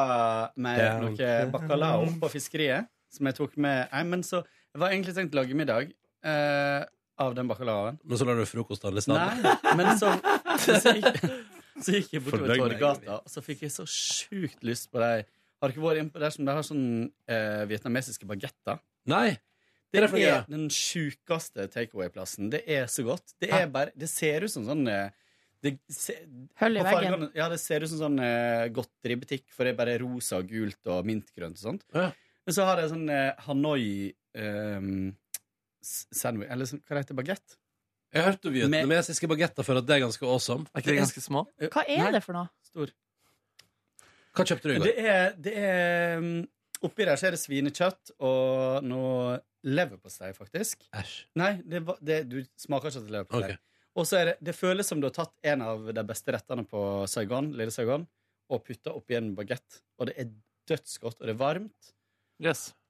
med Ja, noe ok. bacalao på fiskeriet, som jeg tok med Nei, men så Jeg var egentlig tenkt å lage middag eh, av den bacalaoen. Men så lar du frokost alle steder. Nei, men så, så, gikk, så gikk jeg bortover Fordøyd meg, Torgata, og så fikk jeg så sjukt lyst på de Har dere vært inne på der som de har sånn eh, vietnamesiske bagetter? Nei. Det Hva er det for noe? er den sjukeste takeaway-plassen. Det er så godt. Det, er bare, det ser ut som sånn eh, det se, Hull i på veggen. fargene- Ja, det ser ut som sånn eh, godteributikk, for det er bare rosa og gult og mintgrønt og sånt. Men så har de sånn eh, Hanoi eh, s- sandwich Eller sånn- hva heter det? Bagett? Jeg hørte om vietnamesiske bagetter før at det er ganske awesome. Er ikke de ganske små? Hva er det for noe? Hva kjøpte du i Det går? er, det er mm, Oppi der så er det svinekjøtt og noe leverpostei, faktisk. Æsj. Nei, det, var- det, du smaker ikke til leverpostei. Ok. Og så er det, det føles som du har tatt en av de beste rettene på Saigon, Lille Saigon, og putta oppi en bagett. Og det er dødsgodt, og det er varmt.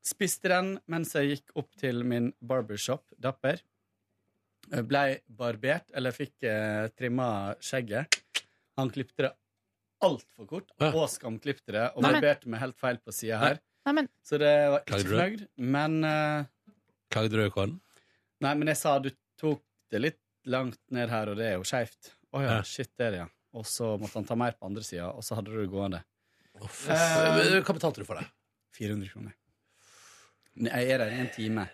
Spiste den mens jeg gikk opp til min barbershop, Dapper. Jeg Blei barbert, eller fikk eh, trimma skjegget. Han klipte det altfor kort, og skamklipte det, og Nei, men- barberte meg helt feil på sida her. Nei, men Så det var Klagde ikke du? fornøyd, men eh, Klagde du, Kåren? Nei, men jeg sa du tok det litt langt ned her, og det er jo skeivt. Å ja, Ja. shit, det er det, ja. Og så måtte han ta mer på andre sida, og så hadde du det gående. Eh, Hva betalte du for det? 400 kroner. Nei, Jeg er der i en time.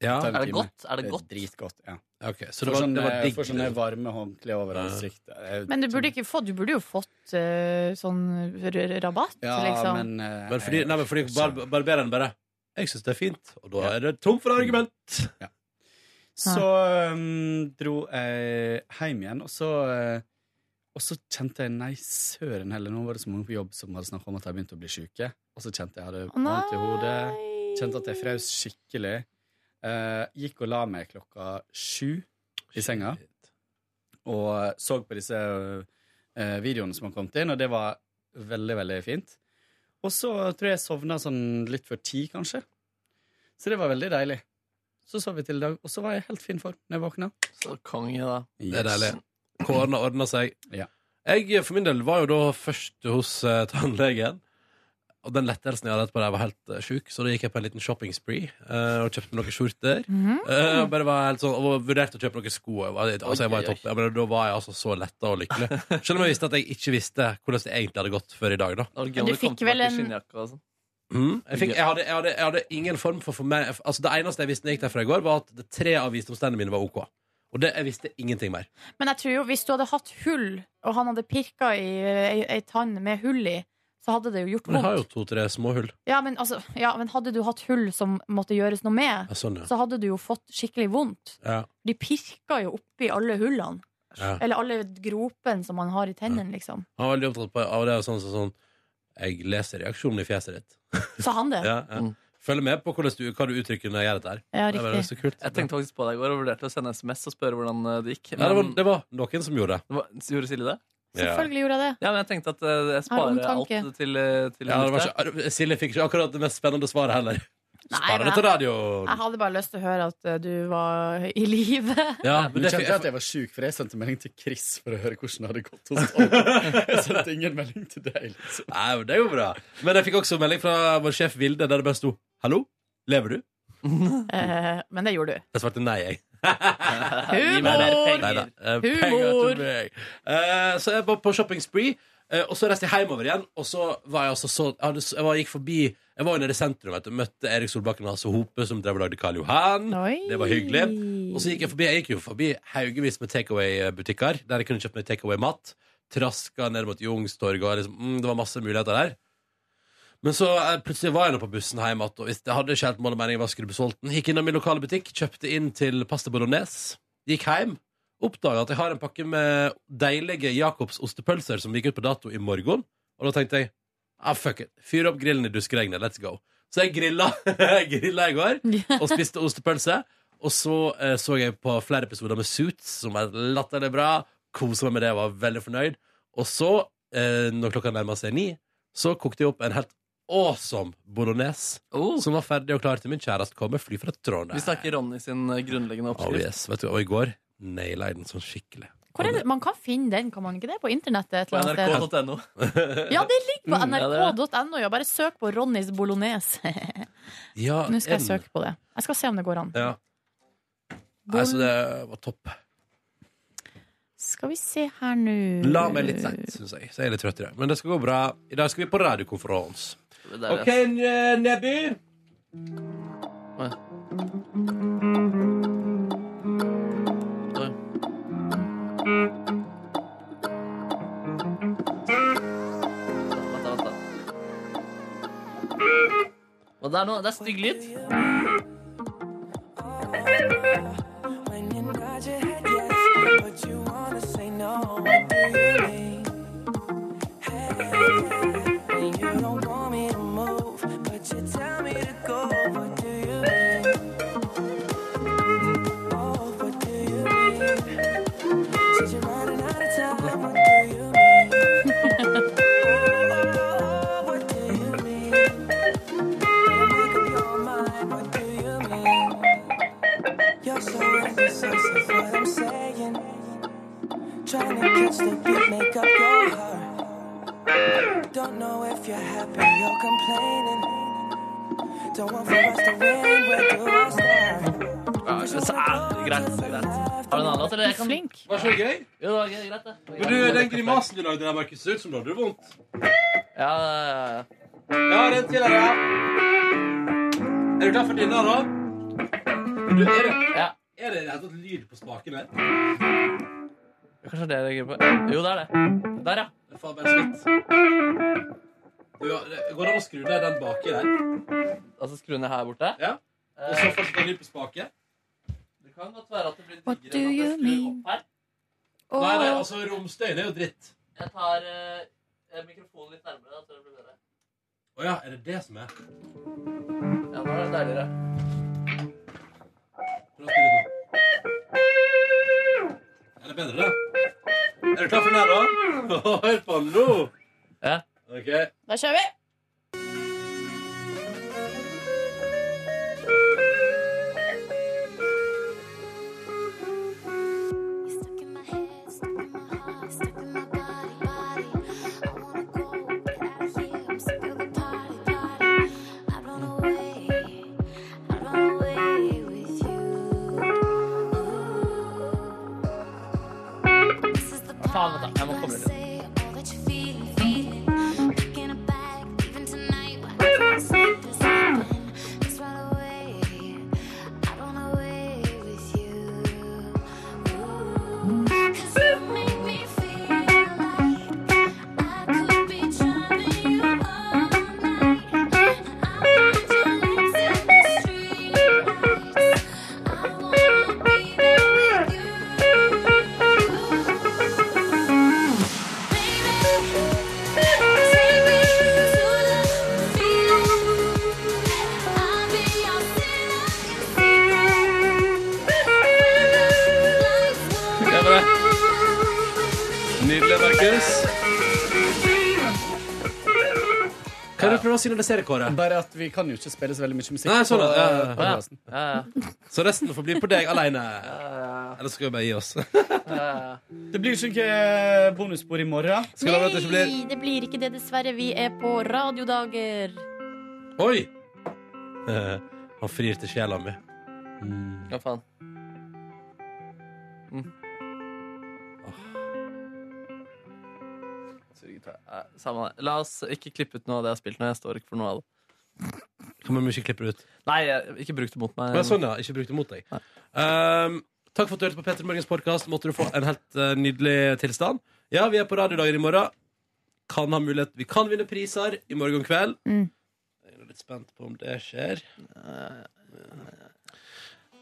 Ja. Det tar en Er det time. godt? Er det godt? Det er dritgodt, ja. Ok, så det Får var- sånne, det var digg, Får sånne liksom. varme håndkle over ansiktet. Jeg- Men du burde ikke fått Du burde jo fått eh, sånn r- r- rabatt, liksom. men eh, fordi, nei, men fordi bar barbereren bare Jeg syns det er fint, og da er det tom for argument. Så um, dro jeg hjem igjen, og så eh, Og så kjente jeg nei, søren heller, nå var det så mange på jobb som hadde snakka om at de begynte å bli syke. Og så kjente jeg jeg hadde nei. vondt i hodet. Kjente at jeg frøs skikkelig. Eh, gikk og la meg klokka sju i senga. Og så på disse eh, videoene som har kommet inn, og det var veldig, veldig fint. Og så tror jeg jeg sovna sånn litt før ti, kanskje. Så det var veldig deilig. Så sov jeg til i dag, og så var jeg i helt fin form når jeg våkna. Så konge, da. Det er deilig. Kårene ordna seg. Jeg eh, for min del var jo da først hos eh, tannlegen. Og den lettelsen jeg hadde etterpå, der var helt eh, sjuk, så da gikk jeg på en liten shopping spree eh, og kjøpte meg noen skjorter. Mhm. Eh, og bare var helt sånn, og vurderte å kjøpe noen sko. Jeg var- Altså, jeg var i Oi, oi, oi. topp. Jeg bare, da var jeg altså så letta og lykkelig. Selv om jeg visste at jeg ikke visste hvordan det egentlig hadde gått før i dag. da gøy om Du du kom fikk vel tilbake i en- skinnjakka og sånn. Mm. Jeg, fikk, jeg, hadde, jeg, hadde, jeg hadde ingen form for, for meg, altså Det eneste jeg visste når jeg gikk derfra i går, var at det tre av visdomstennene mine var OK. Og det, jeg visste ingenting mer. Men jeg tror jo, hvis du hadde hatt hull, og han hadde pirka i eh, ei, ei tann med hull i, så hadde det jo gjort Men jeg har vondt. jo to-tre små hull. Ja men, altså, ja, men hadde du hatt hull som måtte gjøres noe med, Ja, sånn, ja. så hadde du jo fått skikkelig vondt. Ja. De pirka jo oppi alle hullene. Ja. Eller alle gropene som man har i tennene, liksom. Han var veldig opptatt på, av det. Sånn, sånn, sånn Jeg leser reaksjonen i fjeset ditt. Sa han det? Ja, ja. Følg med på hvordan du, hva du uttrykker når jeg gjør dette her. Ja, det var så riktig. kult. Jeg tenkte faktisk på deg i går og vurderte å sende SMS og spørre hvordan eh, det gikk. Nei, det, var, det var noen som gjorde det. var, gjorde Silje det? Selvfølgelig gjorde jeg det. Ja, men jeg tenkte at eh, jeg Har sparer omtanke. alt til, eh, til Ja, det var lytteren. ikke, Silje fikk ikke akkurat det mest spennende svaret heller. Sparer men det jeg- til radioen! Jeg hadde bare lyst til å høre at eh, du var i live. Ja, men men du det- kjente at jeg var sjuk, for jeg sendte melding til Chris for å høre hvordan det hadde gått hos alle. Jeg sendte ingen melding til deg. Liksom. Nei, men det er jo bra. Men jeg fikk også melding fra vår sjef Vilde, der det bare sto 'Hallo, lever du?' Eh, men det gjorde du. Jeg svarte nei, jeg. Humor! Neida. Eh, Penger til meg. Eh, så jeg var på shopping spree, eh, og så reiste jeg hjemover igjen. Og så var jeg altså så Jeg, hadde, jeg var, gikk forbi Jeg var jo nede i sentrum, vet du. Møtte Erik Solbakken og Hasse Hope, som drev og lagde Karl Johan. Det var hyggelig. Og så gikk jeg forbi Jeg gikk jo forbi haugevis med takeaway-butikker, der jeg kunne kjøpt meg takeaway-mat. Traska ned mot Youngstorget, og liksom, mm, det var masse muligheter der. Men så eh, plutselig var jeg nå på bussen hjem igjen, og hvis det hadde ikke helt mål og mening, jeg var skrubbsulten. Gikk innom min lokale butikk, kjøpte inn til pasta bolognese, gikk hjem. Oppdaga at jeg har en pakke med deilige Jacobs ostepølser som gikk ut på dato i morgen. Og da tenkte jeg ah, fuck it, fyr opp grillen i duskregnet, let's go. Så jeg grilla, jeg grilla i går og spiste ostepølse. Og så eh, så jeg på flere episoder med Suits, som er latterlig bra. Kosa meg med det, var veldig fornøyd. Og så, eh, når klokka nærma seg ni, så kokte jeg opp en helt awesome bolognese. Som var ferdig og klar til min kjæreste kom med fly fra Trondheim. Oh. Vi snakker Ronny sin eh, grunnleggende Oh, oppskrift. yes. Vet du, og i går naila jeg den sånn skikkelig. Hvor er det? Man kan finne den, kan man ikke det? På internettet et På eller annet sted? nrk.no. Ja, det ligger på Mm, ja, det er nrk.no. Ja, bare søk på Ronnys bolognese. Ja, Nå skal jeg en- søke på det. Jeg skal se om det går an. Ja. Nei, så det var topp. Skal vi se her nå La meg litt seint, syns jeg. Så jeg er litt trøtt i dag. Men det skal gå bra. I dag skal vi på radiokonferanse. Der, OK, eh, Neby. Vent da, vent da. Og det er noe, det er stygg lyd. You're so indecisive, what I'm saying. Trying to catch the beat, make up your heart. Don't know if you're happy, you're complaining. Don't want for us to win, where do I start? Ja, så, ah, greit, greit. Har du en annen låt, eller? Jeg kan- Flink. Var så gøy. Jo, det var gøy, greit, det. Men du, den grimasen du lagde der, Markus, ser ut som du hadde det vondt. Ja, ja, ja. Ja, den til deg. Er du klar for denne, da? Du, er det ja. Er det rett og slett lyd på spaken her? Kanskje det er det jeg reagerer på. Jo, det er det. Der, ja. Det er faen bare så vidt. Du, det- Går det an å skru ned den baki der? Altså skru ned her borte? Eh. Ja. Og så fortsetter lyd på spaken? Det kan godt være at det blir What do diggere enn at you jeg skrur mean? opp her. Nei, nei, altså, romstøyen er jo dritt. Jeg tar eh, mikrofonen litt nærmere, da, så det blir bedre. Å ja, er det det som er? Ja, nå er det deiligere. Prøv å skru litt nå. Er det bedre, da? Er du klar for den her, da? Hør på den nå! Ja. Ok. Da kjører vi! Faen, vent da. Jeg må komme litt. "Oh, Det var det. Nydelig, Markus. Hva er det du prøver å signalisere, Kåre? Bare at vi kan jo ikke spille så veldig mye musikk. Nei, sånn, på, ja, ja, eh, ja. podcasten. Så resten får bli på deg alene. Eller skal vi bare gi oss? Det blir jo ikke eh, bonusspor i morgen. Nei, det blir ikke det, dessverre. Vi er på radiodager. Oi! Eh, Han frir til sjela mi. Mm. Hva faen? Mm. Surgitar. Nei, Eh, Samme det. La oss ikke klippe ut noe av det jeg har spilt nå. Jeg står ikke for noe av det. Kan vi ikke klippe det ut? Nei, jeg, ikke bruk det mot meg. Men sånn, ja. Ikke bruk det mot deg. Ehm, takk for at du hørte på Petter Morgens podkast. Måtte du få en helt eh, nydelig tilstand. Ja, vi er på radiodager i morgen. Kan ha mulighet Vi kan vinne priser i morgen kveld. Mm. Jeg er litt spent på om det skjer.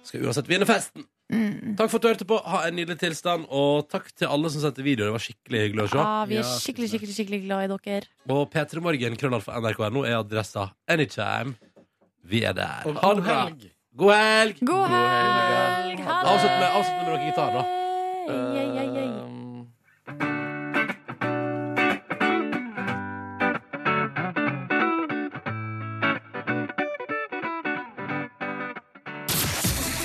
Skal uansett vinne festen. Mm. Takk for at du hørte på. Ha en nydelig tilstand. Og takk til alle som sendte videoer. Det var skikkelig hyggelig å se. Ja, Ah, vi er skikkelig, skikkelig, skikkelig glad i dere. Og P3morgen, krøllalfa nrk.no, er adressa anytime. Vi er der. Og Ha det god bra. helg. God helg! God helg! Ha det! Avslutt med, avslutt med noe gitar, da. Ei, ei, ei, ei.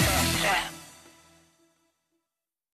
P3.